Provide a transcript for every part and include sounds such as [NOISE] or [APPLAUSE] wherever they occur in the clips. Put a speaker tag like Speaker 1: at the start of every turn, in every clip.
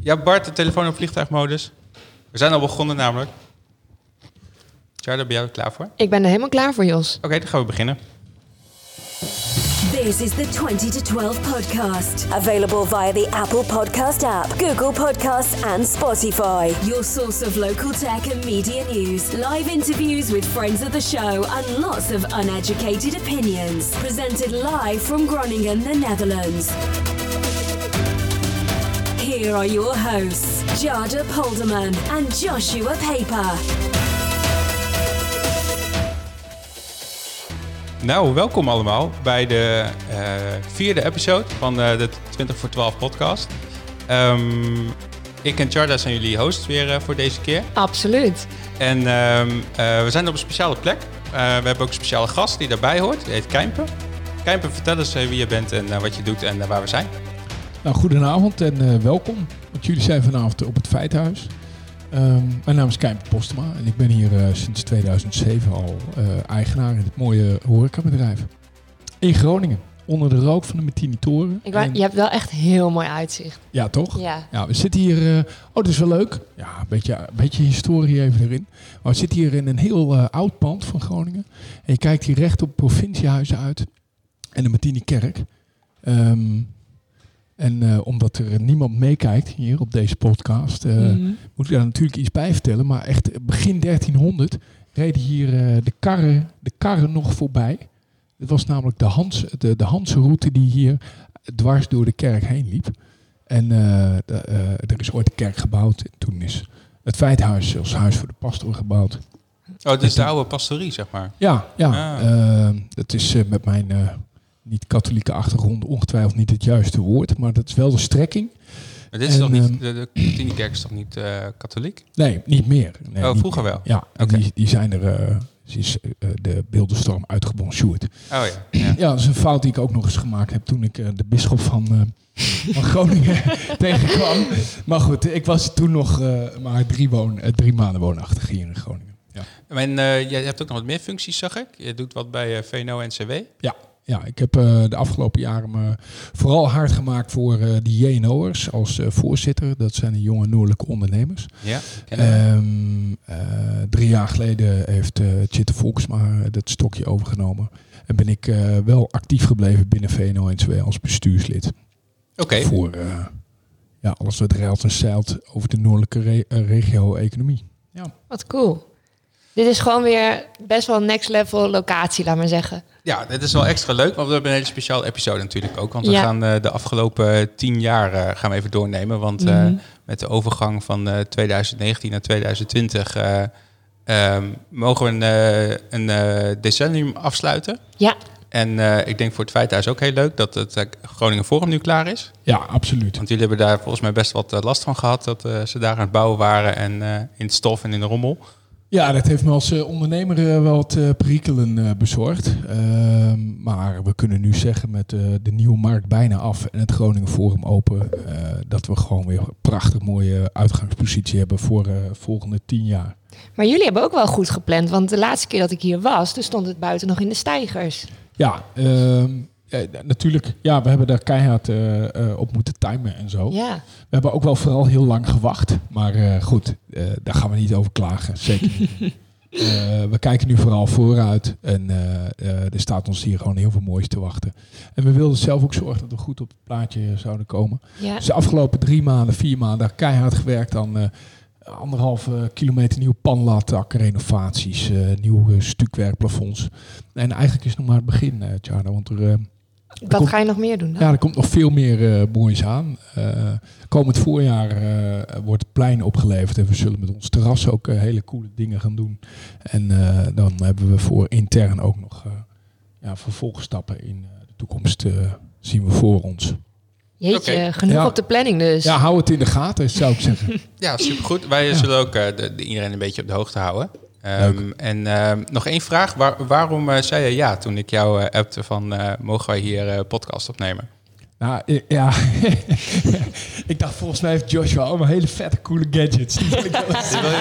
Speaker 1: Ja, Bart, de telefoon op vliegtuigmodus. We zijn al begonnen namelijk. Charlie, ben jij er klaar voor? Oké,
Speaker 2: Ik ben er helemaal klaar voor, Jos.
Speaker 1: dan gaan we beginnen.
Speaker 3: This is the 20 to 12 podcast, available via the Apple Podcast app, Google Podcasts, and Spotify. Your source of local tech and media news, live interviews with friends of the show, and lots of uneducated opinions. Presented live from Groningen, the Netherlands. Here are your hosts, Jada Polderman and Joshua Paper.
Speaker 1: Nou, welkom allemaal bij de eh, vierde episode van eh, de 20 voor 12 podcast. Ehm, ik en Charda zijn jullie hosts weer eh, voor deze keer.
Speaker 2: Absoluut.
Speaker 1: En ehm, eh, we zijn op een speciale plek. Eh, we hebben ook een speciale gast die daarbij hoort. Die heet Kijmpen. Kijmpen, vertel eens eh, wie je bent en eh, wat je doet en eh, waar we zijn.
Speaker 4: Nou, goedenavond en eh, welkom. Want jullie zijn vanavond op het Feithuis. Ehm, mijn naam is Kijn Postma en ik ben hier eh, sinds 2007 al eh, eigenaar in het mooie horecabedrijf. In Groningen, onder de rook van de Martini Toren.
Speaker 2: Ik wou-
Speaker 4: En-
Speaker 2: je hebt wel echt heel mooi uitzicht.
Speaker 4: ja, toch?
Speaker 2: Ja.
Speaker 4: Ja, we zitten hier. eh, oh, dat is wel leuk. Ja, een beetje, een beetje historie even erin. Maar we zitten hier in een heel eh, oud pand van Groningen. En je kijkt hier recht op het provinciehuizen uit. En de Martinikerk. Ehm, en eh, omdat er niemand meekijkt hier op deze podcast, eh,
Speaker 2: Mhm.
Speaker 4: moet ik daar natuurlijk iets bij vertellen. Maar echt begin 1300 reden hier eh, de, karren, de karren nog voorbij. Dat was namelijk de, Hans, de, de Hansenroute die hier dwars door de kerk heen liep. En eh, de, eh, er is ooit een kerk gebouwd. Toen is het feithuis als huis voor de pastoor gebouwd.
Speaker 1: Oh, dit is de oude pastorie, zeg maar.
Speaker 4: Ja, ja.
Speaker 1: Ah.
Speaker 4: ehm, dat is eh, met mijn eh, niet-katholieke achtergrond ongetwijfeld niet het juiste woord. Maar dat is wel de strekking.
Speaker 1: Maar dit is
Speaker 4: En,
Speaker 1: toch niet,
Speaker 4: ehm,
Speaker 1: de, de Martinikerk is toch niet eh, katholiek?
Speaker 4: Nee, niet meer. Nee,
Speaker 1: oh,
Speaker 4: niet
Speaker 1: vroeger wel.
Speaker 4: Ja, en
Speaker 1: Oké.
Speaker 4: die, die zijn er. eh, ze is eh, de beeldenstorm uitgebonjourd.
Speaker 1: Oh ja. ja.
Speaker 4: Ja, dat is een fout die ik ook nog eens gemaakt heb toen ik eh, de bisschop van, eh, van [LAUGHS] Groningen tegenkwam. Maar goed, ik was toen nog eh, maar drie, woon, eh, drie maanden woonachtig hier in Groningen. Ja,
Speaker 1: En eh, jij hebt ook nog wat meer functies, zag ik. Je doet wat bij eh, VNO-NCW.
Speaker 4: ja, ja ik heb eh, de afgelopen jaren me vooral hard gemaakt voor eh de JNO'ers als eh, voorzitter. Dat zijn de jonge noordelijke ondernemers.
Speaker 1: Ja. En,
Speaker 4: Ehm, eh, drie jaar geleden heeft eh Chitte Volksma eh, dat stokje overgenomen. En ben ik eh, wel actief gebleven binnen VNO-NCW als bestuurslid.
Speaker 1: Oké.
Speaker 4: Voor eh, ja, alles wat reilt en zeilt over de noordelijke re- eh, regio-economie. Ja.
Speaker 2: Wat cool. Dit is gewoon weer best wel next level locatie, laat maar zeggen.
Speaker 1: Ja, dit is wel extra leuk, want we hebben een hele speciale episode natuurlijk ook. Want we
Speaker 2: Ja.
Speaker 1: gaan eh, de afgelopen tien jaar eh, gaan we even doornemen. Want eh,
Speaker 4: Mhm.
Speaker 1: met de overgang van eh, 2019 naar 2020 eh, ehm, mogen we een, eh, een eh, decennium afsluiten.
Speaker 2: Ja,
Speaker 1: En eh, ik denk voor het feithuis ook heel leuk dat het eh, Groningen Forum nu klaar is.
Speaker 4: ja, absoluut.
Speaker 1: Want jullie hebben daar volgens mij best wat eh, last van gehad. Dat eh, ze daar aan het bouwen waren en eh, in het stof en in de rommel.
Speaker 4: Ja, dat heeft me als eh, ondernemer eh, wel wat eh, perikelen eh, bezorgd. Ehm, maar we kunnen nu zeggen met eh, de nieuwe markt bijna af en het Groningen Forum open... eh, dat we gewoon weer een prachtig mooie uitgangspositie hebben voor eh volgende tien jaar.
Speaker 2: maar jullie hebben ook wel goed gepland. Want de laatste keer dat ik hier was, toen stond het buiten nog in de stijgers.
Speaker 4: Ja, ehm, eh, natuurlijk. Ja, we hebben daar keihard eh, eh, op moeten timen en zo.
Speaker 2: Ja.
Speaker 4: We hebben ook wel vooral heel lang gewacht. Maar eh, goed, eh, daar gaan we niet over klagen. Zeker niet. Eh, we kijken nu vooral vooruit. En eh, eh, er staat ons hier gewoon heel veel moois te wachten. En we wilden zelf ook zorgen dat we goed op het plaatje zouden komen.
Speaker 2: ja.
Speaker 4: Dus de afgelopen drie maanden, vier maanden, daar keihard gewerkt aan eh anderhalve kilometer nieuw panlattakken, renovaties, eh, nieuwe stukwerkplafonds. En eigenlijk is het nog maar het begin, eh Tjarda, want er... eh,
Speaker 2: Wat ga je nog meer doen dan?
Speaker 4: ja, er komt nog veel meer eh, moois aan. Eh, komend voorjaar eh, wordt het plein opgeleverd en we zullen met ons terras ook eh, hele coole dingen gaan doen. En eh, dan hebben we voor intern ook nog eh ja, vervolgstappen in eh, de toekomst eh, zien we voor ons.
Speaker 2: Jeetje,
Speaker 1: Oké.
Speaker 2: genoeg
Speaker 4: Ja.
Speaker 2: op de planning dus.
Speaker 4: Ja, hou het in de gaten, zou ik zeggen. [LAUGHS]
Speaker 1: Ja, supergoed. Wij zullen ook eh, de, de- iedereen een beetje op de hoogte houden. Ehm, en ehm, nog één vraag. Waar- waarom eh, zei je ja toen ik jou eh, appte van eh, mogen wij hier eh, podcast opnemen?
Speaker 4: nou, eh, ja. [LAUGHS] ik dacht, volgens mij heeft Joshua allemaal hele vette coole gadgets. Die wil ik wel eens zien.
Speaker 1: wil je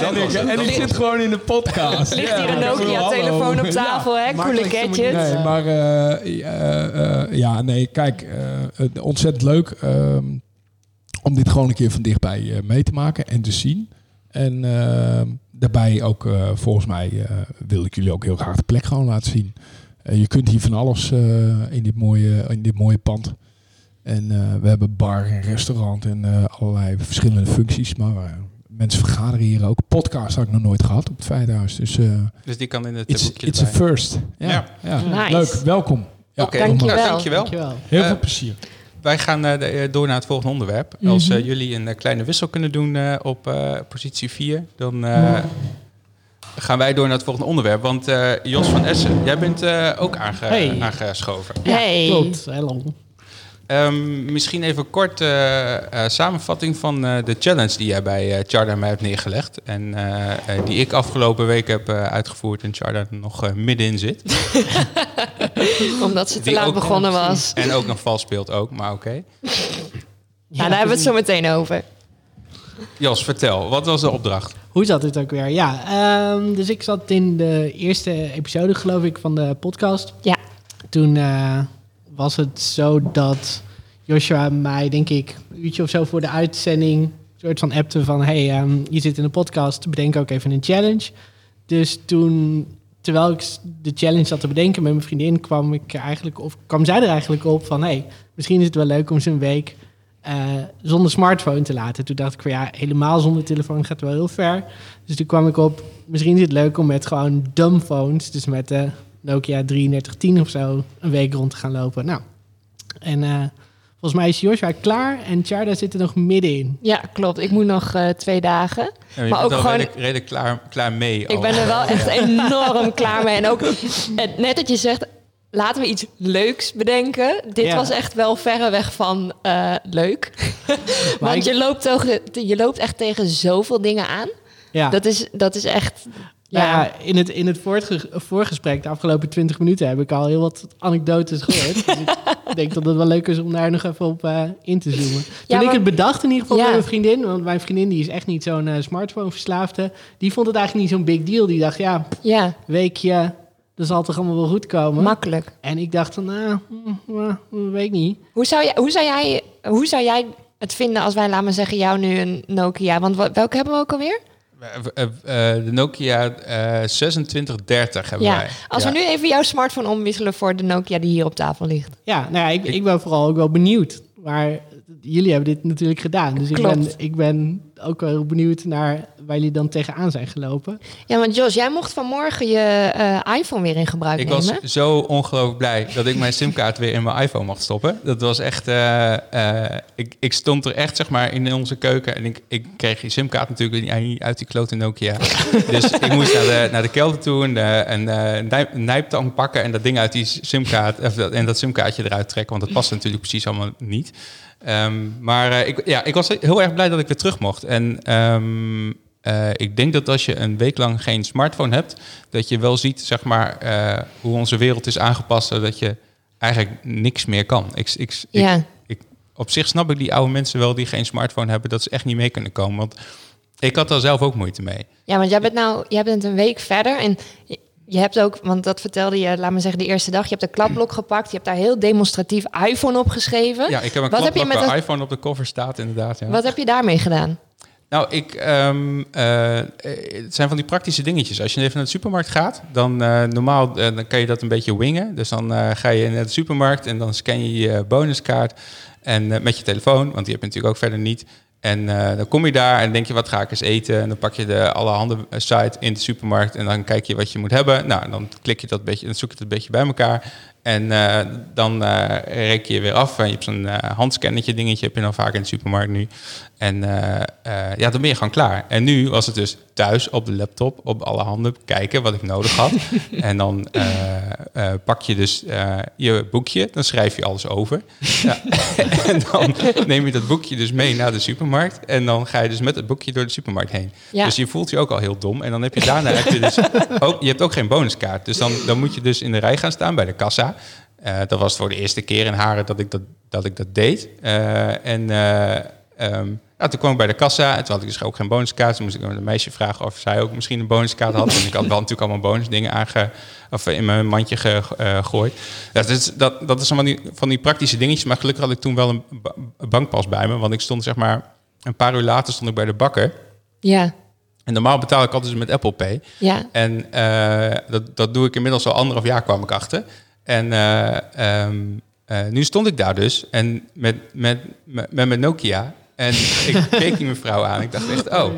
Speaker 1: wel eens
Speaker 4: en ik, en ik zit gewoon in de podcast.
Speaker 2: Ligt hier een
Speaker 4: Ja, [LAUGHS]
Speaker 2: Nokia-telefoon
Speaker 4: hallo.
Speaker 2: op tafel, hè? Coole gadgets.
Speaker 4: Nee, maar eh, eh, eh, ja, nee, kijk, eh, eh, ontzettend leuk. Ehm,
Speaker 5: om dit gewoon een keer van dichtbij eh, mee te maken en te zien. En eh, daarbij ook, eh, volgens mij, eh, wil ik jullie ook heel graag de plek gewoon laten zien. Eh, je kunt hier van alles eh, in, dit mooie, in dit mooie pand. En eh, we hebben bar en restaurant en eh, allerlei verschillende functies. Maar eh, mensen vergaderen hier ook. Podcast had ik nog nooit gehad op het Feitenhuis. Dus eh
Speaker 1: Dus die kan in het eh,
Speaker 5: it's,
Speaker 1: boekje
Speaker 5: it's a
Speaker 1: erbij.
Speaker 5: first. Ja,
Speaker 1: Ja.
Speaker 5: ja.
Speaker 2: Nice.
Speaker 5: Leuk, welkom. Ja,
Speaker 1: Oké,
Speaker 5: kom maar.
Speaker 1: nou,
Speaker 2: Dankjewel.
Speaker 1: dankjewel.
Speaker 6: Dankjewel.
Speaker 5: Heel
Speaker 1: Eh,
Speaker 5: veel plezier.
Speaker 1: Wij gaan eh, de- eh, door naar het volgende onderwerp. Als eh, jullie een eh, kleine wissel kunnen doen eh, op eh, positie 4, dan eh, gaan wij door naar het volgende onderwerp. Want eh, Jos van Essen, jij bent eh, ook aange-
Speaker 6: Hey.
Speaker 1: aangeschoven.
Speaker 2: Hey.
Speaker 6: Klopt, hello.
Speaker 1: Ehm, misschien even kort eh, eh, samenvatting van eh, de challenge die jij bij eh Chardan mij hebt neergelegd. En eh, eh, die ik afgelopen week heb eh, uitgevoerd en Chardan nog eh, middenin zit.
Speaker 2: Omdat ze te
Speaker 1: Die
Speaker 2: laat
Speaker 1: ook-
Speaker 2: begonnen was.
Speaker 1: En ook nog vals speelt ook, maar oké.
Speaker 2: nou, daar hebben we het zo meteen over.
Speaker 1: Jos, vertel, wat was de opdracht?
Speaker 6: Hoe zat het ook weer? Ja, ehm, dus ik zat in de eerste episode, geloof ik, van de podcast.
Speaker 2: Ja.
Speaker 6: Toen eh, was het zo dat Joshua mij, denk ik, een uurtje of zo voor de uitzending... een soort van appte van, hey, ehm, je zit in een podcast, bedenk ook even een challenge. Dus toen, terwijl ik s- de challenge zat te bedenken met mijn vriendin... kwam, ik er eigenlijk, of kwam zij er eigenlijk op van, hey, misschien is het wel leuk om zo'n week... eh, zonder smartphone te laten. Toen dacht ik van ja, helemaal zonder telefoon gaat wel heel ver. Dus toen kwam ik op, misschien is het leuk om met gewoon dumbphones, dus met de Nokia 3310 of zo, een week rond te gaan lopen. Nou, en eh, volgens mij is Joshua klaar en Charda zit er nog middenin.
Speaker 2: Ja, klopt. Ik moet nog eh, twee dagen.
Speaker 1: Ja, je
Speaker 2: Maar
Speaker 1: bent
Speaker 2: ook
Speaker 1: al
Speaker 2: gewoon-
Speaker 1: redelijk, redelijk klaar, klaar mee.
Speaker 2: Ik
Speaker 1: al.
Speaker 2: ben er wel echt enorm klaar mee. En ook eh, net dat je zegt, laten we iets leuks bedenken. Dit
Speaker 6: Ja.
Speaker 2: was echt wel verreweg van eh, leuk. [LAUGHS]
Speaker 6: Maar
Speaker 2: Want
Speaker 6: ik-
Speaker 2: je loopt, tegen, je loopt echt tegen zoveel dingen aan.
Speaker 6: Ja.
Speaker 2: Dat, is, dat is echt...
Speaker 6: Nou
Speaker 2: Ja,
Speaker 6: ja, in het, in het voortge- voorgesprek, de afgelopen 20 minuten, heb ik al heel wat anekdotes gehoord. dus
Speaker 2: [LAUGHS]
Speaker 6: ik denk dat het wel leuk is om daar nog even op eh, in te zoomen. Toen
Speaker 2: Ja,
Speaker 6: ik
Speaker 2: maar-
Speaker 6: het bedacht in ieder geval
Speaker 2: Ja.
Speaker 6: bij mijn vriendin, want mijn vriendin die is echt niet zo'n eh, smartphone-verslaafde, die vond het eigenlijk niet zo'n big deal. Die dacht, ja,
Speaker 2: ja
Speaker 6: weekje, dat zal toch allemaal wel goed komen.
Speaker 2: makkelijk.
Speaker 6: en ik dacht van, nou, mm, mm, mm, weet ik niet.
Speaker 2: Hoe zou, jij, hoe, zou jij, hoe zou jij het vinden als wij, laat maar zeggen, jou nu een Nokia... Want wa- welke hebben we ook alweer?
Speaker 1: Eh, eh, eh, de Nokia eh 2630 hebben
Speaker 2: Ja,
Speaker 1: wij.
Speaker 2: als
Speaker 1: Ja.
Speaker 2: we nu even jouw smartphone omwisselen voor de Nokia die hier op tafel ligt.
Speaker 6: Ja, nou ja, ik,
Speaker 1: Ik-
Speaker 6: ik ben vooral ook wel benieuwd. Maar jullie hebben dit natuurlijk gedaan. Dus ik ben,
Speaker 2: Klopt.
Speaker 6: ik ben ook wel heel benieuwd naar waar jullie dan tegenaan zijn gelopen.
Speaker 2: Ja, want Jos, jij mocht vanmorgen je eh, iPhone weer in gebruik
Speaker 1: Ik
Speaker 2: nemen.
Speaker 1: was zo ongelooflijk blij dat ik mijn simkaart weer in mijn iPhone mag stoppen. Dat was echt... eh, eh, ik, ik stond er echt zeg maar in onze keuken en ik, ik kreeg die simkaart natuurlijk niet- niet uit die klote
Speaker 2: [LAUGHS]
Speaker 1: Nokia. dus ik moest naar de, naar de kelder toe en eh, een eh, nijp- nijptang pakken en dat ding uit die simkaart of dat, en dat simkaartje eruit trekken, want dat past natuurlijk precies allemaal niet. Ehm, maar eh, ik, ja, ik was heel erg blij dat ik weer terug mocht. En ehm, eh, ik denk dat als je een week lang geen smartphone hebt, dat je wel ziet zeg maar, eh, hoe onze wereld is aangepast, zodat je eigenlijk niks meer kan. Ik, ik, ik,
Speaker 2: Ja.
Speaker 1: op zich snap ik die oude mensen wel die geen smartphone hebben, dat ze echt niet mee kunnen komen. Want ik had daar zelf ook moeite mee.
Speaker 2: Ja, want jij bent nou, jij bent een week verder en je- je hebt ook, want dat vertelde je, laat maar zeggen, de eerste dag. Je hebt een klapblok gepakt, je hebt daar heel demonstratief iPhone op geschreven.
Speaker 1: Ja, ik heb een
Speaker 2: Wat heb
Speaker 1: klap
Speaker 2: je
Speaker 1: waar
Speaker 2: met dat-
Speaker 1: iPhone op de cover staat, inderdaad. Ja.
Speaker 2: Wat heb je daarmee gedaan?
Speaker 1: Nou, ik, ehm, eh, eh, het zijn van die praktische dingetjes. Als je even naar de supermarkt gaat, dan eh, normaal eh, dan kan je dat een beetje wingen. Dus dan eh, ga je naar de supermarkt en dan scan je je bonuskaart en, eh, met je telefoon, want die heb je natuurlijk ook verder niet. En eh, dan kom je daar en denk je, wat ga ik eens eten? En dan pak je de allerhande eh, site in de supermarkt en dan kijk je wat je moet hebben. Nou, en dan klik je dat beetje, dan zoek je het een beetje bij elkaar. En eh, dan eh rek je je weer af. En je hebt zo'n eh handscannetje dingetje, heb je dan vaak in de supermarkt nu. En eh, eh, ja, dan ben je gewoon klaar. En nu was het dus thuis op de laptop, op alle handen kijken wat ik nodig had. en dan eh, eh, pak je dus eh, je boekje, dan schrijf je alles over. Ja. [LAUGHS] en dan neem je dat boekje dus mee naar de supermarkt. En dan ga je dus met het boekje door de supermarkt heen.
Speaker 2: Ja.
Speaker 1: Dus je voelt je ook al heel dom. En dan heb je daarna heb je dus ook, je hebt ook geen bonuskaart. Dus dan, dan moet je dus in de rij gaan staan bij de kassa. Eh, dat was voor de eerste keer in Haren dat ik dat, dat, ik dat deed. Eh, en eh, ehm, Nou, toen kwam ik bij de kassa en toen had ik dus ook geen bonuskaart. Toen moest ik aan een meisje vragen of zij ook misschien een bonuskaart had. En ik had wel natuurlijk allemaal bonusdingen aange, of in mijn mandje ge- eh, gegooid. Ja, dus dat, dat is allemaal die, van die praktische dingetjes. Maar gelukkig had ik toen wel een ba- een bankpas bij me. Want ik stond zeg maar, een paar uur later stond ik bij de bakker.
Speaker 2: Ja,
Speaker 1: En normaal betaal ik altijd met Apple Pay.
Speaker 2: ja.
Speaker 1: En eh, dat, dat doe ik inmiddels al anderhalf jaar kwam ik achter. En eh, ehm, eh, nu stond ik daar dus en met, met, met, met mijn Nokia. En
Speaker 2: [LAUGHS]
Speaker 1: ik keek die mevrouw aan. Ik dacht echt, oh,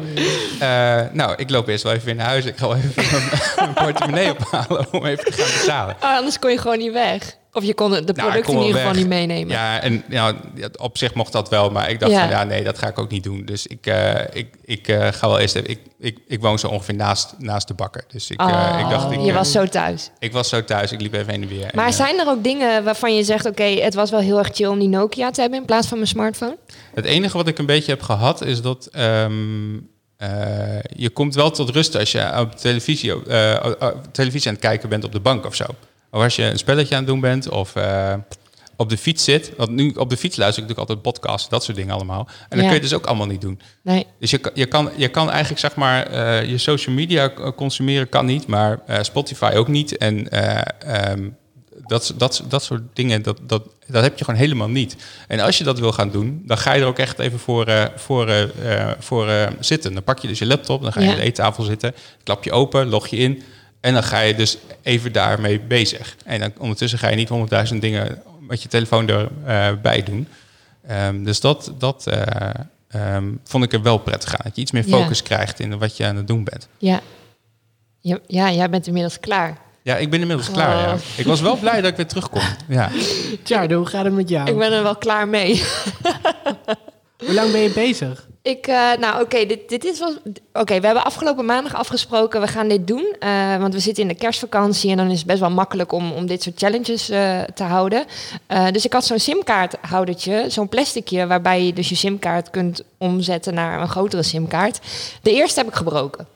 Speaker 1: eh, nou, ik loop eerst wel even weer naar huis. Ik ga wel even [LAUGHS] mijn, mijn portemonnee ophalen om even te gaan betalen.
Speaker 2: Oh, anders kon je gewoon niet weg. Of je kon de producten
Speaker 1: Nou, ik kon
Speaker 2: in
Speaker 1: wel
Speaker 2: ieder geval
Speaker 1: weg.
Speaker 2: niet meenemen.
Speaker 1: Ja, en nou, ja, op zich mocht dat wel, maar ik dacht
Speaker 2: Ja.
Speaker 1: van ja, nee, dat ga ik ook niet doen. Dus ik, eh, ik, ik eh, ga wel eerst even. Ik, ik, ik woon zo ongeveer naast, naast de bakker. Dus ik, eh,
Speaker 2: Oh,
Speaker 1: ik dacht, ik,
Speaker 2: je
Speaker 1: eh,
Speaker 2: was zo thuis.
Speaker 1: ik was zo thuis, ik liep even heen en weer.
Speaker 2: Maar
Speaker 1: En, eh,
Speaker 2: zijn er ook dingen waarvan je zegt... oké, het was wel heel erg chill om die Nokia te hebben... in plaats van mijn smartphone?
Speaker 1: eh, Het enige wat ik een beetje heb gehad is dat ehm, eh, je komt wel tot rust als je op televisie, eh, eh, eh, televisie aan het kijken bent op de bank of zo. Of als je een spelletje aan het doen bent of eh, op de fiets zit. Want nu op de fiets luister ik natuurlijk altijd podcasts, dat soort dingen allemaal. En dat
Speaker 2: Ja.
Speaker 1: kun je dus ook allemaal niet doen.
Speaker 2: Nee.
Speaker 1: Dus je, kan- je, kan, je kan eigenlijk zeg maar eh, je social media k- consumeren kan niet, maar eh, Spotify ook niet. En eh, ehm, dat, s- dat, s- dat soort dingen, dat, dat, dat heb je gewoon helemaal niet. En als je dat wil gaan doen, dan ga je er ook echt even voor, eh, voor, eh, eh, voor eh, zitten. Dan pak je dus je laptop, dan ga je
Speaker 2: Ja.
Speaker 1: aan de eettafel zitten, klap je open, log je in. En dan ga je dus even daarmee bezig. En dan, ondertussen ga je niet honderdduizend dingen met je telefoon erbij doen. Ehm, dus dat, dat eh, ehm, vond ik er wel prettig aan. Dat je iets meer
Speaker 2: Ja.
Speaker 1: focus krijgt in wat je aan het doen bent.
Speaker 2: Ja. ja. Ja, jij bent inmiddels klaar.
Speaker 1: Ja, ik ben inmiddels klaar. Ja.
Speaker 2: Oh.
Speaker 1: Ik was wel blij dat ik weer terugkom. Ja.
Speaker 6: Tjardo, hoe gaat het met jou?
Speaker 2: Ik ben er wel klaar mee. [LAUGHS]
Speaker 6: Hoe lang ben je bezig?
Speaker 2: Ik, eh, nou oké, dit, dit is wel... Oké, we hebben afgelopen maandag afgesproken, we gaan dit doen. eh, want we zitten in de kerstvakantie en dan is het best wel makkelijk om, om dit soort challenges eh, te houden. Eh, dus ik had zo'n simkaarthoudertje, zo'n plasticje, waarbij je dus je simkaart kunt omzetten naar een grotere simkaart. De eerste heb ik gebroken.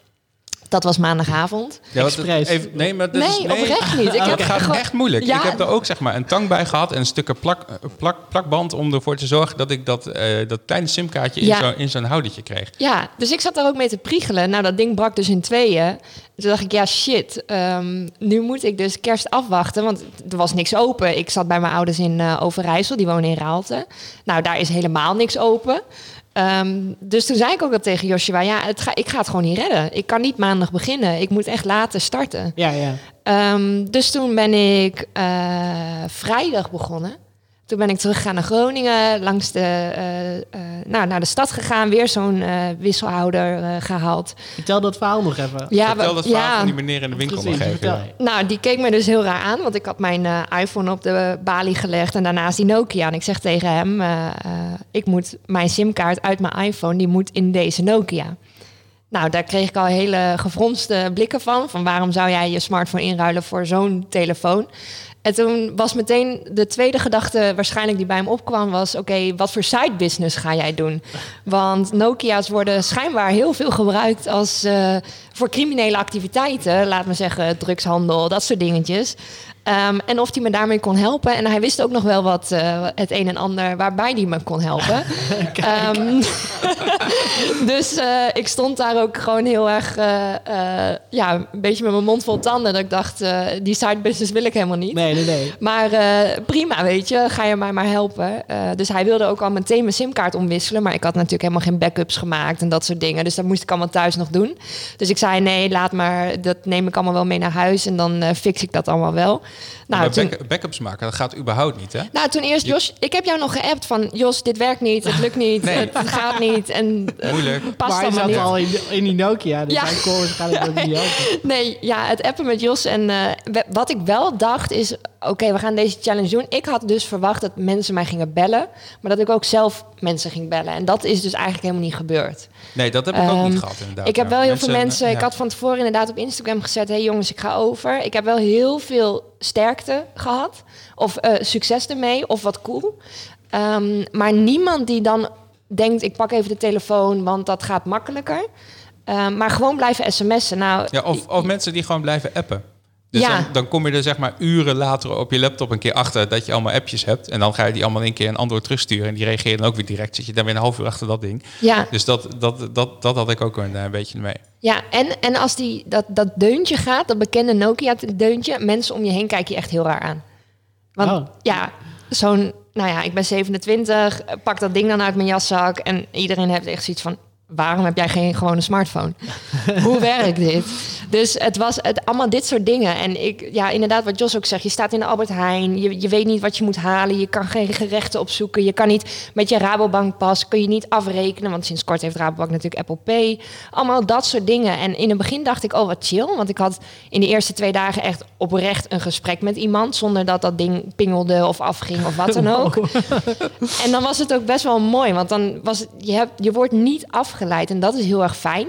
Speaker 2: Dat was maandagavond.
Speaker 1: Ja, want het-
Speaker 6: Expres.
Speaker 1: even- nee, maar dat
Speaker 2: nee,
Speaker 1: is,
Speaker 2: oprecht niet. Ik
Speaker 1: Dat
Speaker 2: heb
Speaker 1: gaat
Speaker 2: gewoon-
Speaker 1: echt moeilijk.
Speaker 2: Ja.
Speaker 1: Ik heb er ook zeg maar, een tang bij gehad en stukken plak, eh, plak, plakband om ervoor te zorgen dat ik dat, eh, dat kleine simkaartje
Speaker 2: Ja.
Speaker 1: in, zo, in zo'n houdertje kreeg.
Speaker 2: Ja, dus ik zat daar ook mee te priegelen. Nou, dat ding brak dus in tweeën. Toen dacht ik, ja shit, ehm, nu moet ik dus kerst afwachten. Want er was niks open. Ik zat bij mijn ouders in eh, Overijssel, die wonen in Raalte. Nou, daar is helemaal niks open. Ehm, dus toen zei ik ook al tegen Joshua, ja, het ga, ik ga het gewoon niet redden. Ik kan niet maandag beginnen. Ik moet echt later starten.
Speaker 6: Ja, ja.
Speaker 2: Ehm, dus toen ben ik eh, vrijdag begonnen. Toen ben ik teruggegaan naar Groningen, langs de, eh, eh, nou, naar de stad gegaan, weer zo'n eh, wisselhouder eh, gehaald.
Speaker 6: Vertel dat verhaal nog even.
Speaker 2: Ja,
Speaker 1: Vertel
Speaker 2: we-
Speaker 1: dat verhaal
Speaker 2: ja.
Speaker 1: van die meneer in de winkel nog
Speaker 6: Precies,
Speaker 1: even.
Speaker 6: vertel.
Speaker 1: ja.
Speaker 2: Nou, die keek me dus heel raar aan, want ik had mijn eh, iPhone op de balie gelegd en daarnaast die Nokia. En ik zeg tegen hem, eh, eh, ik moet mijn simkaart uit mijn iPhone, die moet in deze Nokia. Nou, daar kreeg ik al hele gefronste blikken van, van waarom zou jij je smartphone inruilen voor zo'n telefoon? En toen was meteen de tweede gedachte waarschijnlijk die bij hem opkwam was... oké, wat voor side business ga jij doen? Want Nokia's worden schijnbaar heel veel gebruikt als, eh, voor criminele activiteiten. Laat maar zeggen, drugshandel, dat soort dingetjes. Ehm, en of hij me daarmee kon helpen. En hij wist ook nog wel wat eh, het een en ander waarbij hij me kon helpen. Ehm, [LAUGHS] dus eh, ik stond daar ook gewoon heel erg... eh, eh, ja, een beetje met mijn mond vol tanden. Dat ik dacht, eh, die side business wil ik helemaal niet.
Speaker 6: Nee, nee, nee.
Speaker 2: Maar eh, prima, weet je, ga je mij maar helpen. Eh, dus hij wilde ook al meteen mijn simkaart omwisselen. Maar ik had natuurlijk helemaal geen backups gemaakt en dat soort dingen. Dus dat moest ik allemaal thuis nog doen. Dus ik zei: nee, laat maar. Dat neem ik allemaal wel mee naar huis. En dan eh, fix ik dat allemaal wel. Nou,
Speaker 1: maar
Speaker 2: toen-
Speaker 1: back- backups maken, dat gaat überhaupt niet, hè?
Speaker 2: nou, toen eerst,
Speaker 1: Je-
Speaker 2: Jos, ik heb jou nog geappt van... Jos, dit werkt niet, het lukt niet,
Speaker 1: [LAUGHS] Nee.
Speaker 2: het gaat niet en eh,
Speaker 1: Moeilijk.
Speaker 2: past
Speaker 6: maar hij
Speaker 2: allemaal
Speaker 6: zat
Speaker 2: niet.
Speaker 6: al in, in die Nokia, dus
Speaker 2: Ja.
Speaker 6: hij kon waarschijnlijk ook niet helpen.
Speaker 2: Nee, ja, het appen met Jos. En eh, we- wat ik wel dacht is, oké, we gaan deze challenge doen. Ik had dus verwacht dat mensen mij gingen bellen. Maar dat ik ook zelf mensen ging bellen. En dat is dus eigenlijk helemaal niet gebeurd.
Speaker 1: Nee, dat heb ik ook
Speaker 2: Ehm,
Speaker 1: niet gehad, inderdaad.
Speaker 2: ik heb
Speaker 1: Ja.
Speaker 2: wel heel veel mensen...
Speaker 1: ja.
Speaker 2: Ik had van tevoren inderdaad op Instagram gezet... hé hey jongens, ik ga over. Ik heb wel heel veel sterkte gehad. Of eh, succes ermee, of wat cool. Ehm, maar niemand die dan denkt... ik pak even de telefoon, want dat gaat makkelijker. Ehm, maar gewoon blijven sms'en. Nou,
Speaker 1: Ja, of, of mensen die gewoon blijven appen. Dus
Speaker 2: Ja.
Speaker 1: dan, dan kom je er zeg maar uren later op je laptop een keer achter dat je allemaal appjes hebt. En dan ga je die allemaal in één keer een antwoord terugsturen. En die reageren dan ook weer direct. Zit je dan weer een half uur achter dat ding.
Speaker 2: Ja,
Speaker 1: Dus dat, dat, dat, dat had ik ook een eh, beetje mee.
Speaker 2: ja. En, en als die, dat, dat deuntje gaat, dat bekende Nokia-deuntje, mensen om je heen kijken je echt heel raar aan. Want
Speaker 6: Oh.
Speaker 2: ja, zo'n, nou ja, ik ben 27, eh, pak dat ding dan uit mijn jaszak en iedereen heeft echt zoiets van, waarom heb jij geen gewone smartphone? [LAUGHS] Hoe werkt dit? Dus het was het, allemaal dit soort dingen. En ik, ja, inderdaad, wat Jos ook zegt, je staat in de Albert Heijn, je, je weet niet wat je moet halen, je kan geen gerechten opzoeken, je kan niet met je Rabobank pas, kun je niet afrekenen, want sinds kort heeft Rabobank natuurlijk Apple Pay. Allemaal dat soort dingen. En in het begin dacht ik, oh wat chill, want ik had in de eerste twee dagen echt oprecht een gesprek met iemand, zonder dat dat ding pingelde of afging of wat dan ook. En dan was het ook best wel mooi, want dan was het, je, hebt, je wordt niet afgeleid en dat is heel erg fijn.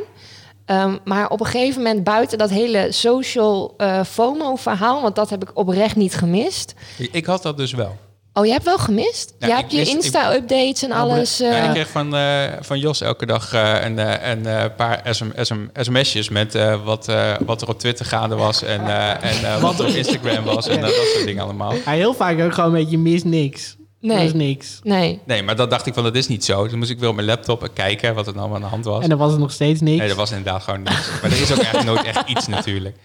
Speaker 2: Ehm, maar op een gegeven moment, buiten dat hele social eh, FOMO-verhaal, want dat heb ik oprecht niet gemist.
Speaker 1: Ik, ik had dat dus wel.
Speaker 2: Oh, je hebt wel gemist?
Speaker 1: Ja,
Speaker 2: je
Speaker 1: ik
Speaker 2: hebt je
Speaker 1: wist- ik- Oh,
Speaker 2: Insta-updates en alles. eh,
Speaker 1: Ja, ik kreeg van, eh, van Jos elke dag eh, een, eh, een eh, paar SM, SM, sms'jes met eh, wat, eh, wat er op Twitter gaande was en, eh, en eh, wat er
Speaker 2: [LAUGHS]
Speaker 1: op Instagram was en eh, dat soort dingen allemaal.
Speaker 6: Ja, heel vaak ook gewoon een beetje, je mist niks.
Speaker 2: Nee.
Speaker 6: Er is niks.
Speaker 2: Nee.
Speaker 1: Nee, maar dat dacht ik van, dat is niet zo. Toen moest ik weer op mijn laptop en kijken wat er nou aan de hand was.
Speaker 6: En dan was het nog steeds niks.
Speaker 1: Nee, dat was inderdaad gewoon niks. Maar er is ook echt nooit echt iets natuurlijk.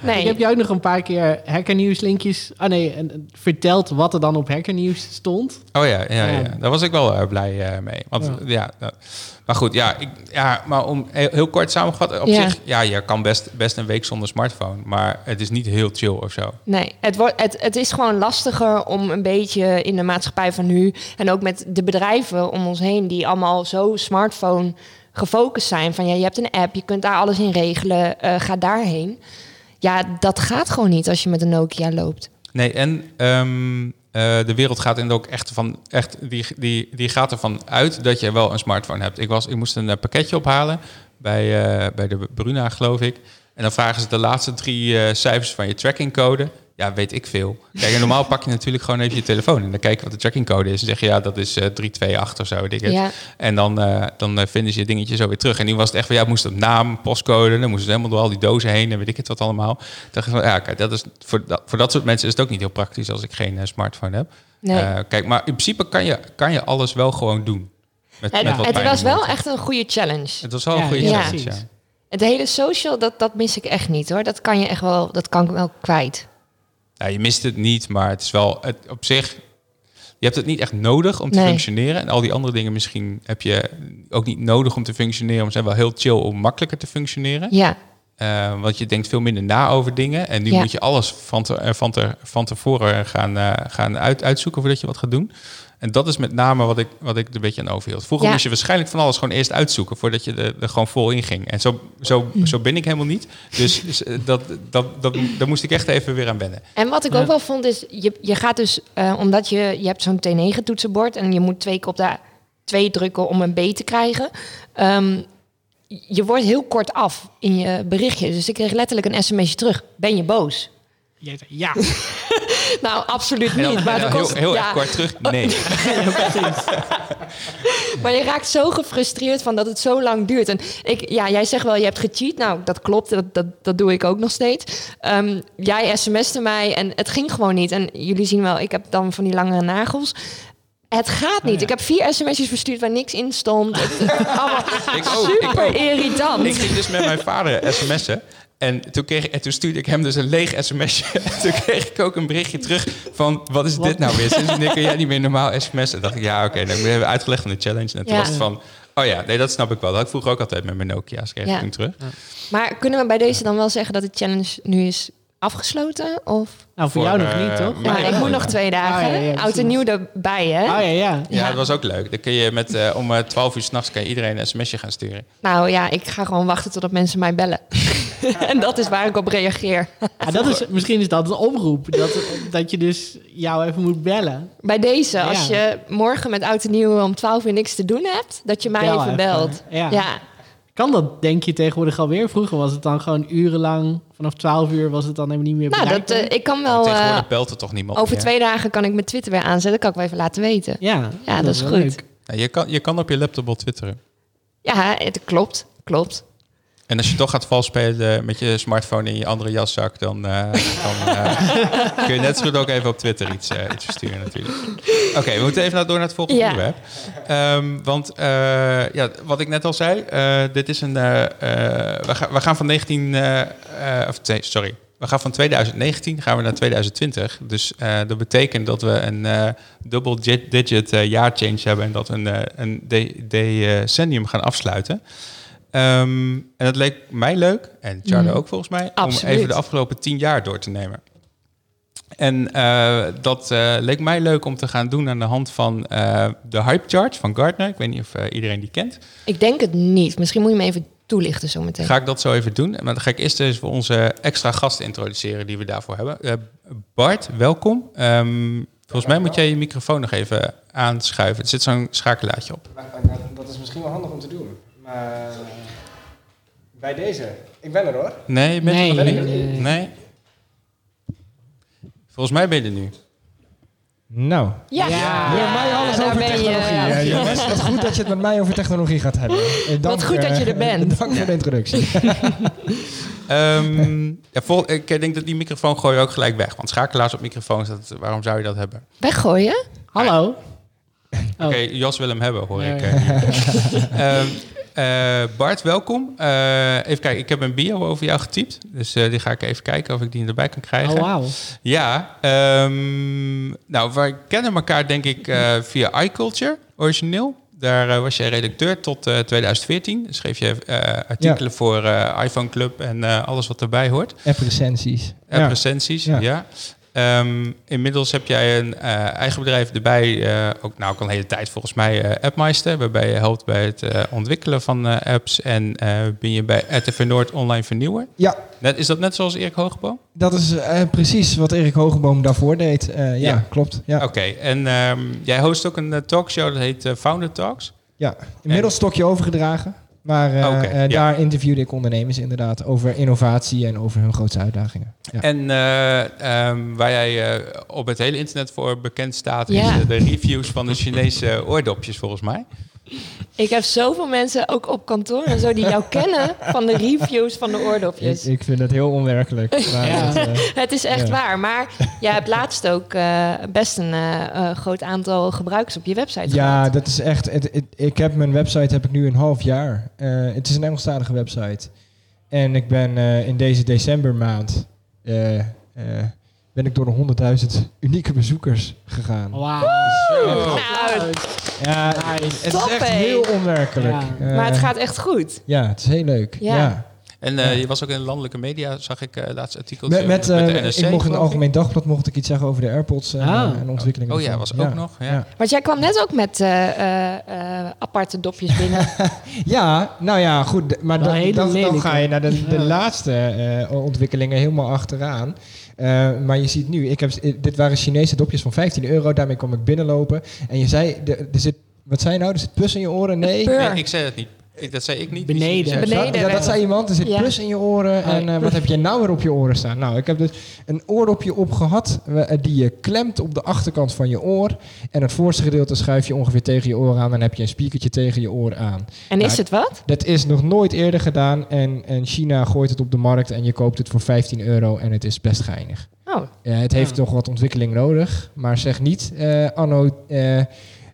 Speaker 2: nee.
Speaker 6: Ik heb jou ook nog een paar keer hackernieuws linkjes... Ah nee, en, en verteld wat er dan op hackernieuws stond.
Speaker 1: Oh ja, ja, ja.
Speaker 6: Ja.
Speaker 1: daar was ik wel eh, blij eh, mee. Want ja, dat- maar goed, ja, ik, ja, maar om heel, heel kort samengevat, op
Speaker 2: Ja.
Speaker 1: zich, ja, je kan best, best een week zonder smartphone, maar het is niet heel chill of zo.
Speaker 2: Nee, het, wordt, het, het is gewoon lastiger om een beetje in de maatschappij van nu en ook met de bedrijven om ons heen die allemaal zo smartphone gefocust zijn. Van ja, je hebt een app, je kunt daar alles in regelen, eh, ga daarheen. Ja, dat gaat gewoon niet als je met een Nokia loopt.
Speaker 1: Nee, en ehm, eh, de wereld gaat in ook echt van, echt, die, die, die gaat ervan uit dat je wel een smartphone hebt. Ik, was, ik moest een eh, pakketje ophalen bij, eh, bij de Bruna, geloof ik. En dan vragen ze de laatste drie eh, cijfers van je trackingcode. Ja, weet ik veel. Kijk, en normaal pak je natuurlijk gewoon even je telefoon en dan kijk je wat de trackingcode is. En zeg je, ja, dat is eh 328 of zo. weet ik het.
Speaker 2: Ja.
Speaker 1: En dan, eh, dan eh, vinden ze je dingetje zo weer terug. En nu was het echt van, ja, het moest op naam, postcode. Dan moest het helemaal door al die dozen heen en weet ik het wat allemaal. Toen dacht ik van, ja, kijk, dat is, voor, dat, voor dat soort mensen is het ook niet heel praktisch als ik geen eh, smartphone heb.
Speaker 2: Nee.
Speaker 1: Eh, kijk, maar in principe kan je, kan je alles wel gewoon doen. Met,
Speaker 2: Het,
Speaker 1: met wat
Speaker 2: het
Speaker 1: pijn
Speaker 2: was
Speaker 1: en moeite.
Speaker 2: wel echt een goede challenge.
Speaker 1: Het was wel een
Speaker 6: Ja,
Speaker 1: goede
Speaker 2: ja,
Speaker 1: challenge,
Speaker 6: precies.
Speaker 1: ja.
Speaker 2: Het hele social, dat, dat mis ik echt niet hoor. Dat kan je echt wel, dat kan ik wel kwijt.
Speaker 1: Ja, je mist het niet, maar het is wel het, op zich. Je hebt het niet echt nodig om te
Speaker 2: Nee.
Speaker 1: functioneren. En al die andere dingen misschien heb je ook niet nodig om te functioneren. Maar ze zijn wel heel chill om makkelijker te functioneren.
Speaker 2: Ja,
Speaker 1: Eh, want je denkt veel minder na over dingen. En nu
Speaker 2: Ja.
Speaker 1: moet je alles van, te, eh, van, te, van tevoren gaan, eh, gaan uit, uitzoeken voordat je wat gaat doen. En dat is met name wat ik, wat ik er een beetje aan overhield. Vroeger
Speaker 2: Ja.
Speaker 1: moest je waarschijnlijk van alles gewoon eerst uitzoeken voordat je er, er gewoon vol in ging. En zo, zo,
Speaker 2: Mm.
Speaker 1: zo ben ik helemaal niet.
Speaker 2: [LAUGHS]
Speaker 1: Dus, dus, eh, dat, dat, dat, daar moest ik echt even weer aan wennen.
Speaker 2: En wat ik ook wel vond is, je, je gaat dus, eh, omdat je, je hebt zo'n T9 toetsenbord en je moet twee keer op de twee drukken om een B te krijgen. Ehm, je wordt heel kort af in je berichtjes. Dus ik kreeg letterlijk een sms'je terug. Ben je boos?
Speaker 6: Jij zei, ja,
Speaker 2: Nou, absoluut
Speaker 1: En dan-
Speaker 2: niet. Maar,
Speaker 1: en
Speaker 2: het
Speaker 1: dan
Speaker 2: kost-
Speaker 1: heel, heel
Speaker 2: ja, Oh,
Speaker 1: erg kort terug.
Speaker 2: [LAUGHS]
Speaker 1: Nee.
Speaker 2: maar je raakt zo gefrustreerd van dat het zo lang duurt. En ik, ja, jij zegt wel, je hebt gecheat. Nou, dat klopt. Dat, dat, dat doe ik ook nog steeds. Ehm, jij sms'te mij en het ging gewoon niet. En jullie zien wel, ik heb dan van die langere nagels. Het gaat
Speaker 6: Oh
Speaker 2: niet. Ik heb vier sms'jes verstuurd waar niks in stond. Het-
Speaker 6: [LAUGHS]
Speaker 2: allemaal
Speaker 1: Ik
Speaker 6: Oh,
Speaker 1: ook, ik
Speaker 2: super
Speaker 1: ook.
Speaker 2: irritant.
Speaker 1: Ik ging dus met mijn vader sms'en. En toen, kreeg, en toen stuurde ik hem dus een leeg sms'je. [LAUGHS] En toen kreeg ik ook een berichtje terug van... wat is dit nou weer? Sinds wanneer kun jij niet meer normaal sms'en? dacht ik, ja, oké. dan hebben we uitgelegd van de challenge. En toen
Speaker 2: Ja.
Speaker 1: was het van... Oh ja, nee, dat snap ik wel. Dat had ik vroeger ook altijd met mijn Nokia's. Kreeg
Speaker 2: Ja.
Speaker 1: ik toen terug.
Speaker 2: Maar kunnen we bij deze dan wel zeggen dat de challenge nu is afgesloten? Of?
Speaker 6: nou voor, jou nog
Speaker 1: eh,
Speaker 6: niet, toch?
Speaker 1: mij
Speaker 2: Ja, ik
Speaker 1: wel.
Speaker 2: moet nog twee
Speaker 6: Ah,
Speaker 2: dagen.
Speaker 6: ja, ja,
Speaker 2: Oud en
Speaker 6: precies.
Speaker 2: nieuw erbij, hè?
Speaker 6: Oh ja, ja.
Speaker 1: Ja, dat was ook leuk. Dan kun je met, eh, om eh, 12 uur s'nachts kan je iedereen een sms'je gaan sturen.
Speaker 2: Nou ja, ik ga gewoon wachten totdat mensen mij bellen. [LAUGHS] en dat is waar ik op reageer.
Speaker 6: Ja, dat is, misschien is dat een oproep. Dat, dat je dus jou even moet bellen.
Speaker 2: Bij deze, als
Speaker 6: Ja.
Speaker 2: je morgen met oud en nieuw om 12 uur niks te doen hebt, dat je mij
Speaker 6: Bel
Speaker 2: even
Speaker 6: even,
Speaker 2: belt.
Speaker 6: ja.
Speaker 2: ja.
Speaker 6: Kan dat, denk je, tegenwoordig alweer? Vroeger was het dan gewoon urenlang. Vanaf 12 uur was het dan helemaal niet meer
Speaker 2: Nou, dat,
Speaker 6: bereikbaar.
Speaker 2: eh, ik kan wel. eh,
Speaker 1: Tegenwoordig belt er toch niemand
Speaker 2: over
Speaker 1: meer?
Speaker 2: twee dagen kan ik mijn Twitter weer aanzetten. Kan ik wel even laten weten. Ja,
Speaker 6: ja,
Speaker 2: dat, is
Speaker 6: wel
Speaker 2: goed.
Speaker 6: leuk.
Speaker 1: Nou, je, kan, je kan op je laptop wel twitteren.
Speaker 2: Ja, het klopt. Klopt.
Speaker 1: En als je toch gaat vals spelen met je smartphone in je andere jaszak, dan, eh, dan eh, kun je net zo goed ook even op Twitter iets, eh, iets versturen natuurlijk. Oké, we moeten even naar- door naar het volgende
Speaker 2: Ja.
Speaker 1: onderwerp. Ehm, want eh, ja, wat ik net al zei, eh, dit is een. eh, eh, we, gaan, we gaan van 19. eh, eh, of twee- sorry. We gaan van 2019 gaan we naar 2020. Dus eh, dat betekent dat we een eh double di- digit eh, jaarchange hebben en dat een, eh, een de- decennium gaan afsluiten. Ehm, en dat leek mij leuk, en Charlie
Speaker 2: Mhm.
Speaker 1: ook volgens mij, om
Speaker 2: Absoluut.
Speaker 1: even de afgelopen tien jaar door te nemen. En eh, dat eh, leek mij leuk om te gaan doen aan de hand van eh, de Hype Chart van Gartner. Ik weet niet of eh, iedereen die kent.
Speaker 2: Ik denk het niet. Misschien moet je me even toelichten zometeen.
Speaker 1: Ga ik dat zo even doen. Maar dan ga ik eerst eens voor onze extra gast introduceren die we daarvoor hebben. Eh, Bart, welkom. Ehm, volgens mij moet jij je microfoon nog even aanschuiven. Er zit zo'n schakelaartje op.
Speaker 4: Nou, nou, Dat is misschien wel handig om te doen. Maar eh, bij deze, ik ben er hoor.
Speaker 1: Nee, je bent
Speaker 6: Nee,
Speaker 1: er nog
Speaker 6: nee,
Speaker 1: niet?
Speaker 6: nee, nee.
Speaker 1: Nee? Volgens mij ben je er nu.
Speaker 4: Nou,
Speaker 2: Ja,
Speaker 6: Ja.
Speaker 4: je hebt mij alles
Speaker 2: daar
Speaker 4: over
Speaker 2: ben je. eh,
Speaker 4: technologie. hè,
Speaker 2: Ja.
Speaker 4: jongens, wat goed dat je het met mij over technologie gaat hebben. Eh, Dank,
Speaker 2: Wat goed dat je er
Speaker 4: eh,
Speaker 2: bent.
Speaker 4: [LAUGHS] Dank voor de introductie.
Speaker 6: [LAUGHS]
Speaker 1: Ehm, ja, vol- ik denk dat die microfoon gooi je ook gelijk weg. Want schakelaars op microfoons, dat, waarom zou je dat hebben?
Speaker 2: Weggooien?
Speaker 6: Hallo? Oh.
Speaker 1: Oké, Jos wil hem hebben, hoor
Speaker 6: Ja,
Speaker 1: ik.
Speaker 6: ja.
Speaker 1: eh. [LAUGHS] Ehm, eh, Bart, welkom. Eh, even kijken, ik heb een bio over jou getypt. Dus eh, die ga ik even kijken of ik die erbij kan
Speaker 6: Oh,
Speaker 1: krijgen.
Speaker 6: wauw.
Speaker 1: Ja, ehm, nou, wij kennen elkaar denk ik eh, via iCulture, origineel. Daar eh, was jij redacteur tot eh 2014. Schreef je eh, artikelen voor eh, iPhone Club en eh, alles wat erbij hoort.
Speaker 4: App recensies.
Speaker 1: En
Speaker 4: Ja.
Speaker 1: recensies, ja.
Speaker 4: Ja.
Speaker 1: Ehm, inmiddels heb jij een eh, eigen bedrijf erbij, eh, ook nou ook al een hele tijd volgens mij, eh AppMeister, waarbij je helpt bij het eh, ontwikkelen van eh, apps en eh, ben je bij RTV Noord online vernieuwer.
Speaker 4: Ja,
Speaker 1: Net, is dat net zoals Erik Hoogboom?
Speaker 4: dat is eh, precies wat Erik Hogenboom daarvoor deed. Eh, ja,
Speaker 1: Ja.
Speaker 4: klopt. Ja.
Speaker 1: Oké, en ehm, jij host ook een eh, talkshow, dat heet eh, Founder Talks.
Speaker 4: ja. Inmiddels stokje overgedragen. Maar eh,
Speaker 1: Oké,
Speaker 4: eh,
Speaker 1: ja.
Speaker 4: daar interviewde ik ondernemers inderdaad over innovatie en over hun grootste uitdagingen. Ja.
Speaker 1: En eh, ehm, waar jij eh, op het hele internet voor bekend staat, is
Speaker 2: Ja.
Speaker 1: eh, de reviews van de Chinese oordopjes volgens mij.
Speaker 2: Ik heb zoveel mensen, ook op kantoor en zo, die jou [LAUGHS] kennen van de reviews van de
Speaker 4: Ik,
Speaker 2: oordopjes.
Speaker 4: ik vind dat heel
Speaker 2: [LAUGHS]
Speaker 4: onwerkelijk. Maar
Speaker 6: Ja.
Speaker 4: dat, eh,
Speaker 2: Het is echt
Speaker 4: Ja.
Speaker 2: waar. Maar jij hebt laatst ook eh, best een eh, eh, groot aantal gebruikers op je website
Speaker 4: Ja,
Speaker 2: gehad.
Speaker 4: dat is echt. het- het- ik heb mijn website heb ik nu een half jaar. Eh, het is een Engelstalige website. En ik ben eh, in deze decembermaand eh, eh, ben ik door de 100.000 unieke bezoekers gegaan.
Speaker 6: Oh, Wauw.
Speaker 1: Zo.
Speaker 2: Nou,
Speaker 4: Ja,
Speaker 6: Nice.
Speaker 4: het
Speaker 2: Top,
Speaker 4: is echt
Speaker 2: hé.
Speaker 4: heel onwerkelijk.
Speaker 6: Ja.
Speaker 4: Eh,
Speaker 2: maar het gaat echt goed.
Speaker 4: Ja, het is heel leuk.
Speaker 2: Ja.
Speaker 4: Ja.
Speaker 1: En eh,
Speaker 4: Ja.
Speaker 1: je was ook in landelijke media, zag ik eh laatst artikeltje
Speaker 4: Met, met,
Speaker 1: de
Speaker 4: eh,
Speaker 1: NRC,
Speaker 4: ik mocht in
Speaker 1: geloof
Speaker 4: het
Speaker 1: ik.
Speaker 4: algemeen dagblad mocht ik iets zeggen over de AirPods en,
Speaker 6: Ah.
Speaker 4: eh, en ontwikkelingen.
Speaker 1: Oh ja,
Speaker 4: ervan.
Speaker 1: was ook nog. Ja.
Speaker 4: ja.
Speaker 2: Want jij kwam net ook met eh, eh, eh, aparte dopjes binnen.
Speaker 4: Ja, nou ja, goed. d- Maar
Speaker 6: Wel
Speaker 4: dan,
Speaker 6: hele
Speaker 4: dan, dan
Speaker 6: lelijke.
Speaker 4: ga je naar de, de
Speaker 6: Ja.
Speaker 4: laatste eh, ontwikkelingen helemaal achteraan. Eh, maar je ziet nu, ik heb, s- eh, dit waren Chinese dopjes van 15 euro. Daarmee kwam ik binnenlopen. En je zei, de- er zit, wat zei je nou? Er zit plus in je oren? Nee.
Speaker 2: Pur.
Speaker 1: Nee, ik zei dat niet. Ik, dat zei ik niet.
Speaker 6: Beneden.
Speaker 1: Die zei-
Speaker 2: Beneden.
Speaker 4: Dat, ja, dat zei iemand. Er zit
Speaker 2: Ja.
Speaker 4: plus in je oren. En eh, wat heb je nou weer op je oren staan? Nou, ik heb dus een oordopje op gehad. eh, die je klemt op de achterkant van je oor. En het voorste gedeelte schuif je ongeveer tegen je oor aan. Dan heb je een spiekertje tegen je oor aan.
Speaker 2: En is
Speaker 4: Ja.
Speaker 2: het wat?
Speaker 4: Dat is nog nooit eerder gedaan. En, en China gooit het op de markt en je koopt het voor 15 euro en het is best geinig.
Speaker 2: Oh,
Speaker 4: Eh, het heeft nog wat ontwikkeling nodig. Maar zeg niet eh, anno eh, eh,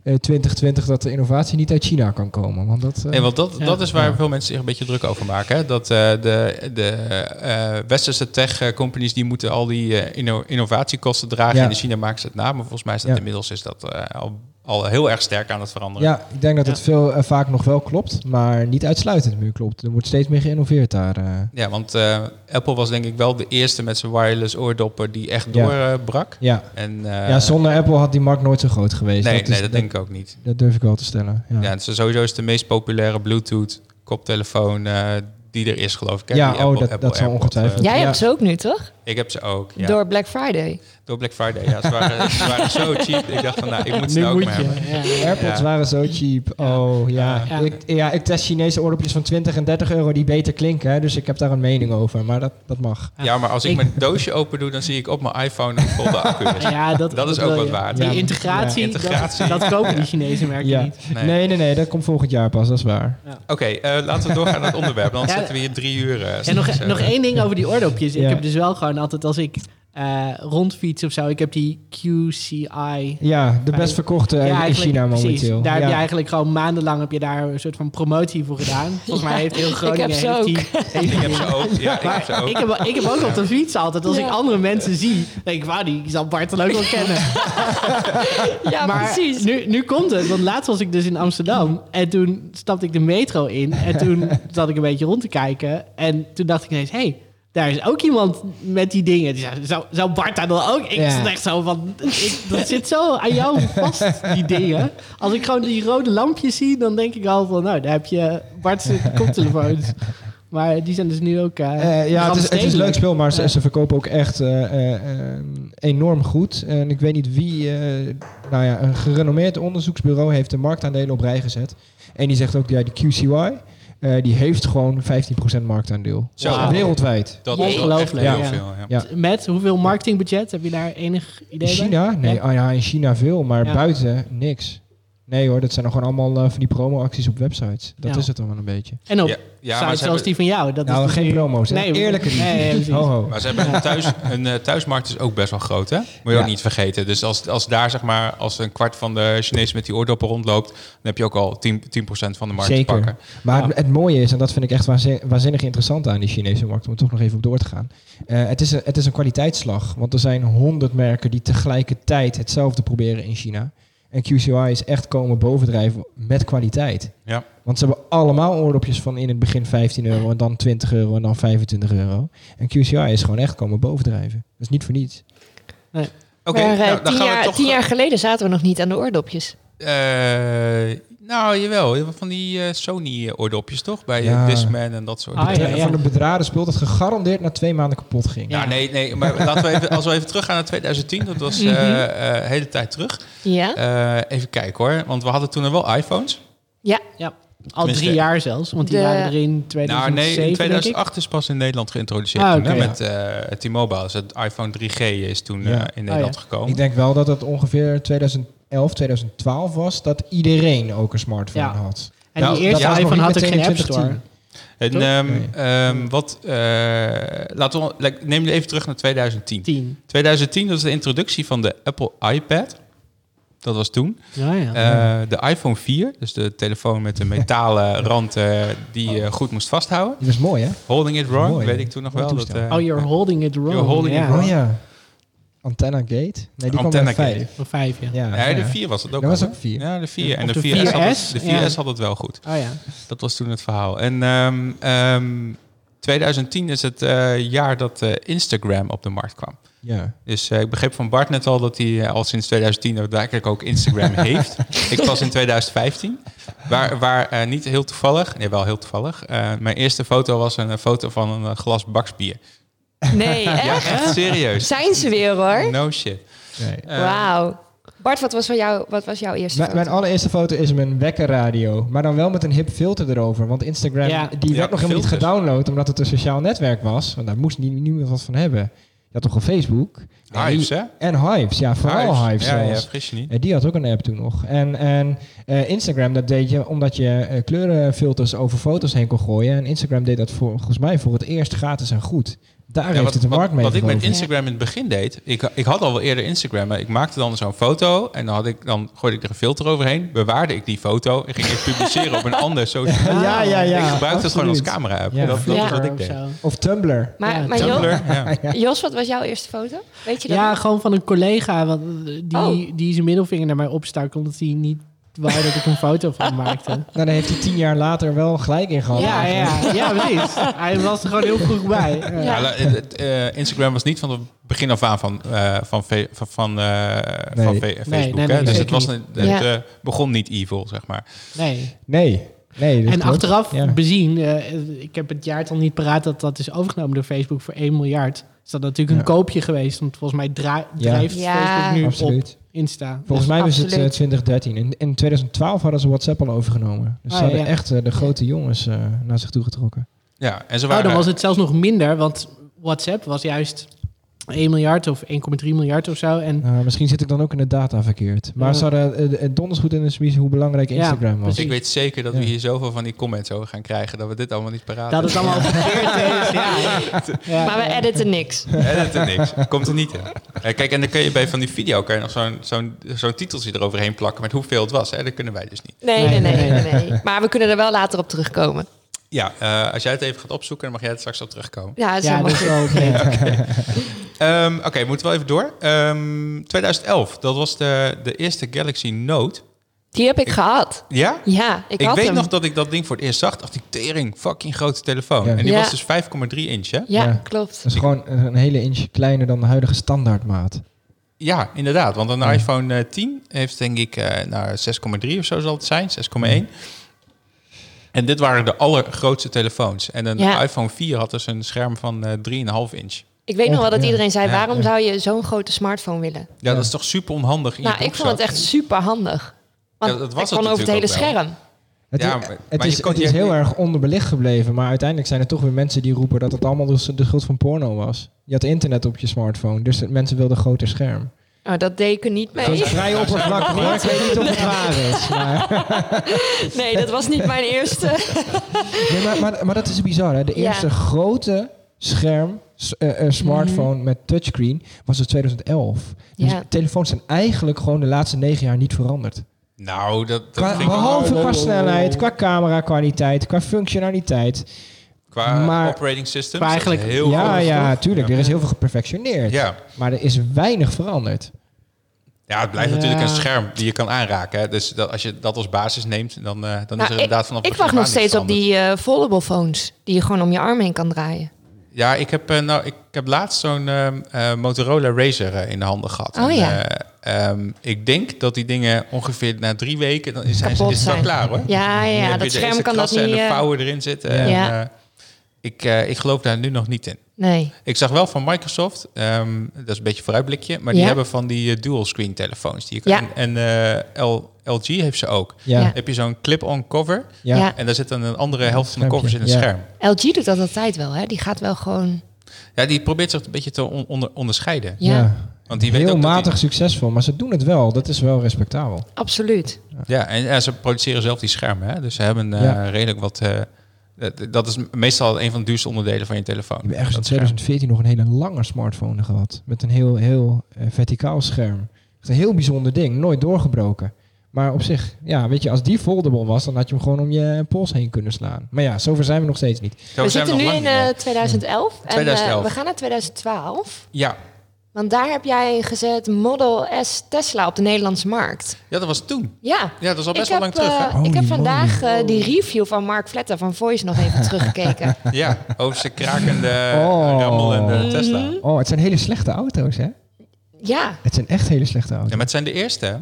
Speaker 4: 2020 dat de innovatie niet uit China kan komen. Want dat, eh,
Speaker 1: Nee, want dat,
Speaker 6: Ja.
Speaker 1: dat is waar
Speaker 4: Ja.
Speaker 1: veel mensen zich een beetje druk over maken. Hè? Dat eh, de, de eh, westerse tech-companies die moeten al die eh, inno- innovatiekosten dragen.
Speaker 4: Ja.
Speaker 1: En in China maken ze het na. Maar volgens mij is dat
Speaker 4: Ja.
Speaker 1: inmiddels is dat, eh, al, al heel erg sterk aan het veranderen.
Speaker 4: ja, ik denk dat het veel eh, vaak nog wel klopt, maar niet uitsluitend meer klopt. Er wordt steeds meer geïnnoveerd daar. eh.
Speaker 1: Ja, want eh, Apple was denk ik wel de eerste met zijn wireless oordoppen die echt
Speaker 4: Ja.
Speaker 1: doorbrak.
Speaker 4: Ja.
Speaker 1: En, eh,
Speaker 4: ja, zonder Apple had die markt nooit zo groot geweest.
Speaker 1: nee,
Speaker 4: is-
Speaker 1: nee, dat denk ik ook niet.
Speaker 4: dat durf ik wel te stellen. Ja,
Speaker 1: Ja, het is sowieso is het de meest populaire Bluetooth koptelefoon eh, die er is, geloof ik. hè?
Speaker 4: Ja,
Speaker 1: Die
Speaker 4: oh, dat- dat zal
Speaker 1: AirPod,
Speaker 4: ongetwijfeld.
Speaker 1: eh,
Speaker 2: jij
Speaker 4: ja.
Speaker 2: hebt ze ook nu, toch?
Speaker 1: ik heb ze ook. Ja.
Speaker 2: Door Black Friday.
Speaker 1: Door Black Friday, ja. Ze waren, ze waren
Speaker 6: [LAUGHS]
Speaker 1: zo cheap. Ik dacht van, nou, ik moet ze
Speaker 6: Nu
Speaker 1: nou ook
Speaker 6: moet
Speaker 1: maar hebben.
Speaker 6: je. Ja, ja.
Speaker 4: AirPods
Speaker 1: Ja.
Speaker 4: waren zo cheap. Oh ja.
Speaker 6: Ja.
Speaker 4: Ik, ja, ik test Chinese oordopjes van 20 en 30 euro die beter klinken. Hè, dus ik heb daar een mening over. Maar dat, dat mag.
Speaker 6: Ja.
Speaker 1: Ja, maar als ik,
Speaker 6: Ik-
Speaker 1: mijn doosje open doe, dan zie ik op mijn iPhone een volle accu.
Speaker 6: [LAUGHS]
Speaker 1: is.
Speaker 6: Ja, dat,
Speaker 1: Dat is ook
Speaker 6: wil
Speaker 1: wat
Speaker 6: je.
Speaker 1: waard.
Speaker 6: Die
Speaker 4: Ja.
Speaker 6: integratie,
Speaker 1: Ja, integratie.
Speaker 6: Dat, dat kopen die Chinese merken
Speaker 4: Ja.
Speaker 6: niet.
Speaker 1: Nee.
Speaker 4: Nee. nee, nee, Dat komt volgend jaar pas. Dat is waar.
Speaker 1: Oké, eh, laten we doorgaan naar het onderwerp. Dan
Speaker 6: Ja.
Speaker 1: zitten we hier drie uur. eh,
Speaker 6: En nog, e-
Speaker 1: zo.
Speaker 6: nog één ding over
Speaker 1: [LAUGHS]
Speaker 6: die oordopjes.
Speaker 4: Ja.
Speaker 6: Ik heb dus wel gewoon altijd als ik eh, rondfiets of zo, ik heb die QCI.
Speaker 4: Ja, de best verkochte eh, in
Speaker 6: eigenlijk-
Speaker 4: China
Speaker 6: precies.
Speaker 4: momenteel.
Speaker 6: Daar heb
Speaker 4: ja.
Speaker 6: je eigenlijk gewoon maandenlang heb je daar een soort van promotie voor
Speaker 1: [LAUGHS]
Speaker 6: gedaan. Volgens mij heeft heel Groningen...
Speaker 2: heb ze
Speaker 6: [LAUGHS] heeft die-
Speaker 1: Ik heb ze ook. Ja, ik heb ze
Speaker 6: Maar
Speaker 1: ook.
Speaker 6: ik heb, ik heb ook op de fiets altijd, als
Speaker 2: Ja.
Speaker 6: ik andere mensen zie, denk ik, wauw, die zal Bart dan ook
Speaker 1: [LAUGHS]
Speaker 6: wel kennen.
Speaker 2: Ja,
Speaker 6: maar
Speaker 2: precies.
Speaker 6: Nu, nu komt het, want laatst was ik dus in Amsterdam en toen stapte ik de metro in en
Speaker 4: [LAUGHS]
Speaker 6: toen zat ik een beetje rond te kijken en toen dacht ik ineens, hé, hey, daar is ook iemand met die dingen. Die zei, zou, zou Bart daar dan ook? Ik
Speaker 4: Ja.
Speaker 6: zat echt zo van, ik, dat zit zo aan jou vast, die dingen. Als ik gewoon die rode lampjes zie, dan denk ik al van, nou, daar heb je Bart's koptelefoons. Maar die zijn dus nu ook... eh,
Speaker 4: Eh, ja, het is, het is een
Speaker 6: randstedelijk.
Speaker 4: leuk speel, maar ze,
Speaker 6: Ja.
Speaker 4: ze verkopen ook echt eh, eh, eh, enorm goed. En ik weet niet wie, eh, nou ja, een gerenommeerd onderzoeksbureau heeft de marktaandelen op rij gezet. En die zegt ook, ja, die QCY, eh, die heeft gewoon 15% marktaandeel.
Speaker 1: Zo.
Speaker 6: Wauw.
Speaker 4: Wereldwijd.
Speaker 1: Dat is wel echt heel
Speaker 6: Ongelooflijk, ja.
Speaker 1: veel. Ja.
Speaker 4: Ja.
Speaker 6: Met hoeveel marketingbudget? Heb je daar enig
Speaker 4: In
Speaker 6: idee bij?
Speaker 4: China? Nee, ah ja, in China veel, maar
Speaker 6: Ja.
Speaker 4: buiten niks. Nee hoor, dat zijn nog gewoon allemaal eh, van die promo-acties op websites. Dat
Speaker 6: Ja.
Speaker 4: is het dan wel een beetje.
Speaker 6: En op
Speaker 1: Ja, ja, maar
Speaker 6: sites
Speaker 1: ze
Speaker 6: zoals
Speaker 1: hebben-
Speaker 6: die van jou. Dat is
Speaker 4: nou,
Speaker 6: dus
Speaker 4: geen
Speaker 6: nu-
Speaker 4: promo's, hè?
Speaker 6: Nee, we-
Speaker 4: Eerlijke liefde.
Speaker 6: nee, precies.
Speaker 4: Ho, ho.
Speaker 1: Maar ze hebben een,
Speaker 6: [LAUGHS]
Speaker 1: thuis, een eh, thuismarkt is ook best wel groot, hè? Moet je
Speaker 4: Ja.
Speaker 1: ook niet vergeten. Dus als, als daar zeg maar, als een kwart van de Chinezen met die oordoppen rondloopt, dan heb je ook al 10%, 10 van de markt
Speaker 4: Zeker.
Speaker 1: te pakken.
Speaker 4: Maar het, het mooie is, en dat vind ik echt waanzin- waanzinnig interessant aan die Chinese markt, om er toch nog even op door te gaan. Eh, het, is een, het is een kwaliteitsslag, want er zijn honderd merken die tegelijkertijd hetzelfde proberen in China. En QCI is echt komen bovendrijven met kwaliteit.
Speaker 1: Ja.
Speaker 4: Want ze hebben allemaal oordopjes van in het begin 15 euro en dan 20 euro en dan 25 euro. En QCI is gewoon echt komen bovendrijven. Dat is niet voor niets.
Speaker 1: Oké,
Speaker 2: maar,
Speaker 1: nou,
Speaker 2: eh,
Speaker 1: dan
Speaker 2: tien,
Speaker 1: gaan we
Speaker 2: jaar,
Speaker 1: toch...
Speaker 2: tien jaar geleden zaten we nog niet aan de oordopjes.
Speaker 1: eh, nou, jawel. Van die eh, Sony-oordopjes, toch? Bij eh,
Speaker 4: Ja.
Speaker 1: Discman en dat soort
Speaker 6: Ah,
Speaker 1: dingen.
Speaker 6: ja, ja.
Speaker 4: Van een bedraden spul dat gegarandeerd na twee maanden kapot ging.
Speaker 6: Ja.
Speaker 1: Nou, nee, nee, maar laten we even, als we even teruggaan naar 2010, dat
Speaker 6: Mhm.
Speaker 1: was eh eh, een hele tijd terug.
Speaker 2: Ja.
Speaker 1: Eh, even kijken hoor, want we hadden toen er wel iPhones.
Speaker 2: ja.
Speaker 6: Ja, al
Speaker 1: Tenminste-
Speaker 6: drie jaar zelfs. Want die
Speaker 2: De-
Speaker 6: waren er in
Speaker 1: Nou
Speaker 6: 2007,
Speaker 1: nee, in
Speaker 6: denk ik.
Speaker 1: 2008 is pas in Nederland geïntroduceerd.
Speaker 6: Ah,
Speaker 1: toen,
Speaker 6: oké,
Speaker 1: hè,
Speaker 6: ja.
Speaker 1: met eh, T-Mobile, dus het iPhone 3G is toen eh,
Speaker 4: Ja.
Speaker 1: in Nederland
Speaker 6: ja.
Speaker 1: gekomen.
Speaker 4: Ik denk wel dat het ongeveer 2011, 2012 was dat iedereen ook een smartphone
Speaker 6: Ja.
Speaker 4: had.
Speaker 6: En
Speaker 1: Nou,
Speaker 6: die eerste
Speaker 1: dat
Speaker 4: was nog
Speaker 6: iPhone
Speaker 4: niet
Speaker 6: had ook
Speaker 4: meteen
Speaker 6: geen
Speaker 4: in
Speaker 6: App Store.
Speaker 4: 2010.
Speaker 1: en
Speaker 6: toch?
Speaker 1: ehm,
Speaker 4: Nee.
Speaker 1: ehm, wat, eh, laten we, like, neem je even terug naar 2010.
Speaker 6: 10.
Speaker 1: 2010 was de introductie van de Apple iPad. Dat was toen.
Speaker 6: Ja, ja.
Speaker 4: Ah.
Speaker 1: Eh, de iPhone 4, dus de telefoon met
Speaker 4: [LAUGHS]
Speaker 1: de metalen rand eh, die je goed moest vasthouden.
Speaker 4: Die was mooi, hè?
Speaker 1: Holding it wrong,
Speaker 4: Mooi,
Speaker 1: weet
Speaker 4: hè?
Speaker 1: ik toen nog
Speaker 4: Mooi
Speaker 1: wel. Dat,
Speaker 4: toestel.
Speaker 1: eh,
Speaker 6: oh, you're holding it wrong.
Speaker 1: You're holding it
Speaker 6: ja.
Speaker 1: wrong.
Speaker 4: Oh ja. Antenna Gate? Nee, die kwam
Speaker 1: Antenna
Speaker 4: bij vijf.
Speaker 1: Gate.
Speaker 6: Voor Oh, vijf, ja.
Speaker 4: Ja,
Speaker 1: nee, de
Speaker 4: ja.
Speaker 1: 4 was het ook.
Speaker 4: Dat was
Speaker 1: al,
Speaker 4: ook vier.
Speaker 1: Ja, de 4. En
Speaker 6: Of
Speaker 1: de
Speaker 6: de
Speaker 1: 4S, had, het,
Speaker 6: 4S,
Speaker 1: de 4S
Speaker 6: ja.
Speaker 1: had het wel goed.
Speaker 6: Oh ja.
Speaker 1: Dat was toen het verhaal. En ehm, ehm, 2010 is het eh, jaar dat eh, Instagram op de markt kwam.
Speaker 4: ja.
Speaker 1: Dus eh, ik begreep van Bart net al dat hij eh, al sinds 2010 daadwerkelijk ook Instagram
Speaker 4: [LAUGHS]
Speaker 1: heeft. Ik was in 2015, waar, waar eh, niet heel toevallig, nee wel heel toevallig, eh, mijn eerste foto was een eh, foto van een eh, glas baksbier. [LAUGHS]
Speaker 2: Nee,
Speaker 1: Ja,
Speaker 2: echt?
Speaker 1: echt serieus.
Speaker 2: Zijn ze weer hoor.
Speaker 1: No shit.
Speaker 4: Nee.
Speaker 1: Eh,
Speaker 2: Wauw. Bart, wat was, van jou, wat was jouw eerste
Speaker 4: Mijn,
Speaker 2: foto?
Speaker 4: mijn allereerste foto is mijn wekkerradio. Maar dan wel met een hip filter erover. Want Instagram
Speaker 6: Ja.
Speaker 4: die
Speaker 1: Ja,
Speaker 4: werd nog helemaal niet
Speaker 1: filters.
Speaker 4: gedownload. Omdat het een sociaal netwerk was. Want daar moest nie- niemand wat van hebben. Je had toch al Facebook? En die-
Speaker 1: Hives, hè?
Speaker 4: En Hives, ja. Vooral Hives,
Speaker 1: Ja, ja,
Speaker 4: zelfs.
Speaker 1: fris je niet.
Speaker 4: Eh, die had ook een app toen nog. En, en eh, Instagram, dat deed je omdat je eh, kleurenfilters over foto's heen kon gooien. En Instagram deed dat voor, volgens mij voor het eerst gratis en goed. Daar
Speaker 1: Ja,
Speaker 4: heeft het de markt mee
Speaker 1: wat ik met
Speaker 4: geholpen.
Speaker 1: Instagram in het begin deed, ik, ik had al wel eerder Instagram, maar ik maakte dan zo'n foto en dan, had ik, dan gooide ik er een filter overheen, bewaarde ik die foto en ging ik publiceren
Speaker 4: [LAUGHS]
Speaker 1: op een ander social.
Speaker 4: ja, ja, ja.
Speaker 1: ik gebruikte het gewoon als
Speaker 4: absoluut.
Speaker 1: camera app.
Speaker 4: Ja.
Speaker 1: Dat, dat
Speaker 2: Ja.
Speaker 1: was wat
Speaker 6: Of
Speaker 1: ik deed.
Speaker 6: zo.
Speaker 4: Of Tumblr.
Speaker 2: Maar,
Speaker 6: Ja,
Speaker 2: maar Jo-
Speaker 1: Tumblr, ja.
Speaker 2: Jos, wat was jouw eerste foto? Weet je dat?
Speaker 6: Ja,
Speaker 2: nog?
Speaker 6: gewoon van een collega. Want eh, die,
Speaker 2: Oh.
Speaker 6: die zijn middelvinger naar mij opstak. Omdat hij niet wou dat ik een foto van maakte.
Speaker 4: Nou, daar heeft hij tien jaar later wel gelijk in gehad.
Speaker 6: Ja, ja, ja, precies. Hij was er gewoon heel vroeg bij. [LAUGHS] Ja.
Speaker 1: Ja, la- het- het, eh, Instagram was niet van het begin af aan van, eh, van, fe- van, van, eh,
Speaker 4: Nee.
Speaker 1: van fe- Facebook.
Speaker 6: nee,
Speaker 1: hè?
Speaker 6: nee,
Speaker 1: Dus het,
Speaker 6: zeker
Speaker 1: was,
Speaker 6: niet.
Speaker 1: een- het
Speaker 2: Ja.
Speaker 1: eh, begon niet evil, zeg maar.
Speaker 6: Nee.
Speaker 4: Nee. nee dat
Speaker 6: en
Speaker 4: klopt.
Speaker 6: achteraf
Speaker 4: Ja.
Speaker 6: bezien, eh, ik heb het jaartal niet paraat dat dat is overgenomen door Facebook voor 1 miljard. is dat natuurlijk een
Speaker 4: Ja.
Speaker 6: koopje geweest. Want volgens mij dra- drijft
Speaker 2: Ja.
Speaker 6: Facebook nu op dus
Speaker 4: Absoluut.
Speaker 6: Insta.
Speaker 4: Volgens mij was het eh,
Speaker 2: Absoluut.
Speaker 4: 2013. In, in 2012 hadden ze WhatsApp al overgenomen. Dus
Speaker 6: Ah,
Speaker 4: ze hadden
Speaker 6: ja.
Speaker 4: echt eh, de grote jongens eh, naar zich toe getrokken.
Speaker 1: Ja, en ze
Speaker 6: Nou,
Speaker 1: waren...
Speaker 6: dan was het zelfs nog minder, want WhatsApp was juist 1 miljard of 1,3 miljard of zo. En
Speaker 4: Nou, misschien zit ik dan ook in de data verkeerd. Maar
Speaker 6: Ja.
Speaker 4: ze hadden eh, eh, donders goed in de smiezen hoe belangrijk
Speaker 6: Ja,
Speaker 4: Instagram was.
Speaker 6: precies.
Speaker 1: ik weet zeker dat we
Speaker 4: Ja.
Speaker 1: hier zoveel van die comments over gaan krijgen dat we dit allemaal niet paraat
Speaker 6: dat het allemaal verkeerd is. Ja, ja. [LAUGHS] Ja.
Speaker 2: Maar we editen niks.
Speaker 1: Hè, dat is niks. Komt er niet in. Eh, kijk, en dan kun je bij van die video kan je nog zo'n zo'n zo'n titeltje eroverheen plakken met hoeveel het was. Hè? Dat kunnen wij dus niet.
Speaker 2: Nee, nee, nee, nee, nee. Maar we kunnen er wel later op terugkomen.
Speaker 1: Ja, eh, als jij het even gaat opzoeken, dan mag jij er straks op terugkomen.
Speaker 2: Ja, dat is
Speaker 6: Ja, dus-
Speaker 2: helemaal
Speaker 6: dat is
Speaker 2: goed.
Speaker 6: wel oké.
Speaker 1: Ehm, Oké, we moeten wel even door. Ehm, 2011, dat was de, de eerste Galaxy Note.
Speaker 2: Die heb ik gehad.
Speaker 1: Ja?
Speaker 2: Ja, ik,
Speaker 1: Ik,
Speaker 2: had
Speaker 1: weet
Speaker 2: hem.
Speaker 1: nog dat ik dat ding voor het eerst zag. Dacht ik, tering, fucking grote telefoon.
Speaker 4: Ja.
Speaker 1: En die
Speaker 2: Ja.
Speaker 1: was dus 5,3 inch, hè?
Speaker 2: Ja,
Speaker 4: Ja.
Speaker 2: klopt.
Speaker 4: Dat is gewoon een een hele inch kleiner dan de huidige standaardmaat.
Speaker 1: Ja, inderdaad. Want een
Speaker 4: Ja.
Speaker 1: iPhone eh, 10 heeft denk ik eh nou, 6,3 of zo zal het zijn, 6,1.
Speaker 4: Mm.
Speaker 1: En dit waren de allergrootste telefoons. En een
Speaker 2: Ja.
Speaker 1: iPhone 4 had dus een scherm van eh 3,5 inch.
Speaker 2: Ik weet nog wel dat
Speaker 4: Ja.
Speaker 2: iedereen zei,
Speaker 1: Ja,
Speaker 2: waarom
Speaker 4: ja.
Speaker 2: zou je zo'n grote smartphone willen?
Speaker 1: Ja,
Speaker 4: Ja.
Speaker 1: dat is toch super onhandig in je
Speaker 2: Nou, ik vond het
Speaker 1: broekzak?
Speaker 2: echt super handig. Want
Speaker 1: Ja, dat was
Speaker 2: ik
Speaker 1: het
Speaker 2: kon over het hele
Speaker 1: natuurlijk ook wel.
Speaker 2: scherm.
Speaker 4: Het,
Speaker 1: Ja,
Speaker 4: is,
Speaker 1: maar-
Speaker 4: het,
Speaker 1: maar
Speaker 4: is,
Speaker 1: je kon-
Speaker 4: het is
Speaker 1: je-
Speaker 4: heel erg onderbelicht gebleven. Maar uiteindelijk zijn er toch weer mensen die roepen dat het allemaal dus de schuld van porno was. Je had internet op je smartphone, dus de mensen wilden een groter scherm.
Speaker 2: Nou, dat deed ik er niet
Speaker 4: Het
Speaker 2: mee.
Speaker 4: was vrij oppervlakkig hoor. Ik weet niet of het waar is. Maar,
Speaker 2: [LAUGHS] Nee, dat was niet mijn eerste.
Speaker 4: Nee, maar, maar, maar dat is bizar. Hè? De
Speaker 2: Ja.
Speaker 4: eerste grote scherm, s- eh, eh, smartphone met touchscreen, was in 2011. Dus
Speaker 2: Mhm. Ja.
Speaker 4: telefoons zijn eigenlijk gewoon de laatste negen jaar niet veranderd.
Speaker 1: Nou, dat, dat
Speaker 4: Qua,
Speaker 1: ging qua,
Speaker 4: behalve
Speaker 6: Oh, oh,
Speaker 4: qua
Speaker 6: oh, oh.
Speaker 4: snelheid, qua camera kwaliteit, qua functionaliteit. maar-
Speaker 1: operating system.
Speaker 6: Maar
Speaker 1: eigenlijk
Speaker 6: eigenlijk-
Speaker 1: heel
Speaker 4: ja,
Speaker 1: groot.
Speaker 4: ja, tuurlijk.
Speaker 1: Ja.
Speaker 4: Er is heel veel geperfectioneerd.
Speaker 1: Ja.
Speaker 4: Maar er is weinig veranderd.
Speaker 1: ja, het blijft
Speaker 6: Ja.
Speaker 1: natuurlijk een scherm die je kan aanraken. Hè. Dus dat, als je dat als basis neemt, dan, eh, dan is
Speaker 2: Nou,
Speaker 1: er
Speaker 2: ik,
Speaker 1: inderdaad vanaf het
Speaker 2: ik wacht
Speaker 1: begin
Speaker 2: nog
Speaker 1: aan niks
Speaker 2: steeds op
Speaker 1: veranderd.
Speaker 2: die eh, foldable phones. Die je gewoon om je arm heen kan draaien.
Speaker 1: Ja, ik heb, eh, nou, ik heb laatst zo'n ehm, eh, Motorola Razr eh, in de handen gehad.
Speaker 2: Oh,
Speaker 1: En,
Speaker 2: ja.
Speaker 1: eh, ehm, ik denk dat die dingen ongeveer na drie weken, dan is, zijn ze,
Speaker 2: Kapot
Speaker 1: is het wel
Speaker 2: zijn.
Speaker 1: klaar hoor.
Speaker 2: Ja,
Speaker 1: Dan
Speaker 2: ja,
Speaker 1: heb je
Speaker 2: dat
Speaker 1: de
Speaker 2: scherm
Speaker 1: eerste
Speaker 2: kan dat
Speaker 1: klasse
Speaker 2: niet...
Speaker 1: En de
Speaker 2: eh,
Speaker 1: vouwen erin zitten. En,
Speaker 2: Ja.
Speaker 1: eh, ik, eh, ik geloof daar nu nog niet in.
Speaker 2: nee.
Speaker 1: Ik zag wel van Microsoft, ehm, dat is een beetje een vooruitblikje, maar die
Speaker 2: Ja.
Speaker 1: hebben van die eh, dual screen telefoons. Die je kan,
Speaker 2: Ja.
Speaker 1: En eh, L- LG heeft ze ook.
Speaker 4: Ja,
Speaker 2: Ja.
Speaker 4: ja.
Speaker 1: Heb je zo'n clip-on cover
Speaker 2: Ja.
Speaker 1: en daar zit dan een andere helft van de
Speaker 4: Schermpje.
Speaker 1: covers in het
Speaker 4: Ja.
Speaker 1: scherm.
Speaker 2: LG doet dat altijd wel, hè? Die gaat wel gewoon...
Speaker 1: Ja, die probeert zich een beetje te on- onder- onderscheiden.
Speaker 2: Ja,
Speaker 1: Want die weet
Speaker 4: Heel
Speaker 1: ook dat die-
Speaker 4: matig succesvol, maar ze doen het wel. Dat is wel respectabel.
Speaker 2: absoluut.
Speaker 1: Ja, en ja, ze produceren zelf die schermen. Hè? Dus ze hebben eh,
Speaker 4: Ja.
Speaker 1: redelijk wat... eh, dat- dat is meestal een van de duurste onderdelen van je telefoon.
Speaker 4: Ik heb ergens in
Speaker 1: Dat scherm.
Speaker 4: 2014 nog een hele lange smartphone gehad. Met een heel, heel eh, verticaal scherm. Echt een heel bijzonder ding. Nooit doorgebroken. Maar op zich, ja, weet je, als die foldable was, dan had je hem gewoon om je pols heen kunnen slaan. Maar ja, zover zijn we nog steeds niet.
Speaker 1: Zo
Speaker 2: We
Speaker 1: zijn
Speaker 2: zitten nu
Speaker 1: nog
Speaker 2: in
Speaker 1: lang niet,
Speaker 2: eh,
Speaker 1: hè.
Speaker 2: 2011. En eh,
Speaker 1: 2011.
Speaker 2: we gaan naar 2012.
Speaker 1: ja.
Speaker 2: Want daar heb jij gezet Model S Tesla op de Nederlandse markt.
Speaker 1: ja, dat was toen.
Speaker 2: Ja.
Speaker 1: Ja, dat is al best
Speaker 2: ik
Speaker 1: wel lang
Speaker 2: heb,
Speaker 1: terug.
Speaker 2: eh,
Speaker 1: Hè?
Speaker 4: Holy
Speaker 2: ik heb
Speaker 4: moly.
Speaker 2: vandaag eh, die review van Mark Vletter van Voice nog
Speaker 1: [LAUGHS]
Speaker 2: even teruggekeken.
Speaker 1: Ja, over zijn krakende
Speaker 4: [LAUGHS]
Speaker 1: eh,
Speaker 4: Oh.
Speaker 1: Rammel en de Tesla.
Speaker 2: Mhm.
Speaker 4: Oh, het zijn hele slechte auto's, hè?
Speaker 2: Ja,
Speaker 4: Het zijn echt hele slechte
Speaker 1: Ja,
Speaker 4: auto's.
Speaker 1: maar het zijn de eerste. hè?
Speaker 4: [LAUGHS]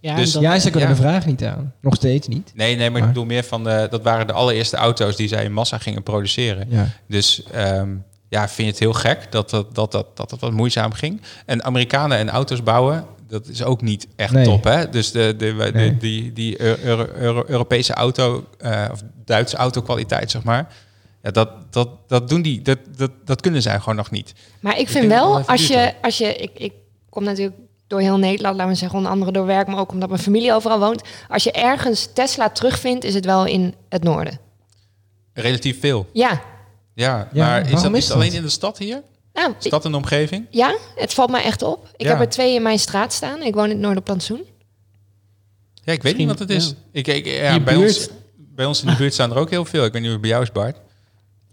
Speaker 6: Ja,
Speaker 1: Dus-
Speaker 6: en dat-
Speaker 4: Ja, ze kunnen
Speaker 1: Ja.
Speaker 4: de vraag niet aan. Nog steeds niet.
Speaker 1: Nee, nee, maar ik
Speaker 4: Maar-
Speaker 1: bedoel meer van... De, dat waren de allereerste auto's die zij in massa gingen produceren.
Speaker 4: Ja.
Speaker 1: Dus ehm, ja, vind je het heel gek dat dat, dat, dat, dat, dat wat moeizaam ging. En Amerikanen en auto's bouwen, dat is ook niet echt
Speaker 4: Nee.
Speaker 1: top. Hè? Dus de, de, de-
Speaker 4: Nee.
Speaker 1: die, die Euro- Euro- Europese auto, eh, of Duitse autokwaliteit, zeg maar. Ja, dat, dat, dat doen die, dat, dat, dat kunnen zij gewoon nog niet.
Speaker 2: maar ik
Speaker 1: denk
Speaker 2: vind
Speaker 1: dat het wel
Speaker 2: wel,
Speaker 1: even
Speaker 2: als
Speaker 1: duurt,
Speaker 2: je, als je ik, ik kom natuurlijk door heel Nederland, laten we zeggen, onder andere door werk, maar ook omdat mijn familie overal woont. Als je ergens Tesla terugvindt, is het wel in het noorden.
Speaker 1: Relatief veel.
Speaker 2: Ja,
Speaker 1: Ja,
Speaker 4: Ja,
Speaker 1: maar is dat
Speaker 4: waarom
Speaker 1: niet
Speaker 4: is dat?
Speaker 1: alleen in de stad hier?
Speaker 2: nou, ik-
Speaker 1: Stad en omgeving?
Speaker 2: ja, het valt mij echt op. Ik
Speaker 1: Ja.
Speaker 2: heb er twee in mijn straat staan. Ik woon in het Noorderplantsoen.
Speaker 1: Ja, ik weet niet wat
Speaker 6: Misschien,
Speaker 1: het is.
Speaker 6: ja.
Speaker 1: Ik, ik, ja,
Speaker 6: Je
Speaker 1: bij,
Speaker 6: buurt.
Speaker 1: ons, bij ons in de buurt staan er ook heel veel. Ik weet niet hoe het bij jou is, Bart.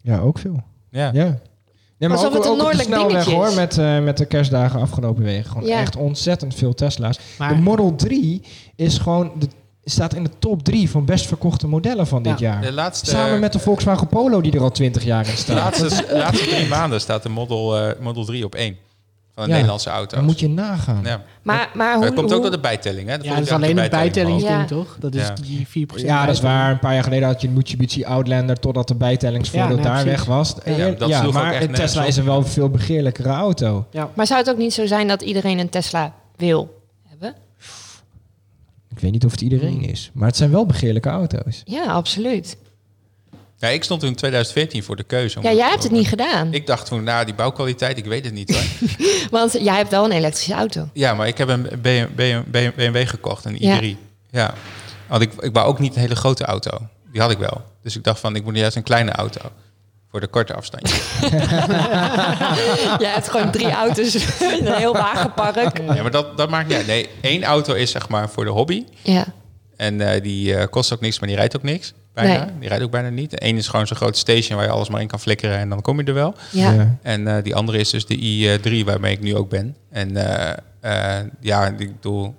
Speaker 4: Ja, ook veel.
Speaker 1: Ja.
Speaker 4: Ja. Nee,
Speaker 2: Alsof het een
Speaker 4: op de
Speaker 2: noordelijk
Speaker 4: snelweg,
Speaker 2: dingetje is.
Speaker 4: hoor, met, eh, met de kerstdagen afgelopen weken. Gewoon
Speaker 2: Ja.
Speaker 4: echt ontzettend veel Tesla's.
Speaker 6: maar-
Speaker 4: De Model 3 is gewoon de, staat in de top 3 van best verkochte modellen van dit jaar.
Speaker 1: De laatste,
Speaker 4: Samen met de Volkswagen Polo die er al 20 jaar in
Speaker 1: De
Speaker 4: staat.
Speaker 1: laatste, laatste drie maanden staat de Model, eh, model 3 op 1. Van een
Speaker 4: Ja.
Speaker 1: Nederlandse auto's.
Speaker 4: Dan moet je nagaan.
Speaker 1: Ja.
Speaker 2: Maar, maar hoe,
Speaker 1: dat komt ook
Speaker 2: hoe-
Speaker 1: door de bijtelling, hè? Dat
Speaker 6: Ja,
Speaker 1: vond
Speaker 6: dat
Speaker 1: ik
Speaker 6: is
Speaker 1: ook
Speaker 6: alleen een
Speaker 1: bijtelling.
Speaker 6: bijtellingsding,
Speaker 2: Ja.
Speaker 6: toch? Dat is
Speaker 1: Ja.
Speaker 6: die 4%.
Speaker 4: Ja, dat is
Speaker 6: bijtelling.
Speaker 4: waar. Een paar jaar geleden had je een Mitsubishi Outlander totdat de bijtellingsvoordeel
Speaker 6: Ja, nee,
Speaker 4: daar
Speaker 6: precies.
Speaker 4: weg was.
Speaker 1: Ja,
Speaker 4: Ja,
Speaker 1: dat sloeg ook
Speaker 4: maar
Speaker 1: echt
Speaker 4: een
Speaker 1: nergens
Speaker 4: Tesla
Speaker 1: op.
Speaker 4: is een wel veel begeerlijkere auto.
Speaker 2: Maar zou het ook niet zo zijn dat iedereen een Tesla wil hebben?
Speaker 4: Ik weet niet of het iedereen is, maar het zijn wel begeerlijke auto's.
Speaker 2: Ja, absoluut.
Speaker 1: Ja, ik stond toen in 2014 voor de keuze. om
Speaker 2: Ja,
Speaker 1: dat
Speaker 2: jij
Speaker 1: te
Speaker 2: hebt het
Speaker 1: kopen.
Speaker 2: niet gedaan.
Speaker 1: Ik dacht toen, nou, die bouwkwaliteit, ik weet het niet hoor.
Speaker 2: Want jij hebt wel een elektrische auto.
Speaker 1: ja, maar ik heb een BM- BM- BM- BMW gekocht, een i3.
Speaker 2: Ja.
Speaker 1: Ja. Want ik, ik wou ook niet een hele grote auto. Die had ik wel. Dus ik dacht van, ik moet juist een kleine auto. Voor de korte afstandjes.
Speaker 2: jij hebt
Speaker 1: [LAUGHS]
Speaker 2: gewoon drie auto's in een heel wagenpark.
Speaker 1: ja, maar dat, dat maakt niet uit. Nee, één auto is zeg maar voor de hobby.
Speaker 2: Ja,
Speaker 1: En eh, die eh, kost ook niks, maar die rijdt ook niks. Bijna.
Speaker 2: Nee.
Speaker 1: Die rijdt ook bijna niet. Eén is gewoon zo'n groot station waar je alles maar in kan flikkeren en dan kom je er wel.
Speaker 2: ja.
Speaker 1: En eh, die andere is dus de i3 waarmee ik nu ook ben. En eh, eh, ja, ik bedoel,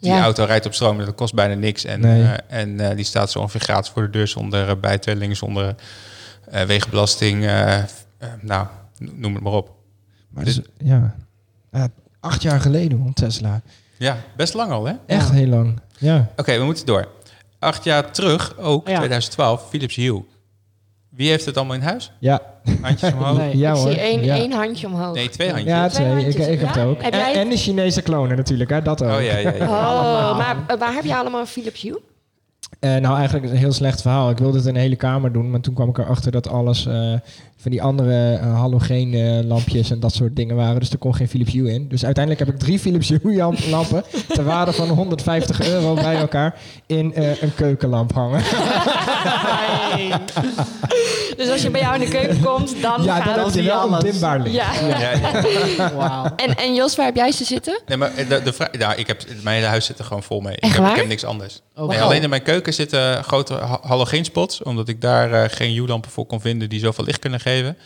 Speaker 1: die
Speaker 2: Ja.
Speaker 1: auto rijdt op stroom en dat kost bijna niks. En,
Speaker 4: Nee.
Speaker 1: eh, en eh, die staat zo ongeveer gratis voor de deur zonder eh, bijtelling, zonder eh, wegenbelasting. eh, f- eh, nou, no- noem het maar op.
Speaker 4: Maar
Speaker 1: Dus-
Speaker 4: dus, ja. Ja, acht jaar geleden man, Tesla.
Speaker 1: Ja, best lang al hè?
Speaker 4: Echt heel lang. Ja.
Speaker 1: Oké, we moeten door. Acht jaar terug, ook
Speaker 6: Oh ja.
Speaker 1: 2012, Philips Hue. Wie heeft het allemaal in huis?
Speaker 4: Ja.
Speaker 1: Handjes omhoog.
Speaker 6: Nee.
Speaker 4: ja
Speaker 2: ik
Speaker 4: hoor.
Speaker 2: zie één,
Speaker 4: ja.
Speaker 2: één handje omhoog.
Speaker 1: Nee, twee handjes.
Speaker 4: Ja,
Speaker 2: Twee
Speaker 4: twee. Ik,
Speaker 2: handjes.
Speaker 4: ik heb het
Speaker 2: Ja?
Speaker 4: ook.
Speaker 2: Heb
Speaker 4: en,
Speaker 2: jij-
Speaker 4: en de Chinese klonen natuurlijk, hè? dat ook.
Speaker 1: Oh ja, ja, ja.
Speaker 2: Oh,
Speaker 6: Allemaal.
Speaker 2: maar eh, waar heb je allemaal een Philips
Speaker 4: [LAUGHS]
Speaker 2: Hue?
Speaker 4: Eh, nou, eigenlijk is het een heel slecht verhaal. Ik wilde het in een hele kamer doen, maar toen kwam ik erachter dat alles eh, van die andere eh, halogeen eh, lampjes en dat soort dingen waren. Dus er kon geen Philips Hue in. Dus uiteindelijk heb ik drie Philips Hue
Speaker 2: [LAUGHS]
Speaker 4: lamp- lampen ter waarde van 150 euro bij elkaar in eh, een keukenlamp hangen.
Speaker 2: Dus als je bij jou in de keuken komt, dan
Speaker 4: ja,
Speaker 2: gaat
Speaker 4: dan heb
Speaker 2: het.
Speaker 4: je wel een
Speaker 6: alles.
Speaker 4: dimbaar licht.
Speaker 2: Ja.
Speaker 1: Ja, ja.
Speaker 6: [LAUGHS] Wauw.
Speaker 2: En, en Jos, waar heb jij ze zitten?
Speaker 1: Nee, maar eh, de, de vra- ja, ik heb, mijn hele huis zit er gewoon vol mee. Ik
Speaker 2: Echt
Speaker 1: heb,
Speaker 2: waar?
Speaker 1: ik heb niks anders.
Speaker 6: Oh,
Speaker 1: nee,
Speaker 6: wauw.
Speaker 1: alleen in mijn keuken zitten grote ha- halogeen-spots, omdat ik daar eh, geen U-lampen voor kon vinden die zoveel licht kunnen geven.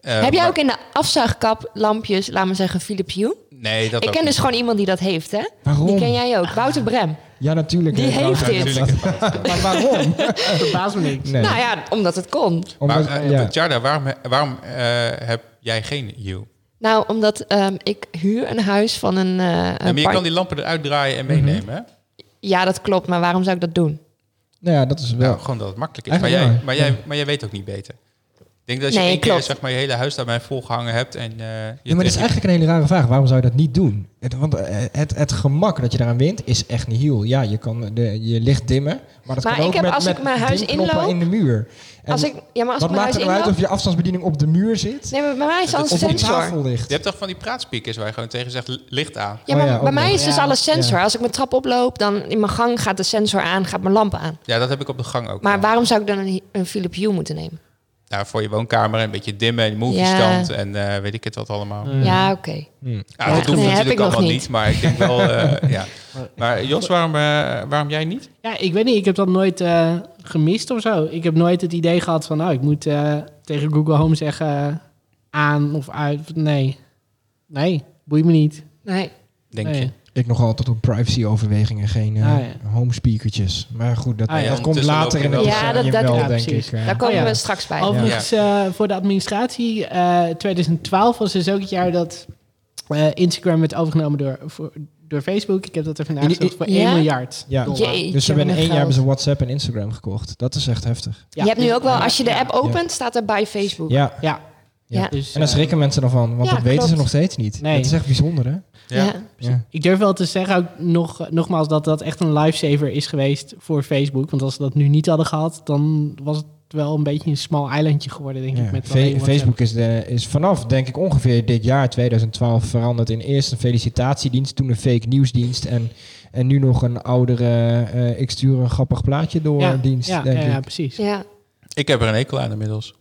Speaker 1: Eh,
Speaker 2: heb jij
Speaker 1: maar-
Speaker 2: ook in de afzuigkap lampjes, laat maar zeggen, Philips Hue?
Speaker 1: Nee, dat
Speaker 2: Ik
Speaker 1: ook
Speaker 2: ken
Speaker 1: niet.
Speaker 2: dus gewoon iemand die dat heeft, hè? Die
Speaker 4: Waarom? Ah.
Speaker 2: ken jij ook, Wouter Brem.
Speaker 4: Ja, natuurlijk.
Speaker 2: Die
Speaker 4: eh,
Speaker 2: heeft
Speaker 4: Wouter,
Speaker 1: Ja,
Speaker 2: dit.
Speaker 1: natuurlijk.
Speaker 4: Maar waarom?
Speaker 6: Verbaas me niks.
Speaker 2: [LAUGHS]
Speaker 4: Nee.
Speaker 2: Nou ja, omdat het kon.
Speaker 1: Maar
Speaker 4: Omdat,
Speaker 1: eh,
Speaker 4: ja.
Speaker 1: Jarda, waarom, he- waarom eh, heb jij geen U?
Speaker 2: Nou, omdat ehm, ik huur een huis van een... eh,
Speaker 1: Nee, maar
Speaker 2: een
Speaker 1: je
Speaker 2: par- Mhm.
Speaker 1: kan die lampen eruit draaien en meenemen. hè?
Speaker 2: Ja, dat klopt, maar waarom zou ik dat doen?
Speaker 4: Nou ja, dat is wel.
Speaker 1: Nou, gewoon dat het makkelijk is. Maar
Speaker 4: Eigenlijk
Speaker 1: jij,
Speaker 4: wel.
Speaker 1: maar, jij, maar jij weet ook niet beter. Ik denk dat als je
Speaker 2: Nee,
Speaker 1: één keer
Speaker 2: klopt.
Speaker 1: zeg maar, je hele huis daarmee volgehangen hebt en eh, je
Speaker 4: Ja, maar dat is
Speaker 1: tegen-
Speaker 4: eigenlijk een hele rare vraag. Waarom zou je dat niet doen? Het, want eh, het, het gemak dat je daaraan wint is echt niet heel. Ja, je kan de, je licht dimmen. Maar dat
Speaker 2: Maar
Speaker 4: kan
Speaker 2: ik
Speaker 4: ook
Speaker 2: heb-
Speaker 4: met,
Speaker 2: als
Speaker 4: met
Speaker 2: ik mijn huis
Speaker 4: dimknoppen
Speaker 2: inloop-
Speaker 4: in de muur. En
Speaker 2: Als ik, ja, maar als
Speaker 4: wat
Speaker 2: ik mijn
Speaker 4: maakt
Speaker 2: huis
Speaker 4: het nou uit
Speaker 2: inloop...
Speaker 4: of je afstandsbediening op de muur zit?
Speaker 2: Nee, maar bij mij is
Speaker 1: Dat
Speaker 2: alles
Speaker 1: is
Speaker 4: of op
Speaker 2: sensor.
Speaker 4: tafel ligt?
Speaker 1: Je hebt toch van die praatspeakers waar je gewoon tegen zegt licht aan.
Speaker 2: Ja, maar
Speaker 4: Oh ja,
Speaker 2: bij
Speaker 4: ook
Speaker 2: mij
Speaker 4: nog.
Speaker 2: is dus
Speaker 6: Ja,
Speaker 2: alles sensor. Als ik mijn trap oploop, dan in mijn gang gaat de sensor aan, gaat mijn lamp aan.
Speaker 1: Ja, dat heb ik op de gang ook.
Speaker 2: Maar
Speaker 1: wel.
Speaker 2: waarom zou ik dan een, een Philips Hue moeten nemen?
Speaker 1: Ja, voor je woonkamer een beetje dimmen en movie
Speaker 2: Ja.
Speaker 1: stand en eh, weet ik het wat allemaal.
Speaker 2: Ja, oké.
Speaker 1: Ja,
Speaker 2: Ja,
Speaker 1: dat doen we
Speaker 2: nee, heb ik
Speaker 1: natuurlijk
Speaker 2: nog
Speaker 1: allemaal niet.
Speaker 2: niet,
Speaker 1: maar ik denk wel,
Speaker 2: [LAUGHS]
Speaker 1: eh, ja. Maar Jos, waarom, eh, waarom jij niet?
Speaker 6: Ja, ik weet niet. Ik heb dat nooit eh, gemist of zo. Ik heb nooit het idee gehad van... nou, ik moet eh, tegen Google Home zeggen... eh, aan of uit. Nee. Nee, boeit me niet.
Speaker 2: Nee.
Speaker 1: Denk
Speaker 6: Nee.
Speaker 1: je?
Speaker 4: Ik nog altijd op privacy-overwegingen, geen eh
Speaker 6: Ah, ja.
Speaker 4: home speakertjes. Maar goed, dat,
Speaker 6: Ah, ja.
Speaker 4: dat komt
Speaker 1: Ondertussen
Speaker 4: later
Speaker 1: loop
Speaker 4: in
Speaker 1: je
Speaker 4: het
Speaker 2: wel- Ja, dat-
Speaker 4: decennium
Speaker 2: dat-
Speaker 4: wel,
Speaker 6: ja,
Speaker 4: denk
Speaker 6: precies.
Speaker 4: ik. eh.
Speaker 2: Daar komen
Speaker 6: ja.
Speaker 2: we straks bij.
Speaker 6: Overigens, eh, voor de administratie, eh, 2012 was dus ook het jaar dat eh, Instagram werd overgenomen door, voor, door Facebook. Ik heb dat er vandaag
Speaker 4: In- in-
Speaker 6: gezegd voor
Speaker 2: Ja?
Speaker 6: 1 miljard.
Speaker 4: Ja.
Speaker 6: dollar.
Speaker 2: Jeetje,
Speaker 4: Dus ze
Speaker 2: wat
Speaker 4: hebben
Speaker 2: een
Speaker 4: in één jaar
Speaker 2: geld.
Speaker 4: hebben ze WhatsApp en Instagram gekocht. Dat is echt heftig.
Speaker 6: Ja,
Speaker 2: je hebt nu
Speaker 6: dus-
Speaker 2: ook wel, als je de
Speaker 6: ja,
Speaker 2: app opent, staat er bij Facebook.
Speaker 4: Ja,
Speaker 6: Ja.
Speaker 2: Ja.
Speaker 6: Dus,
Speaker 4: en daar
Speaker 6: eh,
Speaker 4: schrikken mensen dan van, want
Speaker 2: ja,
Speaker 4: dat weten ze
Speaker 2: klopt.
Speaker 4: nog steeds niet.
Speaker 6: Nee.
Speaker 4: Dat is echt bijzonder, hè?
Speaker 1: Ja.
Speaker 2: Ja.
Speaker 4: Ja.
Speaker 6: Ik durf wel te zeggen, ook nog, nogmaals, dat dat echt een lifesaver is geweest voor Facebook. Want als ze dat nu niet hadden gehad, dan was het wel een beetje een smal eilandje geworden, denk
Speaker 4: Ja,
Speaker 6: ik. Met
Speaker 4: Fe-
Speaker 6: alleen WhatsApp.
Speaker 4: Facebook is, de, is vanaf, denk ik, ongeveer dit jaar 2012 veranderd in eerst een felicitatiedienst, toen een fake nieuwsdienst en, en nu nog een oudere eh, ik stuur een grappig plaatje door
Speaker 6: ja,
Speaker 4: dienst,
Speaker 6: ja,
Speaker 4: denk
Speaker 6: ja, ja,
Speaker 4: ik.
Speaker 6: precies.
Speaker 2: ja.
Speaker 1: Ik heb er een hekel aan inmiddels.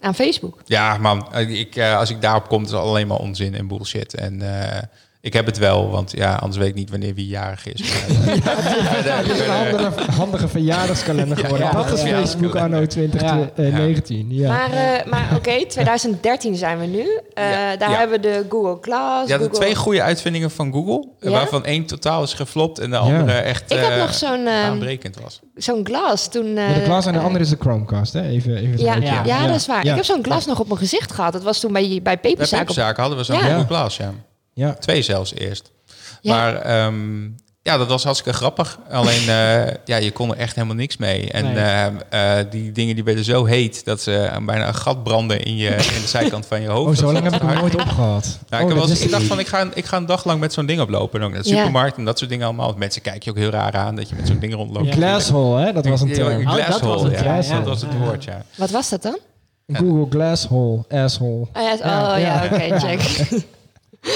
Speaker 2: Aan Facebook.
Speaker 1: Ja, man. Ik, eh, als ik daarop kom, is het alleen maar onzin en bullshit. En eh, ik heb het wel, want ja, anders weet ik niet wanneer wie jarig
Speaker 2: [LAUGHS]
Speaker 1: is. Maar, eh, ja,
Speaker 4: Het is een
Speaker 1: eh,
Speaker 4: handige, handige verjaardagskalender geworden.
Speaker 1: ja,
Speaker 4: dat is
Speaker 1: ja.
Speaker 4: Facebook anno 2019. Ja.
Speaker 2: Maar, eh, maar oké, 2013 zijn we nu. Eh,
Speaker 1: Ja.
Speaker 2: Daar
Speaker 1: Ja.
Speaker 2: hebben we de Google Class.
Speaker 1: ja, de
Speaker 2: Google...
Speaker 1: twee goede uitvindingen van Google, eh,
Speaker 2: Ja?
Speaker 1: waarvan één totaal is geflopt en de
Speaker 4: Ja.
Speaker 1: andere echt
Speaker 2: Ik
Speaker 1: eh,
Speaker 2: had nog zo'n ehm
Speaker 1: baanbrekend was.
Speaker 2: zo'n glas toen... eh,
Speaker 4: Ja, de klas en de
Speaker 2: eh,
Speaker 4: andere is de Chromecast, hè? Even, even het
Speaker 2: Ja,
Speaker 4: rijtje.
Speaker 2: ja, dat is waar.
Speaker 4: Ja.
Speaker 2: Ik heb zo'n glas nog op mijn gezicht gehad. Dat was toen bij, bij
Speaker 1: Bij
Speaker 2: Peperzaak. Dus op-
Speaker 1: zaken hadden we zo'n
Speaker 2: Ja.
Speaker 1: Google Glass, ja.
Speaker 4: Ja.
Speaker 1: Twee zelfs eerst.
Speaker 2: Ja.
Speaker 1: Maar ehm, ja, dat was hartstikke grappig. Alleen, eh, ja, je kon er echt helemaal niks mee. En
Speaker 6: Nee.
Speaker 1: ehm, eh, die dingen die werden zo heet dat ze bijna een gat branden in, je, in de zijkant van je hoofd.
Speaker 4: [LAUGHS] Oh,
Speaker 1: Dat
Speaker 4: zo lang
Speaker 1: was
Speaker 4: heb ik hem
Speaker 1: hard.
Speaker 4: nooit opgehad.
Speaker 1: Ja,
Speaker 4: Oh,
Speaker 1: ik,
Speaker 4: dat
Speaker 1: was,
Speaker 4: wist
Speaker 1: ik dacht
Speaker 4: niet.
Speaker 1: van, ik ga, een- ik ga een dag lang met zo'n ding oplopen. En ook naar de
Speaker 2: Ja.
Speaker 1: supermarkt en dat soort dingen allemaal. Want mensen kijken je ook heel raar aan dat je met zo'n ding rondloopt.
Speaker 6: Ja.
Speaker 4: Glasshole, hè? Dat was een
Speaker 1: Ja,
Speaker 4: term.
Speaker 1: Een
Speaker 6: Oh, dat
Speaker 1: glasshole,
Speaker 6: was het,
Speaker 1: ja.
Speaker 4: ja, ja.
Speaker 1: Dat was het woord, ja.
Speaker 2: Wat was dat dan?
Speaker 4: Google Glasshole, asshole.
Speaker 2: Oh ja, oh, ja,
Speaker 4: ja.
Speaker 2: oké, check.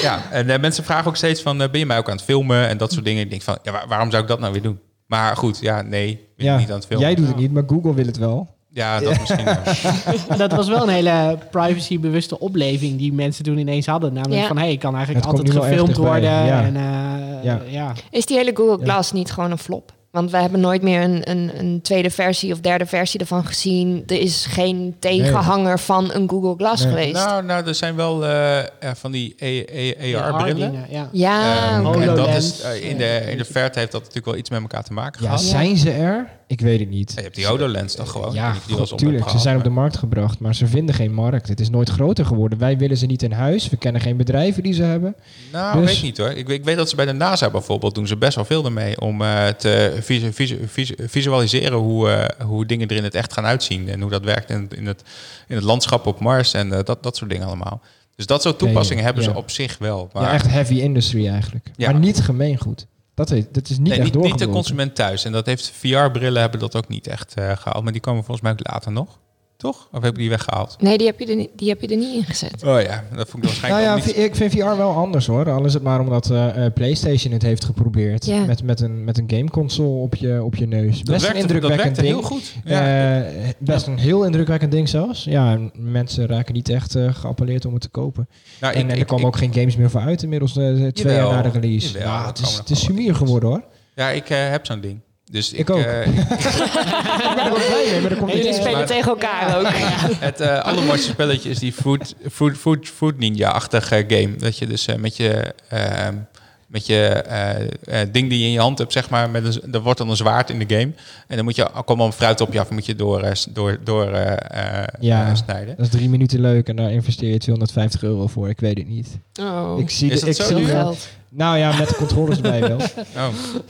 Speaker 1: Ja, en eh, mensen vragen ook steeds van, eh, ben je mij ook aan het filmen? En dat soort dingen. Ik denk van, ja, waar- waarom zou ik dat nou weer doen? Maar goed, ja, nee, ik ben
Speaker 4: Ja,
Speaker 1: niet aan het filmen.
Speaker 4: jij doet het niet, maar Google wil het wel.
Speaker 1: Ja, dat misschien wel.
Speaker 6: dat was wel een hele privacybewuste opleving die mensen toen ineens hadden. Namelijk
Speaker 2: Ja.
Speaker 6: van, hé, hey, ik kan eigenlijk
Speaker 4: Het komt
Speaker 6: altijd
Speaker 4: nu wel echt
Speaker 6: gefilmd worden.
Speaker 4: dichtbij, ja.
Speaker 6: En, eh,
Speaker 4: Ja.
Speaker 6: ja.
Speaker 2: Is die hele Google
Speaker 4: Ja.
Speaker 2: Glass niet gewoon een flop? Want we hebben nooit meer een, een, een tweede versie of derde versie ervan gezien. Er is geen tegenhanger van een Google Glass
Speaker 4: Nee.
Speaker 2: geweest.
Speaker 1: Nou, nou, er zijn wel eh, eh, van die AR-brillen.
Speaker 6: dingen, ja.
Speaker 2: ja,
Speaker 1: Ehm,
Speaker 2: Ah, oké.
Speaker 1: en dat
Speaker 6: HoloLens.
Speaker 1: is, eh, in, de, in de verte heeft dat natuurlijk wel iets met elkaar te maken
Speaker 4: Ja,
Speaker 1: gehad.
Speaker 4: zijn ze er? Ik weet het niet.
Speaker 1: Ja, je hebt die HoloLens toch gewoon?
Speaker 4: Ja,
Speaker 1: die was
Speaker 4: goed, tuurlijk. Ze
Speaker 1: opgehaald,
Speaker 4: zijn op de
Speaker 1: maar-
Speaker 4: markt gebracht, maar ze vinden geen markt. Het is nooit groter geworden. Wij willen ze niet in huis. We kennen geen bedrijven die ze hebben.
Speaker 1: Nou,
Speaker 4: Dus-
Speaker 1: weet ik niet hoor. Ik, weet- ik weet dat ze bij de NASA bijvoorbeeld doen ze best wel veel ermee om eh, te visu- visu- visu- visualiseren hoe, eh, hoe dingen er in het echt gaan uitzien en hoe dat werkt in, het- in, het, in het landschap op Mars en eh, dat, dat soort dingen allemaal. Dus dat soort toepassingen
Speaker 4: Ja, ja,
Speaker 1: hebben ze
Speaker 4: ja.
Speaker 1: op zich wel. Maar
Speaker 4: Ja, echt heavy industry eigenlijk.
Speaker 1: Ja.
Speaker 4: Maar niet gemeengoed. Dat, is- dat is niet
Speaker 1: nee,
Speaker 4: echt
Speaker 1: niet, niet de
Speaker 4: doorgebroken.
Speaker 1: consument thuis. En dat heeft VR-brillen hebben dat ook niet echt eh, gehaald. Maar die komen volgens mij ook later nog. Toch? Of hebben die weggehaald?
Speaker 2: Nee, die heb, je er, niet- die heb je er niet in gezet.
Speaker 1: Oh ja, dat vond ik
Speaker 4: Nou
Speaker 1: waarschijnlijk
Speaker 4: ja,
Speaker 1: ook niet.
Speaker 4: v- ik vind VR wel anders hoor. Al is het maar omdat eh, eh, PlayStation het heeft geprobeerd.
Speaker 2: Ja.
Speaker 4: Met, met een, met een gameconsole op je, op je neus. Best
Speaker 1: Dat
Speaker 4: een
Speaker 1: werkte, dat
Speaker 4: indrukwekkend
Speaker 1: werkte
Speaker 4: ding.
Speaker 1: heel goed. Ja.
Speaker 4: Eh, best een heel indrukwekkend ding zelfs. Ja, en mensen raken niet echt eh, geappelleerd om het te kopen.
Speaker 1: Nou,
Speaker 4: en,
Speaker 1: ik-
Speaker 4: en er
Speaker 1: ik-
Speaker 4: kwamen
Speaker 1: ik-
Speaker 4: ook geen games meer voor uit inmiddels eh, twee
Speaker 1: Jawel,
Speaker 4: jaar na de release.
Speaker 1: jawel,
Speaker 4: Ja,
Speaker 1: er
Speaker 4: het
Speaker 1: komen
Speaker 4: is,
Speaker 1: nog
Speaker 4: het is
Speaker 1: wel wat
Speaker 4: sumier geworden hoor.
Speaker 1: Ja, ik eh, heb zo'n ding. Dus ik,
Speaker 4: Ik ook.
Speaker 1: eh,
Speaker 4: Ik ben er wel blij mee, maar er komt
Speaker 2: Jullie
Speaker 4: niks
Speaker 2: spelen
Speaker 1: maar-
Speaker 2: tegen elkaar ook.
Speaker 1: Het eh allermooiste spelletje is die Food, food, food, food Ninja-achtige game. Dat je dus eh, met je, eh, met je eh, eh, ding die je in je hand hebt, zeg maar, met een, z- er wordt dan een zwaard in de game. En dan moet je, al- komt al fruit op je af, moet je door, eh, s- door, door eh, eh,
Speaker 4: Ja.
Speaker 1: eh, snijden.
Speaker 4: Dat is drie minuten leuk en daar investeer je 250 euro voor. Ik weet het niet.
Speaker 2: [LAUGHS] Oh,
Speaker 4: Ik zie
Speaker 1: Is
Speaker 4: de-
Speaker 1: dat
Speaker 4: ik
Speaker 1: zo
Speaker 4: zie
Speaker 1: duur?
Speaker 4: wel-
Speaker 2: geld.
Speaker 4: Nou ja, met de controllers erbij
Speaker 1: [LAUGHS]
Speaker 4: wel.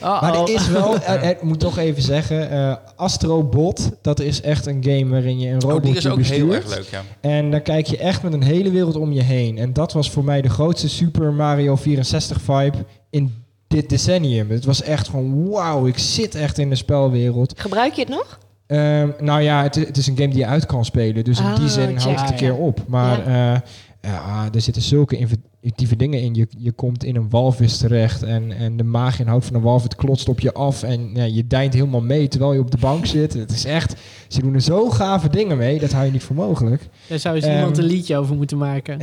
Speaker 1: Oh,
Speaker 4: Maar er is wel, eh, eh, ik moet toch even zeggen, eh Astrobot, dat is echt een game waarin je een robotje
Speaker 1: Oh, die is ook
Speaker 4: bestuurt.
Speaker 1: heel erg leuk, ja.
Speaker 4: En dan kijk je echt met een hele wereld om je heen. En dat was voor mij de grootste Super Mario 64 vibe in dit decennium. Het was echt gewoon, wauw, ik zit echt in de spelwereld.
Speaker 2: Gebruik je het nog?
Speaker 4: Ehm, nou ja, het, het is een game die je uit kan spelen. Dus in
Speaker 2: Ah,
Speaker 4: die zin
Speaker 2: check.
Speaker 4: houdt het een keer op. Maar eh, ja, er zitten zulke inventieve dingen in. Je, je komt in een walvis terecht. En, en de maaginhoud van een walvis klotst op je af. En ja, je deint helemaal mee terwijl je op de bank zit. Het is echt... Ze doen er zo gave dingen mee. Dat hou je niet voor mogelijk.
Speaker 6: Daar zou eens
Speaker 4: Ehm.
Speaker 6: iemand een liedje over moeten maken.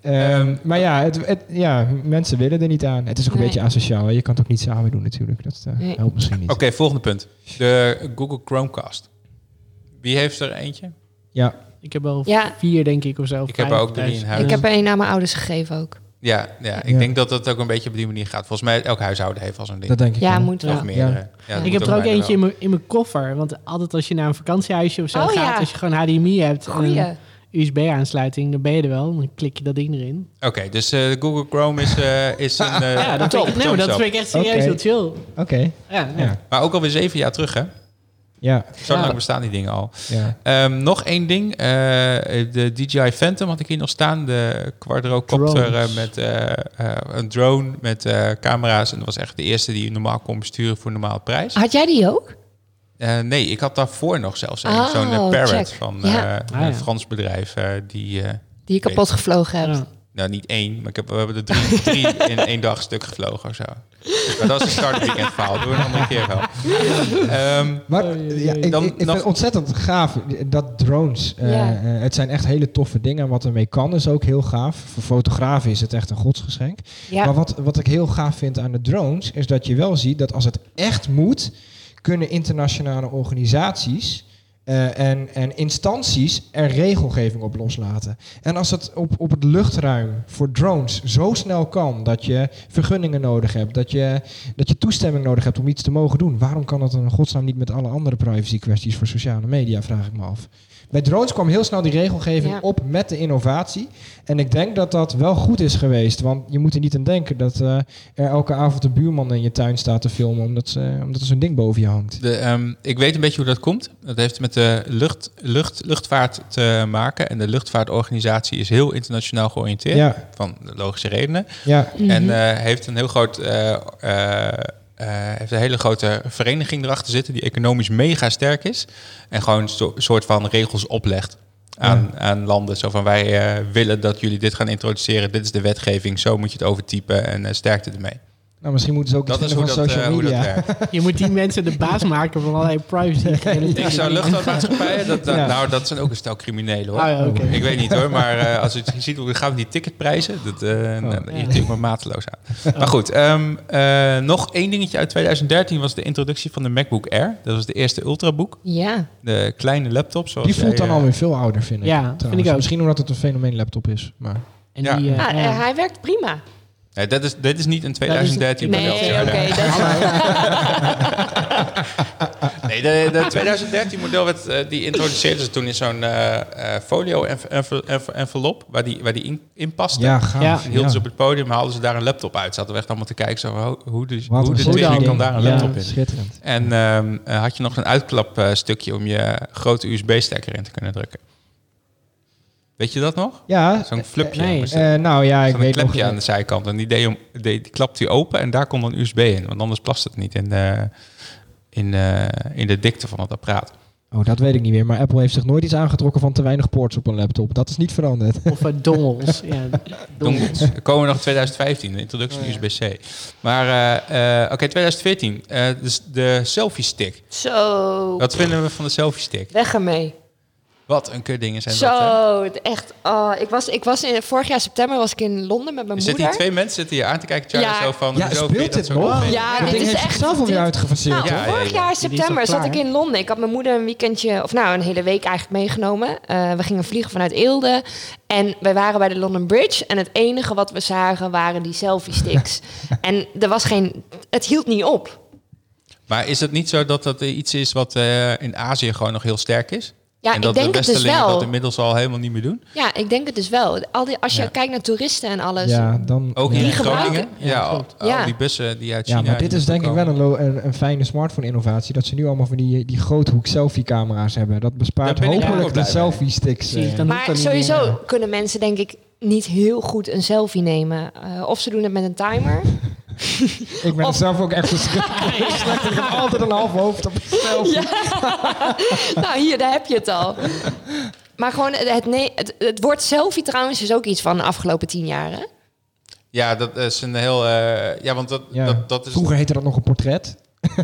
Speaker 4: Ehm,
Speaker 1: Ehm,
Speaker 4: maar ja, het, het- ja, mensen willen er niet aan. Het is ook een
Speaker 2: Nee.
Speaker 4: beetje asociaal. hè. Je kan het ook niet samen doen natuurlijk. Dat eh,
Speaker 2: Nee.
Speaker 4: helpt misschien niet.
Speaker 1: Oké, volgende punt. De Google Chromecast. Wie heeft er eentje?
Speaker 4: Ja,
Speaker 6: ik heb al
Speaker 2: Ja.
Speaker 6: vier, denk ik, of zo. of
Speaker 1: Ik heb
Speaker 6: vijf
Speaker 1: er ook drie
Speaker 6: thuis.
Speaker 1: in huis.
Speaker 2: Ik heb er een aan mijn ouders gegeven ook.
Speaker 1: Ja, ja ik
Speaker 4: Ja.
Speaker 1: denk dat dat ook een beetje op die manier gaat. Volgens mij elk huishouden heeft al zo'n ding.
Speaker 4: dat denk ik
Speaker 2: Ja,
Speaker 4: wel.
Speaker 2: moet
Speaker 6: Ja.
Speaker 2: wel.
Speaker 1: Of meerdere. Ja, dat
Speaker 6: Ik
Speaker 1: moet
Speaker 6: heb er ook
Speaker 1: bijna
Speaker 6: eentje
Speaker 1: wel.
Speaker 6: in mijn- in mijn koffer. Want altijd als je naar een vakantiehuisje of zo
Speaker 2: Oh,
Speaker 6: gaat,
Speaker 2: ja.
Speaker 6: als je gewoon HDMI hebt en
Speaker 2: Goeie.
Speaker 6: een USB-aansluiting, dan ben je er wel. Dan klik je dat ding erin.
Speaker 1: Oké, dus eh, Google Chrome is, eh, is een... eh,
Speaker 6: ja, dat, vind ik, nee,
Speaker 1: thumbs
Speaker 6: maar dat
Speaker 1: up.
Speaker 6: vind ik echt serieus
Speaker 4: Oké.
Speaker 6: heel chill.
Speaker 4: Oké,
Speaker 6: Ja, nee.
Speaker 4: ja.
Speaker 1: Maar ook alweer zeven jaar terug, hè?
Speaker 4: Ja,
Speaker 1: Zo
Speaker 6: Ja.
Speaker 1: lang bestaan die dingen al.
Speaker 4: ja.
Speaker 1: Ehm, nog één ding. eh, de DJI Phantom had ik hier nog staan. De quadrocopter
Speaker 6: Drones.
Speaker 1: eh, met eh, eh, een drone met eh, camera's. En dat was echt de eerste die je normaal kon besturen voor een normale prijs.
Speaker 6: Ah.
Speaker 2: Had jij die ook?
Speaker 1: Eh, nee, ik had daarvoor nog zelfs een,
Speaker 2: Oh,
Speaker 1: zo'n eh, Parrot
Speaker 2: check.
Speaker 1: van
Speaker 2: Ja.
Speaker 1: eh,
Speaker 6: Ah, ja.
Speaker 1: een Frans bedrijf. eh, die, eh,
Speaker 2: Die je kapot gevlogen hebt.
Speaker 6: Ja.
Speaker 1: nou niet één, maar ik heb, we hebben er drie, [LAUGHS] drie in één dag stuk gevlogen of zo. Maar dat is een start weekend verhaal. Doe een andere keer wel. Ehm,
Speaker 4: Maar ja, ik,
Speaker 1: Dan-
Speaker 4: ik- ik
Speaker 1: dan-
Speaker 4: vind het ontzettend gaaf dat drones. eh,
Speaker 2: Ja.
Speaker 4: eh, het zijn echt hele toffe dingen. En wat ermee kan is ook heel gaaf. Voor fotografen is het echt een godsgeschenk. Maar
Speaker 2: Ja.
Speaker 4: wat, wat ik heel gaaf vind aan de drones, is dat je wel ziet dat als het echt moet, kunnen internationale organisaties eh, en, en instanties er regelgeving op loslaten. En als dat op, op het luchtruim voor drones zo snel kan dat je vergunningen nodig hebt, dat je, dat je toestemming nodig hebt om iets te mogen doen, waarom kan dat dan in godsnaam niet met alle andere privacy kwesties voor sociale media, vraag ik me af. Bij drones kwam heel snel die regelgeving
Speaker 2: Ja.
Speaker 4: op met de innovatie. En ik denk dat dat wel goed is geweest. Want je moet er niet aan denken dat eh, er elke avond een buurman in je tuin staat te filmen. omdat, ze, omdat er zo'n ding boven je hangt.
Speaker 1: De, ehm, ik weet een beetje hoe dat komt. Dat heeft met de lucht, lucht, luchtvaart te maken. En de luchtvaartorganisatie is heel internationaal georiënteerd.
Speaker 4: Ja,
Speaker 1: Van logische redenen.
Speaker 4: ja,
Speaker 1: En eh, heeft een heel groot. eh, eh, eh, heeft een hele grote vereniging erachter zitten die economisch mega sterk is. En gewoon een so- soort van regels oplegt aan, aan landen. Zo van wij eh, willen dat jullie dit gaan introduceren. Dit is de wetgeving. Zo moet je het overtypen en eh, sterkte ermee.
Speaker 4: nou misschien moeten ze ook iets
Speaker 1: Dat is hoe
Speaker 4: vinden van
Speaker 1: dat, eh,
Speaker 4: social
Speaker 1: hoe dat
Speaker 4: media.
Speaker 1: werkt.
Speaker 6: Je moet die mensen de baas maken van allerlei privacy.
Speaker 1: Ik [LAUGHS] zou luchtvaartmaatschappijen, dat, dat,
Speaker 4: Ja.
Speaker 1: nou dat zijn ook een stel criminelen hoor.
Speaker 6: Oh ja, oké.
Speaker 1: Ik weet niet hoor, maar eh, als het je ziet hoe het gaat met die ticketprijzen, dat eh nou, dat irriteert me mateloos aan. Maar goed, ehm, eh, nog één dingetje uit 2013 was de introductie van de MacBook Air. Dat was de eerste Ultrabook,
Speaker 2: Ja,
Speaker 1: de kleine laptop. Zoals
Speaker 4: Die voelt
Speaker 1: jij,
Speaker 4: dan
Speaker 1: eh,
Speaker 4: alweer veel ouder, vind ik.
Speaker 6: Ja,
Speaker 4: trouwens.
Speaker 6: vind ik ook.
Speaker 4: Misschien omdat het een fenomeen laptop is. Maar
Speaker 6: En
Speaker 1: Ja.
Speaker 6: die, eh,
Speaker 2: Ah, eh,
Speaker 6: ja.
Speaker 2: hij werkt prima.
Speaker 1: nee, dat is, dit is niet een 2013
Speaker 2: Nee,
Speaker 1: model.
Speaker 2: oké. dat is-
Speaker 1: [LAUGHS] Nee, de, de 2013 model werd, eh, die introduceerden ze toen in zo'n eh, eh, folio env- env- env- envelop waar die, waar die in, in paste.
Speaker 4: ja, gaaf.
Speaker 6: Ja.
Speaker 1: En hielden
Speaker 4: Ja.
Speaker 1: ze op het podium, haalden ze daar een laptop uit. Zaten we echt allemaal te kijken, zo, ho- hoe de,
Speaker 4: Wat
Speaker 1: hoe
Speaker 4: een
Speaker 1: de
Speaker 4: goed
Speaker 1: twinning
Speaker 6: idee.
Speaker 1: kan daar een
Speaker 6: Ja.
Speaker 1: laptop in.
Speaker 4: Schitterend.
Speaker 1: En ehm, eh, had je nog een uitklapstukje om je grote USB-stekker in te kunnen drukken. Weet je dat nog?
Speaker 4: Ja,
Speaker 1: Zo'n flupje.
Speaker 6: nee.
Speaker 1: Was dat?
Speaker 4: eh, nou ja, ik
Speaker 1: Zo'n
Speaker 4: weet nog...
Speaker 1: klepje aan de zijkant. En die, deed hem- die, die klapt hij open en daar kon dan USB in. Want anders past het niet in de, in, de- in de dikte van het
Speaker 4: [LAUGHS]
Speaker 1: apparaat.
Speaker 4: Oh, dat weet ik niet meer. Maar Apple heeft zich nooit iets aangetrokken van te weinig ports op een laptop. Dat is niet veranderd.
Speaker 6: Of eh, dongles. Ja,
Speaker 1: Dongles. Er komen nog 2015, de introductie
Speaker 4: Oh,
Speaker 1: van USB-C. Maar eh, eh, oké, 2014. eh, dus de selfie-stick.
Speaker 2: Zo,
Speaker 1: Wat vinden we van de selfie-stick?
Speaker 2: weg ermee.
Speaker 1: Wat een kut dingen zijn dat, hè?
Speaker 2: Zo, het echt. Oh, ik was, ik was in, vorig jaar september was ik in Londen met mijn
Speaker 1: Er zitten
Speaker 2: moeder.
Speaker 1: hier twee mensen zitten hier aan te kijken. Charlie
Speaker 2: Ja.
Speaker 1: zo van,
Speaker 4: Ja,
Speaker 1: hoezo vind je
Speaker 4: speelt
Speaker 1: dat
Speaker 4: dit
Speaker 1: zo
Speaker 4: nog?
Speaker 1: vervelend?
Speaker 2: Ja,
Speaker 4: dat
Speaker 2: dit
Speaker 4: ding
Speaker 2: is
Speaker 4: heeft
Speaker 2: echt-
Speaker 4: zichzelf alweer
Speaker 2: dit-
Speaker 4: uitgefaseerd.
Speaker 2: Nou,
Speaker 1: Ja, ja,
Speaker 2: vorig
Speaker 1: ja.
Speaker 2: jaar
Speaker 6: is
Speaker 2: september
Speaker 6: al
Speaker 2: zat
Speaker 6: klaar,
Speaker 2: ik in Londen. Ik had mijn moeder een weekendje, of nou een hele week eigenlijk meegenomen. Eh, we gingen vliegen vanuit Eelde. En wij waren bij de London Bridge. En het enige wat we zagen waren die selfie
Speaker 1: [LAUGHS]
Speaker 2: sticks. en er was geen. Het hield niet op.
Speaker 1: Maar is het niet zo dat dat iets is wat eh, in Azië gewoon nog heel sterk is?
Speaker 2: Ja,
Speaker 1: en dat
Speaker 2: ik denk
Speaker 1: de
Speaker 2: het dus
Speaker 1: Westelingen dat
Speaker 2: wel.
Speaker 1: inmiddels al helemaal niet meer doen?
Speaker 2: Ja, ik denk het dus wel. Al die, als je
Speaker 1: Ja.
Speaker 2: kijkt naar toeristen en alles.
Speaker 4: Ja, dan...
Speaker 1: Ook
Speaker 4: ja.
Speaker 1: hier in
Speaker 2: gebruiken-
Speaker 1: Groningen? Ja,
Speaker 6: Ja,
Speaker 1: al,
Speaker 6: klopt.
Speaker 1: al
Speaker 2: Ja.
Speaker 1: die bussen die uit
Speaker 4: Ja,
Speaker 1: China...
Speaker 4: maar dit
Speaker 1: hier
Speaker 4: is denk ik
Speaker 1: naartoe
Speaker 4: wel een, lo- een, een fijne smartphone-innovatie. Dat ze nu allemaal van die, die groothoek selfie-camera's hebben. Dat bespaart
Speaker 1: Daar ben ik ook wel
Speaker 4: hopelijk de
Speaker 1: blij mee.
Speaker 4: selfie-sticks.
Speaker 6: Precies,
Speaker 4: eh.
Speaker 6: dan hoeft
Speaker 2: Maar
Speaker 6: dat niet
Speaker 2: sowieso
Speaker 6: meer.
Speaker 2: kunnen mensen denk ik niet heel goed een selfie nemen. Eh, of ze doen het met een timer.
Speaker 4: Ik ben
Speaker 2: Of-
Speaker 4: zelf ook
Speaker 2: [LAUGHS]
Speaker 4: echt verschrikkelijk slecht. Ik heb altijd een half hoofd op een selfie.
Speaker 2: [LAUGHS] nou, hier, daar heb je het al. Maar gewoon, het, het, nee, het, het woord selfie trouwens is ook iets van de afgelopen tien jaar. Hè?
Speaker 1: Ja, dat is een heel... eh, ja, want dat,
Speaker 4: Ja.
Speaker 1: dat, dat is
Speaker 4: Vroeger heette dat nog een portret. [LAUGHS]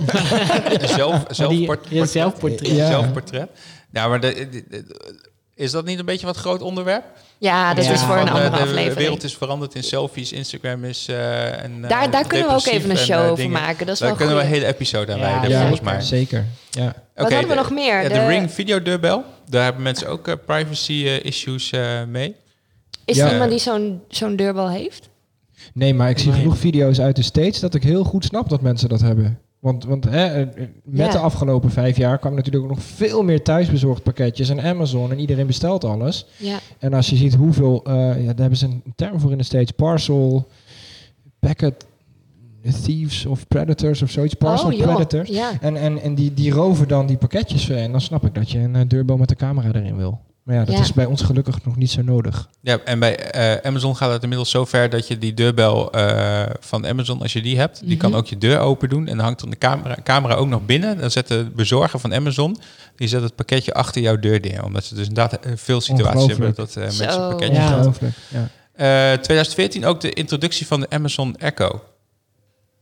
Speaker 1: een zelf,
Speaker 6: Maar die-
Speaker 1: zelfport-
Speaker 6: ja, zelfportret.
Speaker 4: Ja.
Speaker 1: zelfportret. Ja, maar de- de- de- is dat niet een beetje wat groot onderwerp?
Speaker 2: Ja, dat
Speaker 6: Ja.
Speaker 2: is voor
Speaker 1: Van,
Speaker 2: een
Speaker 1: eh,
Speaker 2: andere
Speaker 1: de
Speaker 2: aflevering.
Speaker 1: wereld is veranderd in selfies. Instagram is... eh en,
Speaker 2: daar daar kunnen we ook even een show over maken. Dat is
Speaker 1: Daar
Speaker 2: wel
Speaker 1: kunnen we een
Speaker 2: goed.
Speaker 1: hele episode aan
Speaker 6: Ja,
Speaker 1: wijden,
Speaker 6: ja.
Speaker 1: volgens mij.
Speaker 4: Zeker. Ja.
Speaker 2: Wat
Speaker 1: Oké, eh,
Speaker 2: hadden we
Speaker 1: de-
Speaker 2: nog meer?
Speaker 1: Ja, de,
Speaker 2: De-
Speaker 1: Ring videodeurbel. Daar hebben mensen ook eh, privacy eh, issues eh, mee.
Speaker 2: Is
Speaker 4: Ja.
Speaker 2: er iemand die zo'n zo'n deurbel heeft?
Speaker 4: Nee, maar ik zie
Speaker 6: Nee.
Speaker 4: genoeg video's uit de States dat ik heel goed snap dat mensen dat hebben. Want, want hè, eh, eh, met
Speaker 2: Ja.
Speaker 4: de afgelopen vijf jaar kwamen natuurlijk ook nog veel meer thuisbezorgd pakketjes en Amazon en iedereen bestelt alles.
Speaker 2: Ja.
Speaker 4: En als je ziet hoeveel, eh, ja, daar hebben ze een term voor in de States, parcel, packet thieves of predators of zoiets, parcel
Speaker 2: oh, joh.
Speaker 4: predators.
Speaker 2: Ja.
Speaker 4: En, en, en die, die roven dan die pakketjes eh, en dan snap ik dat je een eh, deurbel met de camera erin wil. Maar ja, dat
Speaker 2: Ja.
Speaker 4: is bij ons gelukkig nog niet zo nodig.
Speaker 1: Ja, en bij eh, Amazon gaat het inmiddels zo ver dat je die deurbel eh, van Amazon, als je die hebt, die kan
Speaker 2: Mhm.
Speaker 1: ook je deur open doen. En dan hangt dan de camera, camera ook nog binnen. Dan zet de bezorger van Amazon, die zet het pakketje achter jouw deur neer. Omdat ze dus inderdaad eh, veel situaties hebben
Speaker 4: Ongelooflijk.
Speaker 1: dat eh,
Speaker 2: Zo.
Speaker 1: mensen een pakketje
Speaker 6: Ja.
Speaker 4: Ongelooflijk. Ja.
Speaker 1: Eh, 2014 ook de introductie van de Amazon Echo.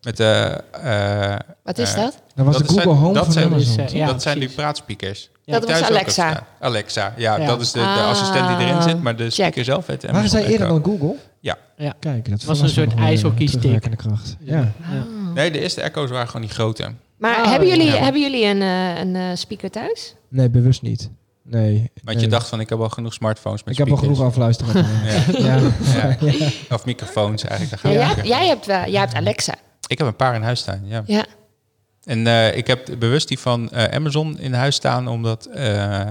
Speaker 1: Met de, eh,
Speaker 2: Wat is
Speaker 1: eh,
Speaker 2: dat?
Speaker 4: Dan was
Speaker 1: Dat
Speaker 4: de
Speaker 1: zijn-
Speaker 4: Google Home
Speaker 1: dat
Speaker 4: van
Speaker 1: zijn-
Speaker 4: Amazon.
Speaker 6: Dus, eh, Ja,
Speaker 1: dat zijn die
Speaker 6: precies.
Speaker 1: praatspeakers.
Speaker 6: Ja.
Speaker 2: Dat was
Speaker 1: Thuis ook het
Speaker 2: Alexa.
Speaker 1: staan. Alexa, ja,
Speaker 6: Ja.
Speaker 1: dat is de, de
Speaker 2: Ah,
Speaker 1: assistent die erin zit, maar de
Speaker 2: check.
Speaker 1: speaker zelf heet Amazon
Speaker 4: Waren zij eerder
Speaker 1: Echo.
Speaker 4: dan Google?
Speaker 1: Ja.
Speaker 6: Ja.
Speaker 4: Kijk, dat was
Speaker 6: was een soort ijshockeystick.
Speaker 2: Ah.
Speaker 4: terugwerkende eh, kracht. Ja.
Speaker 6: Ja.
Speaker 1: Nee, de eerste Echo's waren gewoon die grote.
Speaker 2: Maar
Speaker 6: Oh,
Speaker 2: hebben, jullie,
Speaker 1: ja.
Speaker 2: hebben jullie een, eh, een eh, speaker thuis?
Speaker 4: Nee, bewust niet. Nee.
Speaker 1: Want je dacht van, ik heb al genoeg smartphones met
Speaker 4: Ik heb al genoeg
Speaker 1: [LAUGHS]
Speaker 4: afluisteren.
Speaker 1: genoeg
Speaker 4: ja.
Speaker 1: ja. Of microfoons eigenlijk, daar gaan
Speaker 2: Ja,
Speaker 1: we
Speaker 2: jij,
Speaker 1: kijken.
Speaker 2: jij hebt, wel- jij hebt Alexa.
Speaker 1: Ik heb een paar in huis staan, ja.
Speaker 2: Ja.
Speaker 1: En eh, ik heb bewust die van eh, Amazon in huis staan, omdat eh,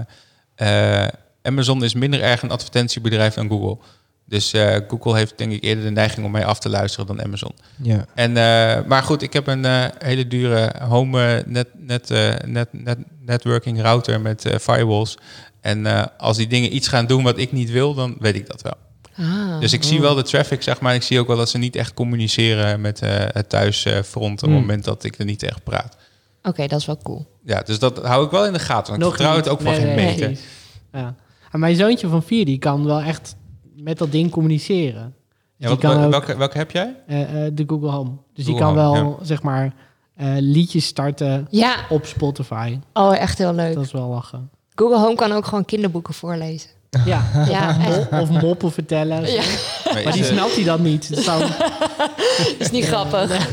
Speaker 1: eh, Amazon is minder erg een advertentiebedrijf dan Google. Dus eh, Google heeft denk ik eerder de neiging om mij af te luisteren dan Amazon.
Speaker 4: ja.
Speaker 1: En, eh, maar goed, ik heb een eh, hele dure home eh, net, net, eh, net, net, networking router met eh, firewalls. En eh, als die dingen iets gaan doen wat ik niet wil, dan weet ik dat wel.
Speaker 2: Ah.
Speaker 1: Dus ik
Speaker 6: oh.
Speaker 1: zie wel de traffic, zeg maar. Ik zie ook wel dat ze niet echt communiceren met eh, het thuisfront op
Speaker 4: Hmm.
Speaker 1: het moment dat ik er niet echt praat.
Speaker 2: Oké, dat is wel cool.
Speaker 1: Ja, dus dat hou ik wel in de gaten. Want ik
Speaker 6: Nog
Speaker 1: vertrouw
Speaker 6: niet.
Speaker 1: het ook van
Speaker 6: Nee,
Speaker 1: geen
Speaker 6: nee,
Speaker 1: meter.
Speaker 6: precies. Ja. En mijn zoontje van vier, die kan wel echt met dat ding communiceren.
Speaker 1: Ja,
Speaker 6: Die
Speaker 1: wat-
Speaker 6: kan ook-
Speaker 1: welke, welke
Speaker 6: [LAUGHS]
Speaker 1: heb jij?
Speaker 6: Eh, eh, de Google Home. Dus die
Speaker 1: Google
Speaker 6: kan
Speaker 1: Home,
Speaker 6: wel, zeg maar, eh, liedjes starten
Speaker 2: Ja,
Speaker 6: op Spotify.
Speaker 2: oh, echt heel leuk.
Speaker 6: Dat is wel lachen.
Speaker 2: Google Home kan ook gewoon kinderboeken [LAUGHS] voorlezen.
Speaker 6: Ja.
Speaker 2: Ja, echt.
Speaker 6: Mo- Of moppen vertellen.
Speaker 2: Ja,
Speaker 1: Maar
Speaker 6: Maar
Speaker 1: is,
Speaker 6: die
Speaker 1: eh,
Speaker 6: snapt hij dan niet. Het zou-
Speaker 2: dat is niet grappig.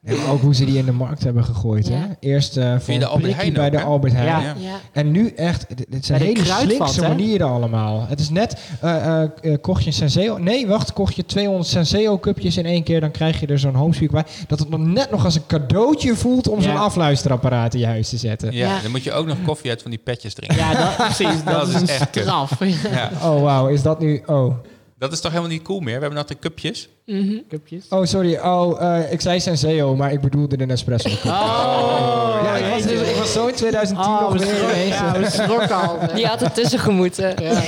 Speaker 4: Nee, maar ook hoe ze die in de markt hebben gegooid.
Speaker 2: Ja.
Speaker 4: Hè? Eerst eh, voor
Speaker 1: je de
Speaker 4: een
Speaker 1: Albert
Speaker 4: prikkie
Speaker 1: Heijn
Speaker 4: bij
Speaker 1: ook,
Speaker 4: de
Speaker 1: hè?
Speaker 4: Albert Heijn.
Speaker 6: Ja.
Speaker 1: ja.
Speaker 2: Ja.
Speaker 4: En nu echt, d- dit zijn
Speaker 6: Bij de
Speaker 4: hele
Speaker 6: kruidvat,
Speaker 4: slinkse
Speaker 6: hè?
Speaker 4: manieren allemaal. Het is net, eh, eh, eh, kocht je een Senseo... Nee, wacht, kocht je 200 Senseo-cupjes in één keer... dan krijg je er zo'n homespeak bij. Dat het nog net nog als een cadeautje voelt... om
Speaker 6: Ja.
Speaker 4: zo'n afluisterapparaat in je huis te zetten.
Speaker 1: ja,
Speaker 2: Ja.
Speaker 1: dan moet je ook nog koffie uit van die petjes drinken.
Speaker 6: ja, dat, [LAUGHS] precies. Dat,
Speaker 1: Dat
Speaker 6: is
Speaker 1: is
Speaker 6: een
Speaker 1: echt kut.
Speaker 6: straf.
Speaker 1: Ja.
Speaker 4: Oh, wauw, is dat nu... Oh,
Speaker 1: Dat is toch helemaal niet cool meer? We hebben nog de cupjes.
Speaker 2: Mhm.
Speaker 6: Cupjes.
Speaker 4: oh sorry. Oh, eh, ik zei Senseo, maar ik bedoelde de Nespresso.
Speaker 6: Oh,
Speaker 4: ja, ik was,
Speaker 6: jeetje.
Speaker 4: ik was zo in 2010
Speaker 6: Oh,
Speaker 4: nog
Speaker 6: we
Speaker 4: weer
Speaker 6: schrokken-
Speaker 4: ineens,
Speaker 6: ja,
Speaker 4: eh,
Speaker 6: we schrokken al.
Speaker 2: Die had het tussengemoeten.
Speaker 6: Ja.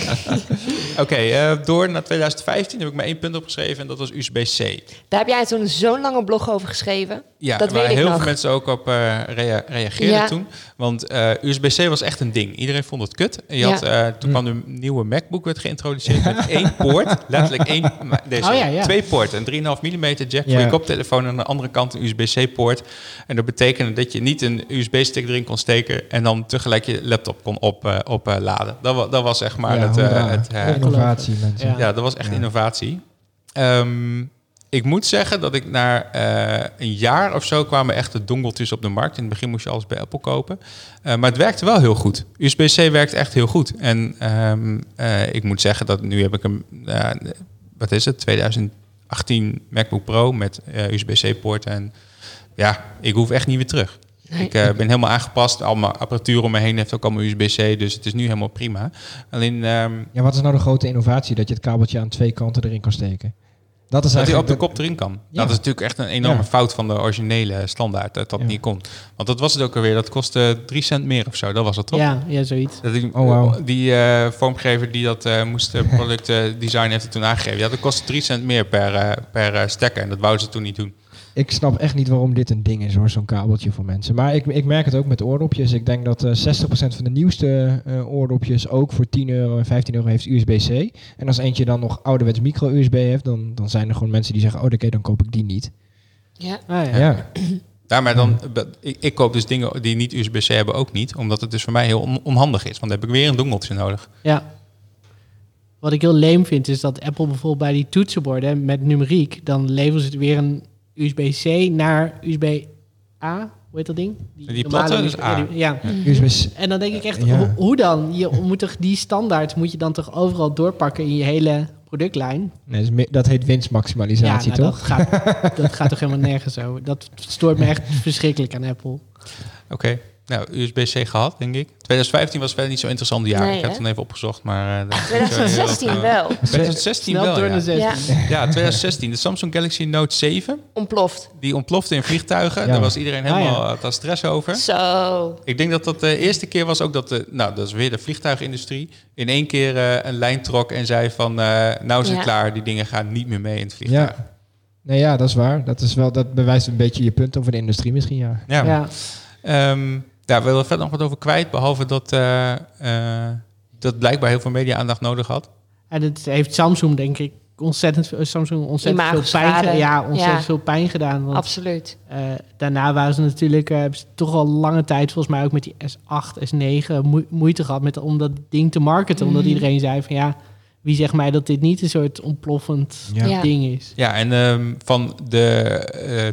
Speaker 1: Oké, eh, door naar 2015 heb ik maar één punt opgeschreven en dat was USB-C.
Speaker 2: Daar heb jij toen zo'n lange blog over geschreven.
Speaker 1: Ja,
Speaker 2: Dat
Speaker 1: waar
Speaker 2: weet ik
Speaker 1: heel
Speaker 2: nog.
Speaker 1: veel mensen ook op eh, rea- reageerden
Speaker 2: Ja.
Speaker 1: toen. Want eh, USB-C was echt een ding. Iedereen vond het kut. En je
Speaker 2: Ja.
Speaker 1: had, eh, toen kwam de nieuwe MacBook werd geïntroduceerd
Speaker 2: [LAUGHS]
Speaker 1: met één poort. Letterlijk één, maar deze,
Speaker 6: Oh ja, ja.
Speaker 1: twee poorten. Een 3,5 mm jack voor
Speaker 4: Ja.
Speaker 1: je koptelefoon en aan de andere kant een USB-C poort. En dat betekende dat je niet een USB-stick erin kon steken en dan tegelijk je laptop kon opladen. Op, eh, laden. dat, wa- dat was zeg maar
Speaker 4: ja,
Speaker 1: het, eh,
Speaker 4: hoera.
Speaker 1: het, eh,
Speaker 4: innovatie, mensen.
Speaker 6: Ja.
Speaker 1: ja, dat was echt
Speaker 4: Ja.
Speaker 1: innovatie. Ehm, ik moet zeggen dat ik na eh, een jaar of zo kwamen echt de dongeltjes op de markt. In het begin moest je alles bij Apple kopen. Eh, maar het werkte wel heel goed. USB-C werkt echt heel goed. En ehm, eh, ik moet zeggen dat nu heb ik een, eh, wat is het, 2018 MacBook Pro met eh, USB-C-poort. En ja, ik hoef echt niet weer terug.
Speaker 2: Nee.
Speaker 1: Ik eh, ben helemaal aangepast. Al mijn apparatuur om me heen heeft ook allemaal USB-C. Dus het is nu helemaal prima. Alleen... ehm,
Speaker 4: Ja, wat is nou de grote innovatie? Dat je het kabeltje aan twee kanten erin kan steken. Dat
Speaker 1: Dat
Speaker 4: is
Speaker 1: hij op
Speaker 4: eigenlijk
Speaker 1: de kop erin kan.
Speaker 4: Ja.
Speaker 1: Dat is natuurlijk echt een enorme
Speaker 4: Ja.
Speaker 1: fout van de originele standaard. Dat dat
Speaker 4: Ja.
Speaker 1: niet kon. Want dat was het ook alweer. Dat kostte drie cent meer of zo. Dat was het toch?
Speaker 6: Ja, ja, zoiets.
Speaker 1: Dat die
Speaker 4: Oh, wauw.
Speaker 1: die eh, vormgever die dat eh, moest [LAUGHS] eh, product eh, design heeft het toen aangegeven. Ja, dat kostte drie cent meer per, eh, per eh, stekker. En dat wouden ze toen niet doen.
Speaker 4: Ik snap echt niet waarom dit een ding is hoor, zo'n kabeltje voor mensen. Maar ik, ik merk het ook met oordopjes. Ik denk dat eh, 60% van de nieuwste eh, oordopjes ook voor 10 euro en 15 euro heeft USB-C. En als eentje dan nog ouderwets micro-USB heeft, dan, dan zijn er gewoon mensen die zeggen, oh oké, dan koop ik die niet.
Speaker 2: Ja.
Speaker 6: Ah,
Speaker 4: Ja,
Speaker 6: ja.
Speaker 1: Ja, maar dan, be- ik, ik koop dus dingen die niet USB-C hebben ook niet. Omdat het dus voor mij heel on- onhandig is. Want dan heb ik weer een dongeltje nodig.
Speaker 6: Ja. Wat ik heel leem vind, is dat Apple bijvoorbeeld bij die toetsenborden met numeriek, dan leveren ze het weer een USB-C naar USB-A. Hoe heet dat ding?
Speaker 1: Die
Speaker 6: normale
Speaker 1: platte, dus
Speaker 6: USB
Speaker 1: A.
Speaker 6: Ja, die- ja.
Speaker 4: USB-C.
Speaker 6: En dan denk ik echt,
Speaker 4: Eh, Ja.
Speaker 6: ho- hoe dan? Je moet toch die standaard moet je dan toch overal doorpakken in je hele productlijn?
Speaker 4: Nee, dat, is mi- dat heet winstmaximalisatie,
Speaker 6: nou,
Speaker 4: toch?
Speaker 6: Dat, gaat, dat gaat toch helemaal nergens over. Dat stoort me echt verschrikkelijk aan Apple.
Speaker 1: Oké. Nou, USB-C gehad, denk ik. 2015 was verder niet zo'n interessant jaar.
Speaker 2: Nee,
Speaker 1: ik heb
Speaker 2: hè?
Speaker 1: het toen even opgezocht, maar... eh, dat-
Speaker 2: 2016 wel.
Speaker 1: 2016
Speaker 6: Snel
Speaker 1: wel,
Speaker 6: door
Speaker 1: ja.
Speaker 6: de 16.
Speaker 2: Ja,
Speaker 1: [LAUGHS] Ja, 2016. De Samsung Galaxy Note 7.
Speaker 2: ontploft.
Speaker 1: Die ontplofte in vliegtuigen.
Speaker 4: Ja.
Speaker 1: Daar was iedereen
Speaker 6: Ah,
Speaker 1: helemaal eh, had stress over.
Speaker 2: Zo.
Speaker 1: Ik denk dat dat de eerste keer was ook dat de, nou, dat is weer de vliegtuigindustrie, in één keer eh, een lijn trok en zei van, eh, nou is het
Speaker 2: Ja.
Speaker 1: klaar, die dingen gaan niet meer mee in het vliegtuig.
Speaker 4: Ja. Nee, ja, dat is waar. Dat, is wel, dat bewijst een beetje je punt over de industrie misschien, ja.
Speaker 1: Ja.
Speaker 6: Ja.
Speaker 1: Ehm, daar willen we verder nog wat over kwijt, behalve dat, eh, eh, dat blijkbaar heel veel media-aandacht nodig had.
Speaker 6: En het heeft Samsung, denk ik, ontzettend, veel- Samsung ontzettend
Speaker 2: Imago
Speaker 6: veel pijn
Speaker 2: schade.
Speaker 6: gedaan. Ja, ontzettend
Speaker 2: Ja.
Speaker 6: veel pijn gedaan. Want
Speaker 2: Absoluut.
Speaker 6: eh, daarna waren ze natuurlijk, eh, hebben ze toch al lange tijd, volgens mij ook met die S8, S9, moe- moeite gehad met, om dat ding te marketen. Omdat
Speaker 2: Mhm.
Speaker 6: iedereen zei van ja, wie zegt mij dat dit niet een soort ontploffend
Speaker 2: Ja.
Speaker 6: ding is.
Speaker 1: Ja, en ehm, van de eh,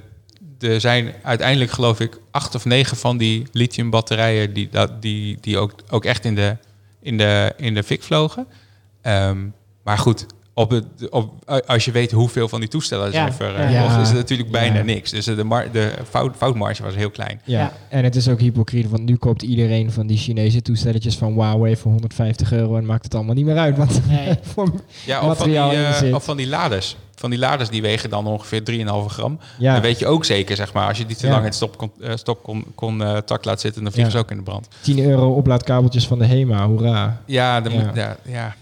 Speaker 1: er zijn uiteindelijk geloof ik acht of negen van die lithiumbatterijen die, dat- die, die ook, ook echt in de, in de, in de fik vlogen. Ehm, maar goed, op het, op, eh, als je weet hoeveel van die toestellen er
Speaker 6: Ja.
Speaker 1: zijn ver, eh,
Speaker 6: Ja.
Speaker 1: verkocht, is het natuurlijk bijna
Speaker 4: Ja.
Speaker 1: niks. Dus eh, de, mar- de fout, foutmarge was heel klein.
Speaker 4: Ja.
Speaker 6: Ja.
Speaker 4: en het is ook hypocriet, want nu koopt iedereen van die Chinese toestelletjes van Huawei voor 150 euro en maakt het allemaal niet meer uit. Want
Speaker 6: Nee.
Speaker 4: [LAUGHS] voor,
Speaker 1: Ja, of van, die,
Speaker 4: Materiaal in
Speaker 1: eh,
Speaker 4: zit.
Speaker 1: of van die laders. Van die laders die wegen dan ongeveer 3,5 gram.
Speaker 4: ja,
Speaker 1: Dan weet je ook zeker, zeg maar, als je die te
Speaker 4: Ja.
Speaker 1: lang in het stopcon- eh, stopcontact laat zitten, dan vliegen
Speaker 4: Ja.
Speaker 1: ze ook in de brand.
Speaker 4: 10 euro oplaadkabeltjes van de HEMA, hoera.
Speaker 1: Ja, dan
Speaker 4: Ja.
Speaker 1: moet- ja, ja.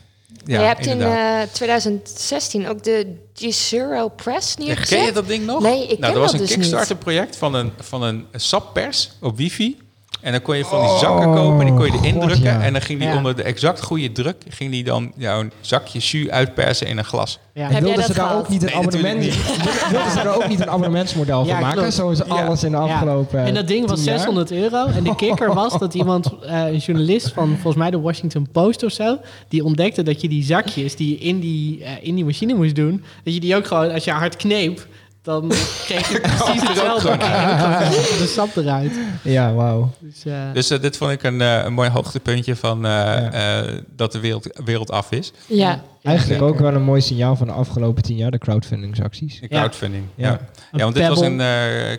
Speaker 2: Je
Speaker 1: ja
Speaker 2: hebt in
Speaker 1: inderdaad.
Speaker 2: eh, 2016 ook de G-Zero Press
Speaker 1: Ja, ken je
Speaker 2: neergezet.
Speaker 1: dat ding nog?
Speaker 2: Nee, ik
Speaker 1: nou,
Speaker 2: ken
Speaker 1: dat was
Speaker 2: dat
Speaker 1: een
Speaker 2: dus
Speaker 1: Kickstarter project van een, van een sappers op wifi. En dan kon je van die zakken kopen en die kon je erin
Speaker 4: God,
Speaker 1: drukken.
Speaker 4: ja.
Speaker 1: En dan ging die
Speaker 6: Ja.
Speaker 1: onder de exact goede druk, ging die dan jouw zakje jus uitpersen in een glas.
Speaker 4: En
Speaker 6: Ja.
Speaker 2: Heb jij
Speaker 4: wilden ze
Speaker 2: dat
Speaker 4: daar
Speaker 2: gehad?
Speaker 4: ook niet een
Speaker 1: Nee,
Speaker 4: abonnement
Speaker 1: natuurlijk
Speaker 4: [LAUGHS] wilden ze daar ook niet een abonnementsmodel van
Speaker 6: Ja,
Speaker 4: maken?
Speaker 6: klopt.
Speaker 4: Zo is alles in de
Speaker 6: Ja.
Speaker 4: afgelopen.
Speaker 6: En dat ding was
Speaker 4: 10 jaar.
Speaker 6: 600 euro. En de kikker was dat iemand, eh, een journalist van volgens mij de Washington Post of zo, die ontdekte dat je die zakjes die je in die, eh, in die machine moest doen, dat je die ook gewoon, als je hard kneep, dan kreeg
Speaker 1: [LAUGHS]
Speaker 6: je precies hetzelfde. Ja, dan kwam [LAUGHS] De sap eruit.
Speaker 4: Ja, wauw.
Speaker 6: Dus, eh,
Speaker 1: Dus eh, dit vond ik een, eh, een mooi hoogtepuntje van eh,
Speaker 4: Ja.
Speaker 1: eh, dat de wereld, wereld af is.
Speaker 2: Ja.
Speaker 4: Eigenlijk
Speaker 1: zeker.
Speaker 4: ook wel een mooi signaal van de afgelopen 10 jaar, de crowdfundingsacties.
Speaker 1: De
Speaker 6: Ja.
Speaker 1: crowdfunding. Ja.
Speaker 4: Ja.
Speaker 1: Ja. want dit was
Speaker 6: Pebble.
Speaker 1: een eh,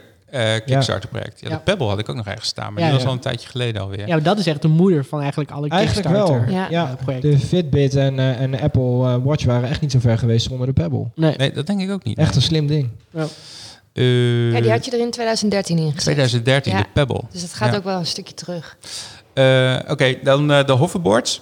Speaker 1: eh, Kickstarter project. Ja,
Speaker 6: Ja.
Speaker 1: De Pebble had ik ook nog ergens staan, maar
Speaker 6: Ja,
Speaker 1: die was
Speaker 4: ja.
Speaker 1: al een tijdje geleden alweer.
Speaker 6: ja, maar dat is echt de moeder van eigenlijk alle
Speaker 4: Eigenlijk wel.
Speaker 6: Kickstarter. eh,
Speaker 4: Ja.
Speaker 2: Ja.
Speaker 6: projecten.
Speaker 4: De Fitbit en, eh, en de Apple eh, Watch waren echt niet zo ver geweest zonder de Pebble.
Speaker 6: Nee.
Speaker 1: Nee, dat denk ik ook niet.
Speaker 4: Echt een slim ding.
Speaker 1: Eh,
Speaker 2: ja, die had je er in 2013 in gezet.
Speaker 1: 2013,
Speaker 2: Ja.
Speaker 1: de Pebble.
Speaker 2: Dus het gaat
Speaker 1: Ja.
Speaker 2: ook wel een stukje terug.
Speaker 1: Eh, Oké, dan eh, de hoverboards.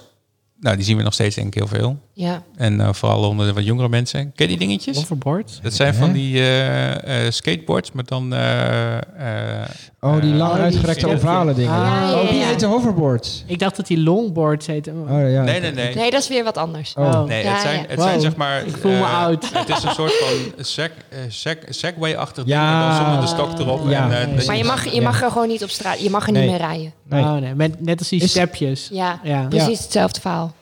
Speaker 1: Nou, die zien we nog steeds denk ik heel veel.
Speaker 2: Ja.
Speaker 1: En eh, vooral onder de wat jongere mensen. Ken je die dingetjes?
Speaker 6: Overboard.
Speaker 1: Dat zijn van
Speaker 4: Hè?
Speaker 1: die eh, eh, skateboards, maar dan... eh, eh,
Speaker 4: Oh, die
Speaker 1: Eh,
Speaker 4: lang
Speaker 1: oh, die
Speaker 4: uitgerekte
Speaker 1: filmpje.
Speaker 4: ovale dingen.
Speaker 6: Ah, ja,
Speaker 4: Oh, die
Speaker 2: ja.
Speaker 4: heten hoverboards.
Speaker 6: Ik dacht dat die longboards heette.
Speaker 4: Oh, ja.
Speaker 1: nee, nee, nee.
Speaker 2: Nee, dat is weer wat anders.
Speaker 4: Oh.
Speaker 6: Oh.
Speaker 1: Nee,
Speaker 2: Ja,
Speaker 1: het zijn,
Speaker 2: ja.
Speaker 1: het zijn
Speaker 6: Wow.
Speaker 1: zeg maar...
Speaker 6: Ik voel me
Speaker 1: eh,
Speaker 6: oud.
Speaker 1: [LAUGHS] Het is een soort van seg, eh, seg, segway-achtig ding,
Speaker 4: Ja.
Speaker 1: maar dan zonder de stok erop. en,
Speaker 4: Ja.
Speaker 1: eh,
Speaker 6: Maar
Speaker 1: dat je-
Speaker 2: Maar je mag, je
Speaker 4: Ja.
Speaker 2: mag er gewoon niet op straat. Je mag er niet
Speaker 4: Nee.
Speaker 2: meer rijden.
Speaker 4: Nee.
Speaker 6: Oh, nee. Met, net als die
Speaker 4: Is-
Speaker 6: stepjes.
Speaker 2: Ja.
Speaker 6: Ja.
Speaker 2: Precies hetzelfde verhaal.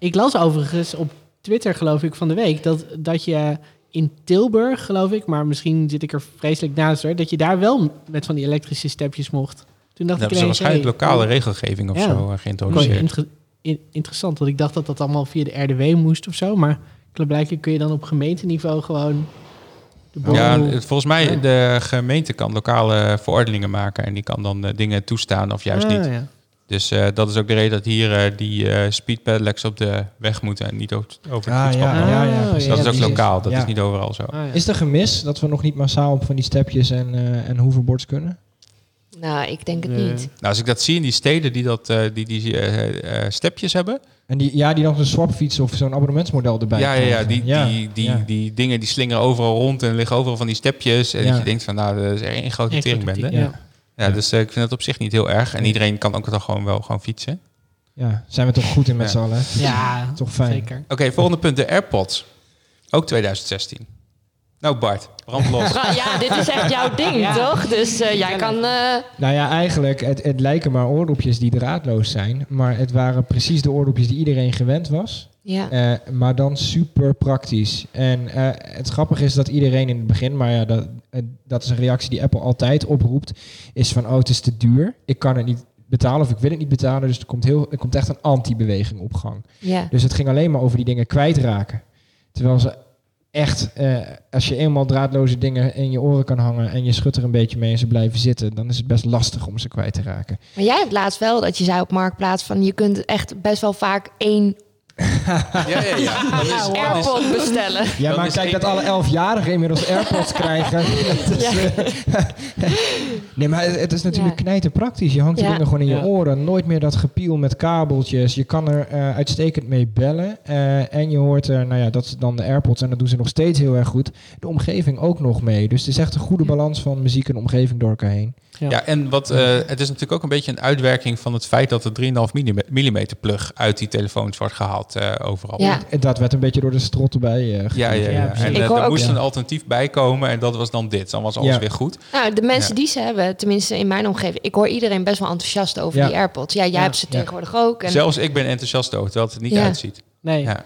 Speaker 6: Ik las overigens op Twitter, geloof ik, van de week dat, dat je in Tilburg, geloof ik, maar misschien zit ik er vreselijk naast hoor, dat je daar wel met van die elektrische stepjes mocht. Toen
Speaker 1: Dan
Speaker 6: dacht
Speaker 1: hebben
Speaker 6: ik
Speaker 1: ze
Speaker 6: ineens,
Speaker 1: Nou, waarschijnlijk
Speaker 6: hey,
Speaker 1: lokale regelgeving of
Speaker 6: Ja.
Speaker 1: zo eh,
Speaker 6: mooi,
Speaker 1: geïntroduceerd.
Speaker 6: inter- in- interessant, want ik dacht dat dat allemaal via de RDW moest of zo, maar blijkbaar kun je dan op gemeenteniveau gewoon de boel...
Speaker 1: Ja, het- volgens mij
Speaker 6: Ja.
Speaker 1: de gemeente kan lokale verordeningen maken en die kan dan eh, dingen toestaan of juist
Speaker 6: Ah,
Speaker 1: niet.
Speaker 6: ja.
Speaker 1: Dus eh, dat is ook de reden dat hier eh, die eh speed pedelecs op de weg moeten en niet over, over de
Speaker 4: Ah,
Speaker 1: fietspad.
Speaker 4: ja,
Speaker 6: Ah,
Speaker 4: ja, ja,
Speaker 6: ja,
Speaker 4: precies.
Speaker 1: dat is ook
Speaker 4: precies.
Speaker 1: lokaal, dat
Speaker 4: Ja.
Speaker 1: is niet overal zo.
Speaker 6: Ah, ja.
Speaker 4: Is er gemis dat we nog niet massaal op van die stepjes en, eh en hoverboards kunnen?
Speaker 2: Nou, ik denk het
Speaker 6: Nee.
Speaker 2: niet.
Speaker 1: Nou, als ik dat zie in die steden die dat, eh, die, die eh, eh, stepjes hebben.
Speaker 4: En die, ja, die nog een swapfiets of zo'n abonnementsmodel erbij
Speaker 1: Ja, ja, ja,
Speaker 4: krijgen.
Speaker 1: die, Die, die,
Speaker 4: ja.
Speaker 1: die dingen die slingeren overal rond en liggen overal van die stepjes. En
Speaker 4: Ja.
Speaker 1: dat je denkt van, nou, dat is er één grote
Speaker 6: Echt een
Speaker 1: teringbende.
Speaker 6: tering,
Speaker 1: Ja.
Speaker 6: ja.
Speaker 1: Ja, dus eh, ik vind dat op zich niet heel erg. En iedereen kan ook toch gewoon wel gewoon fietsen.
Speaker 4: Ja, zijn we toch goed in met
Speaker 1: Ja.
Speaker 4: z'n allen. hè?
Speaker 6: Ja,
Speaker 4: [LAUGHS] Toch fijn.
Speaker 6: zeker.
Speaker 1: Oké, volgende punt, de AirPods. Ook 2016. Nou Bart, brand los.
Speaker 2: Ja, dit is echt jouw ding,
Speaker 6: Ja.
Speaker 2: toch? Dus eh, jij kan... eh,
Speaker 4: Nou ja, eigenlijk, het, het lijken maar oordopjes die draadloos zijn. Maar het waren precies de oordopjes die iedereen gewend was.
Speaker 2: ja.
Speaker 4: Eh, maar dan super praktisch. En eh, het grappige is dat iedereen in het begin, maar ja, dat, eh, dat is een reactie die Apple altijd oproept, is van, oh, het is te duur. Ik kan het niet betalen of ik wil het niet betalen. Dus er komt, heel, er komt echt een anti-beweging op gang.
Speaker 2: ja.
Speaker 4: Dus het ging alleen maar over die dingen kwijtraken. Terwijl ze echt, eh, als je eenmaal draadloze dingen in je oren kan hangen en je schudt er een beetje mee en ze blijven zitten, dan is het best lastig om ze kwijt te raken.
Speaker 2: Maar jij hebt laatst wel dat je zei op Marktplaats... van je kunt echt best wel vaak één
Speaker 1: [LAUGHS] ja, ja, ja. Dat is- dat is-
Speaker 2: Ah, dus AirPod bestellen.
Speaker 4: Ja,
Speaker 1: Dan
Speaker 4: maar
Speaker 1: is
Speaker 4: kijk
Speaker 1: één-
Speaker 4: dat alle elfjarigen inmiddels
Speaker 1: [LAUGHS]
Speaker 4: AirPods krijgen. [LAUGHS] Dat is, eh, [LAUGHS] nee, maar het, het is natuurlijk
Speaker 2: Ja.
Speaker 4: knijterpraktisch. Je hangt die
Speaker 2: Ja.
Speaker 4: dingen gewoon in je
Speaker 6: Ja.
Speaker 4: oren. Nooit meer dat gepiel met kabeltjes. Je kan er eh, uitstekend mee bellen. Eh, en je hoort er, nou ja, dat is dan de AirPods. En dat doen ze nog steeds heel erg goed. De omgeving ook nog mee. Dus het is echt een goede balans van muziek en omgeving door elkaar heen.
Speaker 1: ja, en wat, eh, het is natuurlijk ook een beetje een uitwerking van het feit dat de 3,5 mm plug uit die telefoons wordt gehaald eh, overal.
Speaker 2: Ja.
Speaker 4: En dat werd een beetje door de strot erbij eh, gegooid.
Speaker 1: Ja, ja, ja.
Speaker 6: Ja, precies.
Speaker 1: En
Speaker 2: Ik
Speaker 1: eh,
Speaker 2: hoor
Speaker 1: er
Speaker 2: ook-
Speaker 1: moest
Speaker 4: Ja.
Speaker 1: een alternatief bij komen en dat was dan dit. Dan was alles
Speaker 4: Ja.
Speaker 1: weer goed.
Speaker 2: [LAUGHS] Nou, de mensen
Speaker 1: Ja.
Speaker 2: die ze hebben, tenminste in mijn omgeving... ik hoor iedereen best wel enthousiast over
Speaker 4: Ja.
Speaker 2: die AirPods. Ja, jij
Speaker 6: Ja.
Speaker 2: hebt ze
Speaker 4: Ja.
Speaker 2: tegenwoordig ook. En,
Speaker 1: Zelfs ik ben enthousiast over, terwijl het er niet
Speaker 2: Ja.
Speaker 1: uitziet.
Speaker 6: Nee,
Speaker 1: Ja.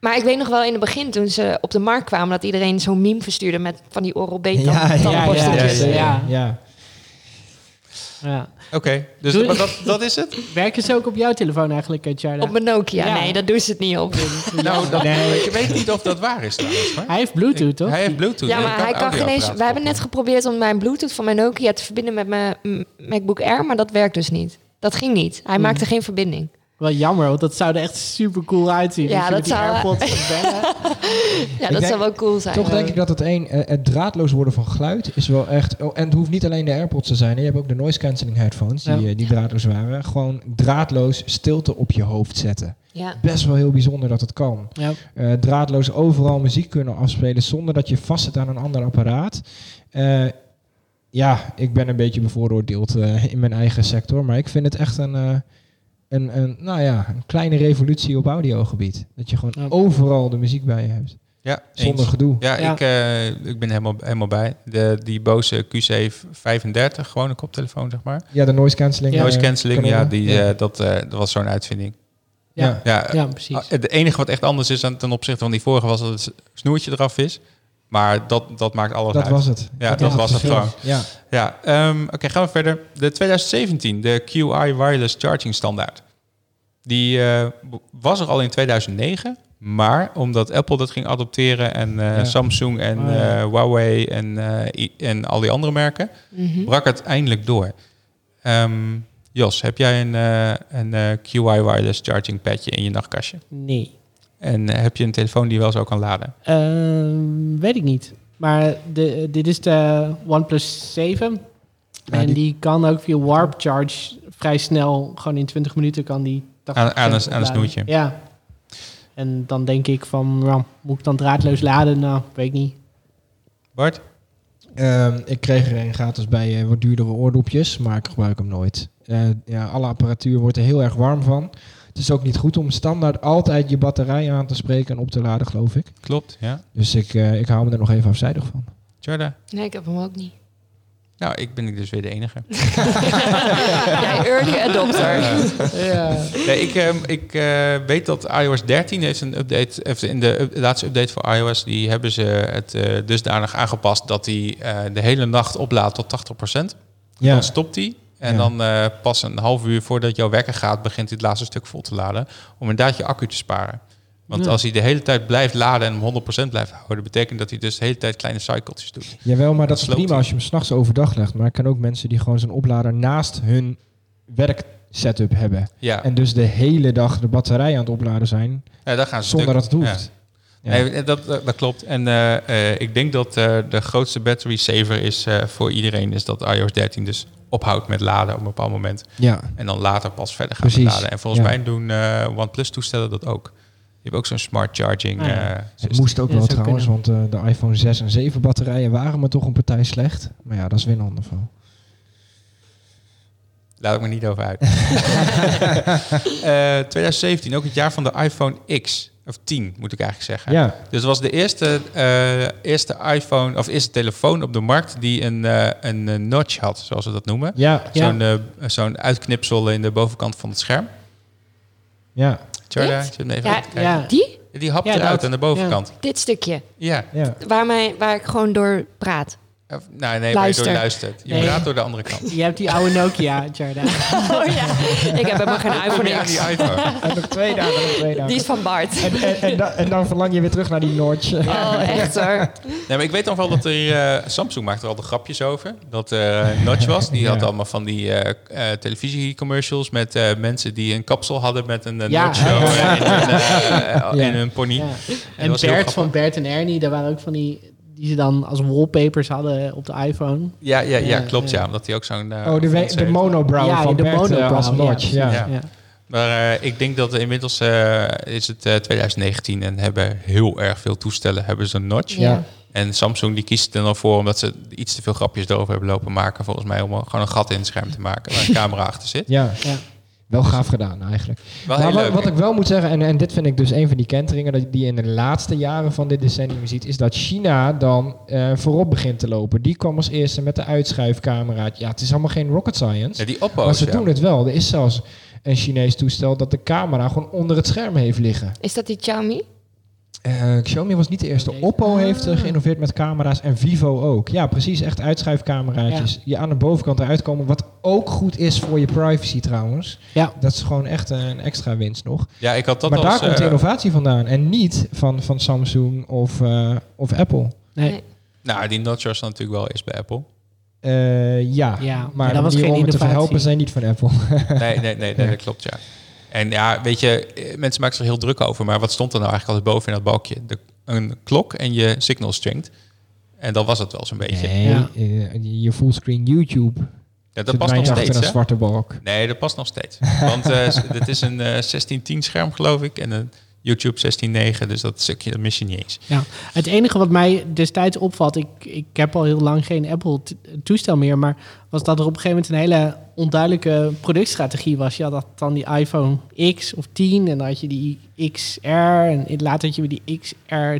Speaker 2: Maar ik weet nog wel in het begin, toen ze op de markt kwamen, dat iedereen zo'n meme verstuurde met van die oral b
Speaker 4: Ja, ja, ja,
Speaker 6: tandenborsteltjes.
Speaker 4: ja, ja,
Speaker 6: Ja.
Speaker 4: ja.
Speaker 6: Ja.
Speaker 1: Oké, dus
Speaker 6: Doe-
Speaker 1: maar dat, dat is het?
Speaker 6: Werken ze ook op jouw telefoon eigenlijk, eh, Charla?
Speaker 2: Op mijn Nokia.
Speaker 6: Ja.
Speaker 2: Nee, dat doen ze het niet op.
Speaker 1: Nou, dat,
Speaker 4: Nee.
Speaker 1: ik weet niet of dat waar is trouwens. hoor.
Speaker 6: Hij heeft Bluetooth, toch?
Speaker 1: Hij heeft Bluetooth.
Speaker 2: Ja,
Speaker 1: en
Speaker 2: maar hij kan geen
Speaker 1: audioapparaat
Speaker 2: eens. We hebben net
Speaker 1: koppelen.
Speaker 2: geprobeerd om mijn Bluetooth van mijn Nokia te verbinden met mijn mm, MacBook Air, maar dat werkt dus niet. Dat ging niet. Hij maakte geen verbinding.
Speaker 6: Wel jammer, want dat zou er echt super cool uitzien.
Speaker 2: Ja,
Speaker 6: Als je
Speaker 2: dat
Speaker 6: met die
Speaker 2: zou-
Speaker 1: [LAUGHS]
Speaker 6: AirPods bellen.
Speaker 2: Ja, dat
Speaker 4: denk-
Speaker 2: zou wel cool zijn.
Speaker 4: Toch denk ik dat het één, eh, het draadloos worden van geluid is wel echt. Oh, en het hoeft niet alleen de AirPods te zijn. hè. Je hebt ook de noise cancelling headphones die,
Speaker 6: Ja.
Speaker 4: eh, die draadloos waren. Gewoon draadloos stilte op je hoofd zetten.
Speaker 2: Ja.
Speaker 4: Best wel heel bijzonder dat het kan.
Speaker 6: Ja.
Speaker 4: Eh, draadloos overal muziek kunnen afspelen zonder dat je vastzit aan een ander apparaat. Eh, ja, ik ben een beetje bevooroordeeld eh, in mijn eigen sector, maar ik vind het echt een, eh, een, een, nou ja, een kleine revolutie op audiogebied. Dat je gewoon
Speaker 6: Ja.
Speaker 4: overal de muziek bij je hebt,
Speaker 1: Ja,
Speaker 4: zonder
Speaker 1: eens.
Speaker 4: gedoe.
Speaker 1: Ja,
Speaker 6: Ja.
Speaker 1: Ik, eh, ik ben helemaal, helemaal bij. De, die Bose QC35, gewoon een koptelefoon, zeg maar.
Speaker 4: Ja, de noise cancelling.
Speaker 6: Ja.
Speaker 1: Noise
Speaker 4: eh,
Speaker 1: cancelling,
Speaker 4: kanon.
Speaker 1: ja, die,
Speaker 4: ja.
Speaker 1: eh, dat, eh, dat was zo'n uitvinding.
Speaker 6: Ja.
Speaker 4: Ja.
Speaker 1: Ja,
Speaker 6: Ja, precies.
Speaker 1: eh, het enige wat echt anders is dan ten opzichte van die vorige was dat het s- snoertje eraf is. Maar dat, dat maakt alles
Speaker 4: dat
Speaker 1: uit.
Speaker 4: was het.
Speaker 1: Ja, dat was het
Speaker 4: verschil.
Speaker 1: gewoon.
Speaker 4: Ja.
Speaker 1: Ja, ehm, oké, gaan we verder. De 2017, de QI Wireless Charging Standaard. Die eh, b- was er al in 2009, maar omdat Apple dat ging adopteren en eh,
Speaker 4: Ja.
Speaker 1: Samsung en
Speaker 4: Oh, ja.
Speaker 1: eh, Huawei en, eh, i- en al die andere merken,
Speaker 2: Mhm.
Speaker 1: brak het eindelijk door. Ehm, Jos, heb jij een, eh, een eh, QI Wireless Charging padje in je nachtkastje?
Speaker 6: Nee.
Speaker 1: En eh, heb je een telefoon die je wel zo kan laden?
Speaker 6: Ehm, weet ik niet. Maar de, dit is de OnePlus 7.
Speaker 4: Ja,
Speaker 6: en
Speaker 4: die-
Speaker 6: die... kan ook via Warp Charge vrij snel, gewoon in 20 minuten kan die... 80%
Speaker 1: Aan- aan een- aan een
Speaker 6: opladen.
Speaker 1: snoertje.
Speaker 6: Ja. En dan denk ik van, ja, moet ik dan draadloos laden? Nou, weet ik
Speaker 4: [LAUGHS]
Speaker 6: niet.
Speaker 1: Bart?
Speaker 4: Ehm, ik kreeg er een gratis bij eh, wat duurdere oordopjes, maar ik gebruik hem nooit. Eh, ja, alle apparatuur wordt er heel erg warm van. Het is ook niet goed om standaard altijd je batterij aan te spreken en op te laden, geloof ik.
Speaker 1: Klopt, ja.
Speaker 4: Dus ik, eh, ik hou me er nog even afzijdig van.
Speaker 1: Jorda?
Speaker 2: Nee, ik heb hem ook [LAUGHS] niet.
Speaker 1: Nou, ik ben dus weer de enige. Eh,
Speaker 2: Jij early adopter.
Speaker 6: Ja.
Speaker 1: Nee, ik, ehm, ik eh, weet dat iOS 13 heeft een update. Of in de up- laatste update voor iOS, die hebben ze het eh, dusdanig aangepast dat hij de hele nacht oplaadt tot 80%.
Speaker 4: Ja,
Speaker 1: Dan stopt hij. En
Speaker 4: Ja.
Speaker 1: dan eh, pas een half uur voordat jouw wekker gaat, begint hij het laatste stuk vol te laden. Om inderdaad je accu te sparen. Want
Speaker 6: Ja.
Speaker 1: als hij de hele tijd blijft laden en hem 100% blijft houden, betekent dat hij dus de hele tijd kleine cycles doet.
Speaker 4: jawel, maar dat is
Speaker 1: Sloopt
Speaker 4: prima
Speaker 1: ie.
Speaker 4: als je hem s'nachts overdag legt. Maar ik ken ook mensen die gewoon zo'n oplader naast hun werksetup hebben.
Speaker 1: Ja,
Speaker 4: En dus de hele dag de batterij aan het opladen zijn,
Speaker 1: ja daar gaan ze stuk.
Speaker 4: zonder dat het hoeft.
Speaker 1: Ja.
Speaker 4: Ja.
Speaker 1: Nee, eh, dat, dat dat klopt. En eh, eh, ik denk dat eh, de grootste battery saver is eh, voor iedereen... is dat iOS 13 dus ophoudt met laden op een bepaald moment.
Speaker 4: ja.
Speaker 1: En dan later pas verder gaat
Speaker 4: Precies,
Speaker 1: laden. En volgens
Speaker 4: ja.
Speaker 1: mij doen eh, OnePlus-toestellen dat ook. Je hebt ook zo'n smart charging
Speaker 6: Ah, ja.
Speaker 1: eh,
Speaker 4: Het
Speaker 1: systeem.
Speaker 4: moest ook
Speaker 6: Ja,
Speaker 4: wel
Speaker 6: zou
Speaker 4: trouwens, want eh, de iPhone 6 en 7 batterijen waren me toch een partij slecht. Maar ja, dat is weer een ander verhaal.
Speaker 1: Laat ik me niet over
Speaker 4: [LAUGHS]
Speaker 1: uit. Eh, 2017, ook het jaar van de iPhone X. Of 10, moet ik eigenlijk zeggen.
Speaker 4: Ja,
Speaker 1: Dus het was de eerste, eh, eerste iPhone, of eerste telefoon op de markt die een, eh, een eh, notch had, zoals ze dat noemen.
Speaker 4: ja,
Speaker 6: Ja.
Speaker 1: Zo'n, eh, zo'n uitknipsel in de bovenkant van het scherm.
Speaker 4: ja,
Speaker 1: Charda,
Speaker 2: Dit?
Speaker 1: ik zit hem even
Speaker 2: Ja,
Speaker 1: aan te kijken.
Speaker 6: ja.
Speaker 2: Die?
Speaker 1: Die hapt
Speaker 6: Ja,
Speaker 1: eruit
Speaker 6: dat.
Speaker 1: aan de bovenkant.
Speaker 2: Dit stukje.
Speaker 1: Ja.
Speaker 4: ja.
Speaker 2: Waar, mij, waar ik gewoon door praat.
Speaker 1: Of- Nou, nee, waar je
Speaker 2: Luister.
Speaker 1: door luistert. Je
Speaker 6: Nee.
Speaker 1: praat door de andere
Speaker 6: [LAUGHS]
Speaker 1: kant.
Speaker 6: Je hebt die oude Nokia, Jarda.
Speaker 2: Oh ja. Ik heb helemaal geen
Speaker 1: Kom je
Speaker 2: iPhone
Speaker 1: aan
Speaker 2: X.
Speaker 1: die iPhone.
Speaker 4: En nog [LAUGHS] twee dagen, nog twee
Speaker 2: Die
Speaker 4: dagen.
Speaker 2: is van Bart.
Speaker 4: En, en, en, dan- en dan verlang je weer terug naar die Notch.
Speaker 2: Oh, echt hoor.
Speaker 1: Nee, maar ik weet dan wel dat er... eh, Samsung maakt er al de grapjes over. Dat er
Speaker 6: [LAUGHS]
Speaker 1: een Notch was. Die had
Speaker 4: Ja.
Speaker 1: allemaal van die eh, eh, televisiecommercials... met eh, mensen die een kapsel hadden met een eh,
Speaker 6: [LAUGHS] Ja.
Speaker 1: Notch zo, eh, in, hun, eh, eh,
Speaker 4: Ja.
Speaker 1: in hun pony.
Speaker 6: Ja.
Speaker 1: dat
Speaker 6: En
Speaker 1: was heel
Speaker 6: Bert
Speaker 1: grappig.
Speaker 6: van Bert en Ernie, daar waren ook van die... die ze dan als wallpapers hadden op de iPhone.
Speaker 1: Ja, ja, ja,
Speaker 6: Ja,
Speaker 1: klopt, ja.
Speaker 6: ja.
Speaker 1: Omdat hij ook zo'n... eh,
Speaker 4: Oh, de, we-
Speaker 1: fonds
Speaker 4: de
Speaker 1: heeft.
Speaker 4: monobrow
Speaker 6: Ja,
Speaker 4: van
Speaker 6: de
Speaker 4: Bert eh,
Speaker 6: monobrow,
Speaker 4: als
Speaker 6: ja,
Speaker 4: Notch. Ja,
Speaker 1: Ja. Maar eh, ik denk dat inmiddels eh, is het eh, 2019 en hebben heel erg veel toestellen hebben ze een notch.
Speaker 2: Ja.
Speaker 1: En Samsung die kiest er dan voor omdat ze iets te veel grapjes erover hebben lopen maken. Volgens mij om gewoon een gat in het scherm te maken
Speaker 4: [LAUGHS]
Speaker 1: waar een camera achter zit.
Speaker 4: ja.
Speaker 6: Ja.
Speaker 4: Wel gaaf gedaan eigenlijk.
Speaker 1: Wel
Speaker 4: Maar
Speaker 1: heel
Speaker 4: wat,
Speaker 1: leuk.
Speaker 4: wat ik wel moet zeggen, en, en dit vind ik dus een van die kenteringen dat- die je in de laatste jaren van dit decennium ziet, is dat China dan eh, voorop begint te lopen. Die kwam als eerste met de uitschuifcamera. Ja, het is allemaal geen rocket science.
Speaker 1: Ja, die Oppo's,
Speaker 4: maar ze
Speaker 1: ja.
Speaker 4: doen het wel. Er is zelfs een Chinees toestel dat de camera gewoon onder het scherm heeft liggen.
Speaker 2: Is dat die Xiaomi?
Speaker 4: Eh, Xiaomi was niet de eerste.
Speaker 6: Deze.
Speaker 4: Oppo heeft eh,
Speaker 6: Ah.
Speaker 4: geïnnoveerd met camera's en Vivo ook. Ja, precies. Echt uitschuifcameraatjes. Die aan de bovenkant eruit komen. Wat ook goed is voor je privacy trouwens.
Speaker 6: Ja.
Speaker 4: Dat is gewoon echt eh, een extra winst nog.
Speaker 1: Ja, ik had dat
Speaker 4: maar
Speaker 1: als...
Speaker 4: daar komt de
Speaker 1: eh,
Speaker 4: innovatie vandaan. En niet van, van Samsung of, eh, of Apple.
Speaker 6: Nee.
Speaker 2: Nee.
Speaker 1: nou, die notch was natuurlijk wel eerst bij
Speaker 4: [LAUGHS]
Speaker 1: Apple.
Speaker 4: Eh, ja.
Speaker 6: Ja,
Speaker 4: maar
Speaker 6: maar
Speaker 4: de
Speaker 6: dat was
Speaker 4: manieren
Speaker 6: geen
Speaker 4: om het te
Speaker 6: innovatie.
Speaker 4: verhelpen zijn niet van Apple.
Speaker 1: Nee, nee, nee, nee, dat klopt, ja. En ja, weet je, eh, mensen maken zich heel druk over, maar wat stond er nou eigenlijk altijd boven in dat balkje? De, een klok en je signal strength. En dat was het wel zo'n beetje.
Speaker 4: [LAUGHS] Nee,
Speaker 6: Ja.
Speaker 4: eh, je fullscreen YouTube.
Speaker 1: ja, dat
Speaker 4: Zit
Speaker 1: past
Speaker 4: mij
Speaker 1: nog
Speaker 4: achter
Speaker 1: steeds,
Speaker 4: een
Speaker 1: hè?
Speaker 4: zwarte balk.
Speaker 1: Nee, dat past nog steeds. [LAUGHS] Want eh dit is een eh 1610 scherm, geloof ik, en een YouTube 16.9, dus dat stukje dat mis je niet eens.
Speaker 6: Het enige wat mij destijds opvalt, ik, ik heb al heel lang geen Apple t- toestel meer, maar was dat er op een gegeven moment een hele onduidelijke productstrategie was. Je had dat dan die iPhone X of 10 en dan had je die XR en later had je weer die XR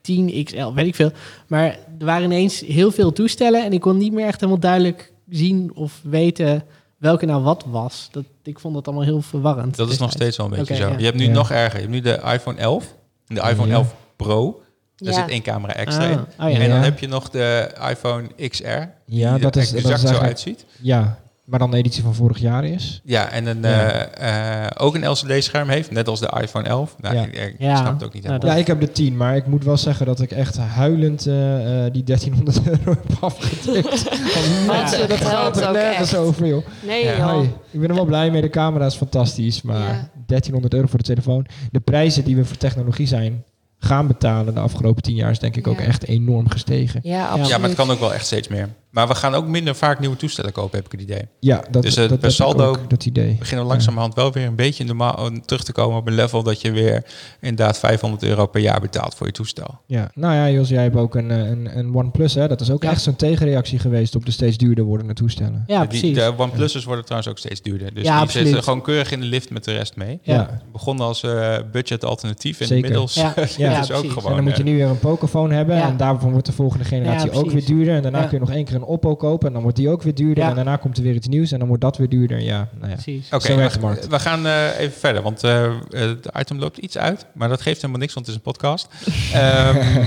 Speaker 6: 10 XL, weet ik veel. Maar er waren ineens heel veel toestellen en ik kon niet meer echt helemaal duidelijk zien of weten welke nou wat was. Dat, ik vond dat allemaal heel verwarrend.
Speaker 1: Dat is nog
Speaker 6: destijds.
Speaker 1: steeds wel een beetje
Speaker 6: Oké,
Speaker 1: zo.
Speaker 6: ja.
Speaker 1: Je hebt nu
Speaker 4: Ja.
Speaker 1: nog erger. Je hebt nu de iPhone 11 en de iPhone
Speaker 4: Ja.
Speaker 1: 11 Pro. Daar
Speaker 2: Ja.
Speaker 1: zit één camera extra
Speaker 6: Ah,
Speaker 1: in.
Speaker 6: oh ja.
Speaker 1: En dan
Speaker 4: Ja.
Speaker 1: heb je nog de iPhone XR. Die
Speaker 4: Ja,
Speaker 1: er
Speaker 4: dat is- dat is
Speaker 1: exact zo
Speaker 4: eigenlijk-
Speaker 1: uitziet.
Speaker 4: Ja, maar dan de editie van vorig jaar is.
Speaker 1: Ja, en een,
Speaker 4: Ja.
Speaker 1: eh, eh, ook een LCD-scherm heeft, net als de iPhone 11. Nou,
Speaker 4: Ja.
Speaker 1: ik, ik
Speaker 6: Ja.
Speaker 1: snap het ook niet
Speaker 6: Nou,
Speaker 1: helemaal.
Speaker 4: Ja, ik heb de 10, maar ik moet wel zeggen dat ik echt huilend eh, eh, die 1300 [LAUGHS] euro heb afgetikt. Want
Speaker 2: Maar
Speaker 4: mensen,
Speaker 2: het
Speaker 4: [LAUGHS] dat gaat
Speaker 2: geldt
Speaker 4: er
Speaker 2: ook
Speaker 4: nergens
Speaker 2: echt.
Speaker 4: over, joh.
Speaker 2: Nee,
Speaker 1: Ja.
Speaker 2: joh.
Speaker 4: Hoi, ik ben er wel blij mee, de camera is fantastisch, maar
Speaker 2: Ja.
Speaker 4: 1300 euro voor de telefoon. De prijzen die we voor technologie zijn gaan betalen de afgelopen 10 jaar is denk ik ook
Speaker 2: Ja.
Speaker 4: echt enorm gestegen.
Speaker 2: Ja,
Speaker 6: Ja,
Speaker 2: absoluut.
Speaker 1: Ja, maar het kan ook wel echt steeds meer. Maar we gaan ook minder vaak nieuwe toestellen kopen, heb ik het idee.
Speaker 4: Ja, dat,
Speaker 1: Dus, eh,
Speaker 4: dat,
Speaker 1: per
Speaker 4: heb ik
Speaker 1: saldo-
Speaker 4: ook, dat idee.
Speaker 1: We beginnen langzamerhand wel weer een beetje normaal eh, terug te komen op een level dat je weer inderdaad 500 euro per jaar betaalt voor je toestel.
Speaker 4: Ja. Nou ja, Jos, jij hebt ook een, eh, een, een OnePlus, hè? Dat is ook
Speaker 6: Ja.
Speaker 4: echt zo'n tegenreactie geweest op de steeds duurder wordende toestellen.
Speaker 6: Ja,
Speaker 1: Die-
Speaker 6: precies.
Speaker 1: de OnePlus'ers worden trouwens ook steeds duurder. Dus
Speaker 6: Ja,
Speaker 1: die
Speaker 6: absoluut.
Speaker 1: zitten gewoon keurig in de lift met de rest mee.
Speaker 6: Ja.
Speaker 4: ja.
Speaker 1: Begon als eh, budget alternatief en [LAUGHS]
Speaker 4: Zeker.
Speaker 1: inmiddels
Speaker 6: Ja.
Speaker 1: is
Speaker 6: Ja,
Speaker 1: het ook
Speaker 6: precies.
Speaker 1: gewoon...
Speaker 4: En dan moet je
Speaker 1: eh,
Speaker 4: nu weer een Pocophone hebben.
Speaker 6: Ja.
Speaker 4: En daarvan wordt de volgende generatie
Speaker 6: Ja,
Speaker 4: ook weer
Speaker 6: precies.
Speaker 4: duurder. En daarna
Speaker 6: Ja.
Speaker 4: kun je nog één keer een Oppo kopen. En dan wordt die ook weer duurder.
Speaker 6: Ja.
Speaker 4: En daarna komt er weer iets nieuws. En dan wordt dat weer duurder. Ja, nou ja.
Speaker 6: Precies.
Speaker 1: Oké,
Speaker 4: Zo werkt
Speaker 1: we-
Speaker 4: de markt.
Speaker 1: we gaan eh, even verder, want het item loopt iets uit, maar dat geeft helemaal niks, want het is een
Speaker 4: [LAUGHS]
Speaker 1: podcast. Ehm,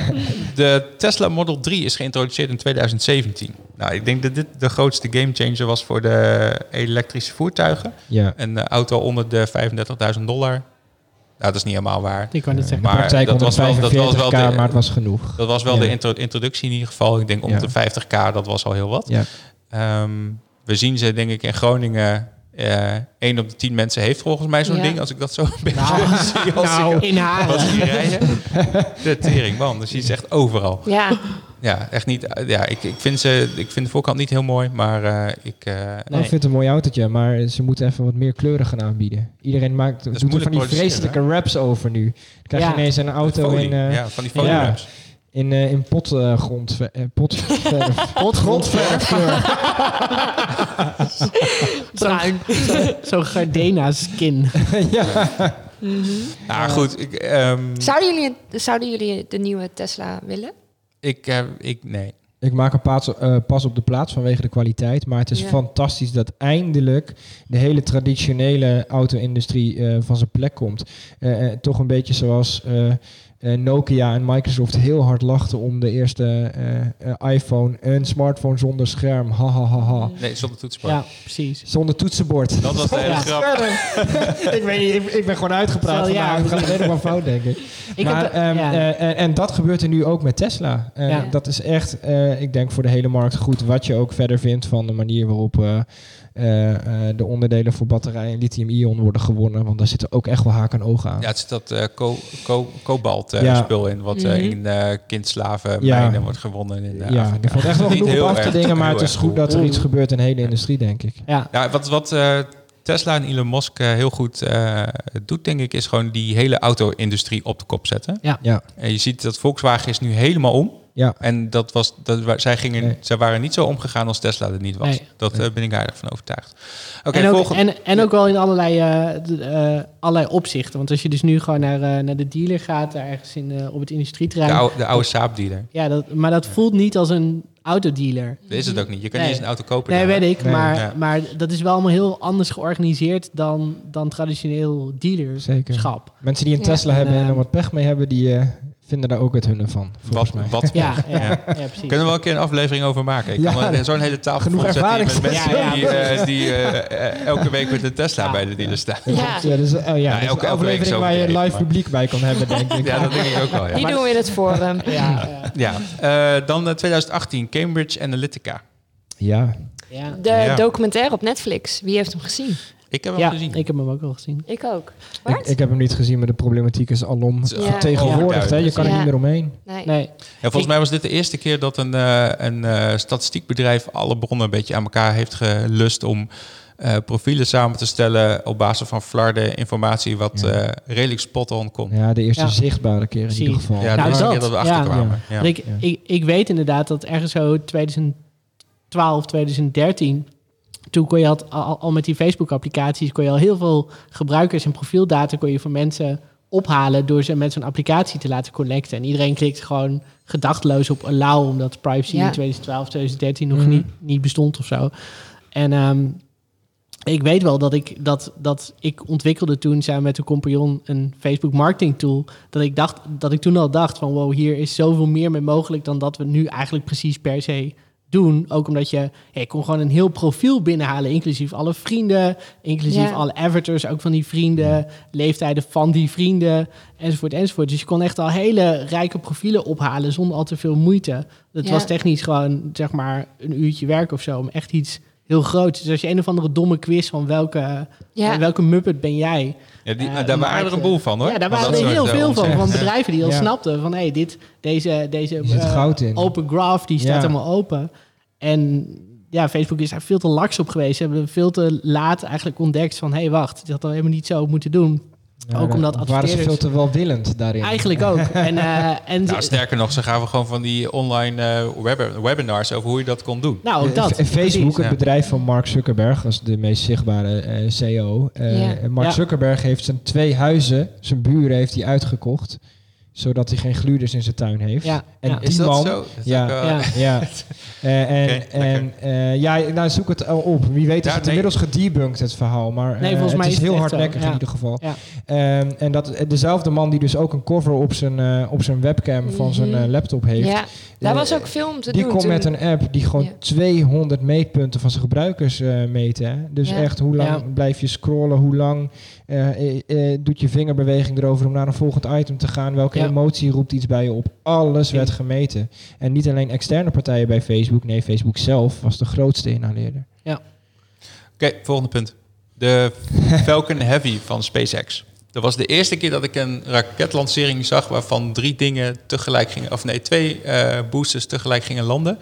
Speaker 1: de Tesla Model 3 is geïntroduceerd in 2017. Nou, ik denk dat dit de grootste gamechanger was voor de elektrische voertuigen.
Speaker 4: ja.
Speaker 1: Een eh, auto onder de 35.000 dollar. Nou, dat is niet helemaal waar.
Speaker 6: Ik wou net zeggen.
Speaker 1: Eh, Maar
Speaker 4: Praktijk
Speaker 1: dat was wel- dat was wel
Speaker 4: 145k,
Speaker 1: de-
Speaker 4: maar het was genoeg.
Speaker 1: Dat was wel
Speaker 4: Ja.
Speaker 1: de intro- introductie in ieder geval. Ik denk om
Speaker 4: Ja.
Speaker 1: de 50k, dat was al heel wat.
Speaker 4: Ja.
Speaker 1: Ehm, we zien ze denk ik in Groningen. eh 1 op de 10 mensen heeft volgens mij zo'n
Speaker 2: Ja.
Speaker 1: ding. Als ik dat zo [LAUGHS] een beetje
Speaker 6: Nou,
Speaker 1: zie. Als
Speaker 6: nou,
Speaker 1: ik,
Speaker 6: in
Speaker 1: als
Speaker 6: Haren.
Speaker 1: ik hier rijden. De tering, man. Dus die is echt overal.
Speaker 2: Ja,
Speaker 1: Ja, echt niet. eh, Ja, ik, ik, vind, ze, ik vind de voorkant niet heel mooi, maar eh, ik... eh,
Speaker 4: Nou, ik vind het een mooi autootje, maar ze moeten even wat meer kleuren gaan aanbieden. Iedereen
Speaker 1: is
Speaker 4: maakt, doet er van die
Speaker 1: moeilijk produceren,
Speaker 4: vreselijke raps over nu. Dan krijg je
Speaker 6: Ja.
Speaker 4: ineens een auto
Speaker 1: folie.
Speaker 4: in, eh,
Speaker 1: ja, van die
Speaker 4: ja.
Speaker 1: folieraps.
Speaker 4: in, eh, in potgrond. pot, [LAUGHS] grondverf. [LAUGHS]
Speaker 2: bruin.
Speaker 6: eh, [LAUGHS] Zo'n
Speaker 1: [LAUGHS]
Speaker 6: Gardena-skin.
Speaker 4: ja.
Speaker 1: Nou goed, ik... ehm,
Speaker 2: Zouden jullie, zouden jullie de nieuwe Tesla willen?
Speaker 1: ik, eh, ik nee.
Speaker 4: Ik maak een paas, eh, pas op de plaats vanwege de kwaliteit. Maar het is
Speaker 2: Ja.
Speaker 4: fantastisch dat eindelijk de hele traditionele auto-industrie eh, van zijn plek komt. Eh, eh, toch een beetje zoals eh, eh, Nokia en Microsoft heel hard lachten om de eerste eh, eh, iPhone. Een smartphone zonder scherm. Ha, ha, ha, ha.
Speaker 1: Nee, zonder toetsenbord.
Speaker 6: Ja, precies.
Speaker 4: Zonder toetsenbord.
Speaker 1: Dat was de hele
Speaker 6: Ja.
Speaker 1: grap.
Speaker 4: ik, weet niet, ik, ik ben gewoon uitgepraat
Speaker 6: Wel, ja.
Speaker 4: vandaag. Het gaat alleen nog maar fout, denk ik.
Speaker 6: Ik
Speaker 4: maar,
Speaker 6: heb,
Speaker 4: ehm,
Speaker 6: ja.
Speaker 4: eh, en, en dat gebeurt er nu ook met Tesla. En
Speaker 6: Ja.
Speaker 4: Dat is echt, eh, ik denk voor de hele markt goed. Wat je ook verder vindt van de manier waarop eh, eh, eh, de onderdelen voor batterijen en lithium-ion worden gewonnen. Want daar zitten ook echt wel haak en ogen aan.
Speaker 1: Ja, het zit dat eh, ko- ko- kobalt eh,
Speaker 4: Ja.
Speaker 1: spul in, wat eh,
Speaker 2: Mhm.
Speaker 1: in eh kindslaven
Speaker 4: Ja.
Speaker 1: mijnen wordt gewonnen. In, eh,
Speaker 4: Ja,
Speaker 1: Afrika.
Speaker 4: er valt echt wel
Speaker 1: Niet
Speaker 4: genoeg
Speaker 1: heel
Speaker 4: op af te
Speaker 1: erg-
Speaker 4: dingen. Maar
Speaker 1: heel
Speaker 4: het is
Speaker 1: erg
Speaker 4: goed
Speaker 1: cool.
Speaker 4: dat er iets gebeurt in de hele industrie, denk ik.
Speaker 6: ja.
Speaker 1: Ja, wat, wat eh, Tesla en Elon Musk eh, heel goed eh, doet, denk ik, is gewoon die hele auto-industrie op de kop zetten.
Speaker 4: Ja,
Speaker 1: En je ziet dat Volkswagen is nu helemaal om.
Speaker 4: ja.
Speaker 1: En dat was, dat, wa- zij, gingen,
Speaker 4: Nee.
Speaker 1: zij waren niet zo omgegaan als Tesla er niet was.
Speaker 6: Nee.
Speaker 1: Dat eh, ben ik eigenlijk van overtuigd. Oké,
Speaker 6: en, ook,
Speaker 1: volgende.
Speaker 6: en, en ook wel in allerlei, eh, d- eh, allerlei opzichten. Want als je dus nu gewoon naar, eh, naar de dealer gaat, daar ergens in, eh, op het
Speaker 1: De
Speaker 6: industrieterrein.
Speaker 1: oude, de oude Saab-dealer.
Speaker 6: Ja, dat, maar dat voelt niet als een autodealer.
Speaker 1: Dat is het ook niet. Je kan
Speaker 6: Mhm. Nee.
Speaker 1: niet eens een auto kopen.
Speaker 6: Nee,
Speaker 1: daar.
Speaker 6: weet ik.
Speaker 4: Nee.
Speaker 6: maar,
Speaker 1: Ja.
Speaker 6: maar dat is wel allemaal heel anders georganiseerd dan, dan traditioneel dealerschap.
Speaker 4: Zeker. Mensen die een
Speaker 2: Ja.
Speaker 4: Tesla hebben en
Speaker 6: En,
Speaker 4: er wat pech mee hebben, die, eh, vinden daar ook het hunne van, volgens
Speaker 1: Wat,
Speaker 4: mij.
Speaker 1: wat
Speaker 6: Ja, ja,
Speaker 1: Ja.
Speaker 6: ja. precies.
Speaker 1: Kunnen we wel een keer een aflevering over maken? Ik
Speaker 4: Ja,
Speaker 1: kan wel zo'n hele tafel
Speaker 4: genoeg
Speaker 1: volzetten hier met
Speaker 4: ervaring.
Speaker 1: mensen
Speaker 6: Ja, ja,
Speaker 1: die, eh, die eh, eh, elke week met een Tesla
Speaker 6: Ja.
Speaker 1: bij de dealer staan.
Speaker 2: Ja.
Speaker 4: Ja, dus, oh ja, dat is
Speaker 1: elke- elke
Speaker 4: een
Speaker 1: week
Speaker 4: aflevering
Speaker 1: zo
Speaker 4: waar je
Speaker 1: meteen,
Speaker 4: live
Speaker 1: maar-
Speaker 4: publiek bij kan hebben, denk ik.
Speaker 1: [LAUGHS] Ja, dat denk ik ook wel.
Speaker 2: Die
Speaker 1: Ja.
Speaker 2: doen we in het forum.
Speaker 6: Ja, ja,
Speaker 1: Ja. Eh, dan eh, 2018, Cambridge Analytica.
Speaker 4: Ja.
Speaker 6: ja.
Speaker 2: De
Speaker 1: Ja.
Speaker 2: documentaire op Netflix. Wie heeft hem gezien?
Speaker 1: Ik heb hem
Speaker 6: Ja,
Speaker 1: gezien.
Speaker 6: ik heb hem ook al gezien.
Speaker 2: Ik ook.
Speaker 4: Ik, ik heb hem niet gezien, maar de problematiek is alom
Speaker 1: Het is
Speaker 4: vertegenwoordigd. Hè? Je kan er
Speaker 2: Ja.
Speaker 4: niet meer omheen.
Speaker 2: Nee.
Speaker 6: Nee,
Speaker 1: Ja, volgens mij was dit de eerste keer dat een, eh, een eh, statistiekbedrijf alle bronnen een beetje aan elkaar heeft gelust om eh, profielen samen te stellen op basis van flarde informatie, wat
Speaker 4: Ja.
Speaker 1: eh, redelijk spot-on komt. Ja,
Speaker 4: Ja, de eerste
Speaker 6: Ja.
Speaker 4: zichtbare keer in
Speaker 6: Precies.
Speaker 4: ieder geval.
Speaker 1: de
Speaker 6: Nou,
Speaker 1: eerste
Speaker 6: dat,
Speaker 1: keer dat we
Speaker 6: ja.
Speaker 1: achterkwamen. Ja.
Speaker 6: Want ik,
Speaker 4: Ja.
Speaker 6: ik, ik weet inderdaad dat ergens zo 2012, 2013... Toen kon je al, al, al met die Facebook-applicaties... kon je al heel veel gebruikers en profieldata... kon je voor mensen ophalen door ze met zo'n applicatie te laten collecten. En iedereen klikt gewoon gedachtloos op allow... omdat privacy
Speaker 2: Ja.
Speaker 6: in 2012, 2013 nog
Speaker 4: Mhm.
Speaker 6: niet, niet bestond of zo. En ehm, ik weet wel dat ik, dat, dat ik ontwikkelde toen samen met een compagnon een Facebook marketing tool. Dat ik, dacht, dat ik toen al dacht van wow, hier is zoveel meer mee mogelijk dan dat we nu eigenlijk precies per se doen. Ook omdat je, ja, je kon gewoon een heel profiel binnenhalen, inclusief alle vrienden, inclusief
Speaker 2: Ja.
Speaker 6: alle avatars ook van die vrienden, leeftijden van die vrienden, enzovoort, enzovoort. Dus je kon echt al hele rijke profielen ophalen zonder al te veel moeite. Het
Speaker 2: Ja.
Speaker 6: was technisch gewoon, zeg maar, een uurtje werk of zo, om echt iets heel groots. Dus als je een of andere domme quiz van welke,
Speaker 2: Ja.
Speaker 6: van welke muppet ben jij?
Speaker 1: Ja, die,
Speaker 6: Eh,
Speaker 1: daar waren
Speaker 6: maar-
Speaker 1: er een boel van hoor.
Speaker 6: Ja, daar
Speaker 1: Want
Speaker 6: waren
Speaker 1: dat
Speaker 6: er heel
Speaker 1: soort, eh,
Speaker 6: veel van. Van
Speaker 1: ontzettend.
Speaker 6: bedrijven die al
Speaker 4: Ja.
Speaker 6: snapten van hey, dit, deze, deze
Speaker 4: Hier zit
Speaker 6: eh,
Speaker 4: goud in.
Speaker 6: open graph die staat
Speaker 4: Ja.
Speaker 6: helemaal open. En ja, Facebook is daar veel te laks op geweest. Ze hebben veel te laat eigenlijk ontdekt van hey, wacht, dat hadden we helemaal niet zo moeten doen.
Speaker 4: Ja,
Speaker 6: ook omdat
Speaker 4: daar Waren ze veel
Speaker 6: adverteerders-
Speaker 4: te welwillend daarin.
Speaker 6: Eigenlijk
Speaker 4: [LAUGHS]
Speaker 6: ook. En, eh, en
Speaker 1: Nou, sterker nog, ze gaven gewoon van die online eh, web- webinars over hoe je dat kon doen.
Speaker 6: nou, ook dat.
Speaker 4: Eh, F- Facebook,
Speaker 6: precies.
Speaker 4: het
Speaker 1: Ja.
Speaker 4: bedrijf van Mark Zuckerberg, als de meest zichtbare eh, CEO. Eh,
Speaker 2: Ja.
Speaker 4: en Mark
Speaker 6: Ja.
Speaker 4: Zuckerberg heeft zijn twee huizen, zijn buren heeft hij uitgekocht, zodat hij geen gluurders in zijn tuin heeft.
Speaker 6: Ja,
Speaker 4: en
Speaker 6: ja.
Speaker 4: die
Speaker 1: Is dat
Speaker 4: man,
Speaker 1: zo? Dat is
Speaker 4: ja.
Speaker 1: ook, eh,
Speaker 6: Ja.
Speaker 4: Ja.
Speaker 1: [LAUGHS]
Speaker 4: Eh, en
Speaker 1: Oké,
Speaker 4: en eh, ja, nou zoek het al op. Wie weet is
Speaker 1: Ja,
Speaker 4: het
Speaker 1: nee.
Speaker 4: inmiddels gedebunked het verhaal, maar eh,
Speaker 6: Nee, volgens mij
Speaker 4: het is
Speaker 6: is het
Speaker 4: heel
Speaker 6: echt zo,
Speaker 4: hardnekkig in
Speaker 6: ja.
Speaker 4: ieder geval.
Speaker 6: Ja.
Speaker 4: Ehm, en dat eh, dezelfde man die dus ook een cover op zijn, eh, op zijn webcam van zijn
Speaker 2: Mhm.
Speaker 4: eh, laptop heeft.
Speaker 2: Ja, daar
Speaker 4: eh,
Speaker 2: was ook film te
Speaker 4: Die
Speaker 2: doen.
Speaker 4: komt
Speaker 2: toen.
Speaker 4: met een app die gewoon
Speaker 2: Ja.
Speaker 4: 200 meetpunten van zijn gebruikers eh meten. Hè? Dus
Speaker 2: Ja.
Speaker 4: echt, hoe lang
Speaker 6: Ja.
Speaker 4: blijf je scrollen? Hoe lang eh, eh, eh, doet je vingerbeweging erover om naar een volgend item te gaan? Welke
Speaker 6: Ja.
Speaker 4: emotie roept iets bij je op? Alles werd
Speaker 6: Ja.
Speaker 4: gemeten. En niet alleen externe partijen bij Facebook. Nee, Facebook zelf was de grootste inhaleerder.
Speaker 1: Oké, volgende punt. De Falcon Heavy van SpaceX. Dat was de eerste keer dat ik een raketlancering zag waarvan drie dingen tegelijk gingen, of nee, twee eh, boosters tegelijk gingen landen.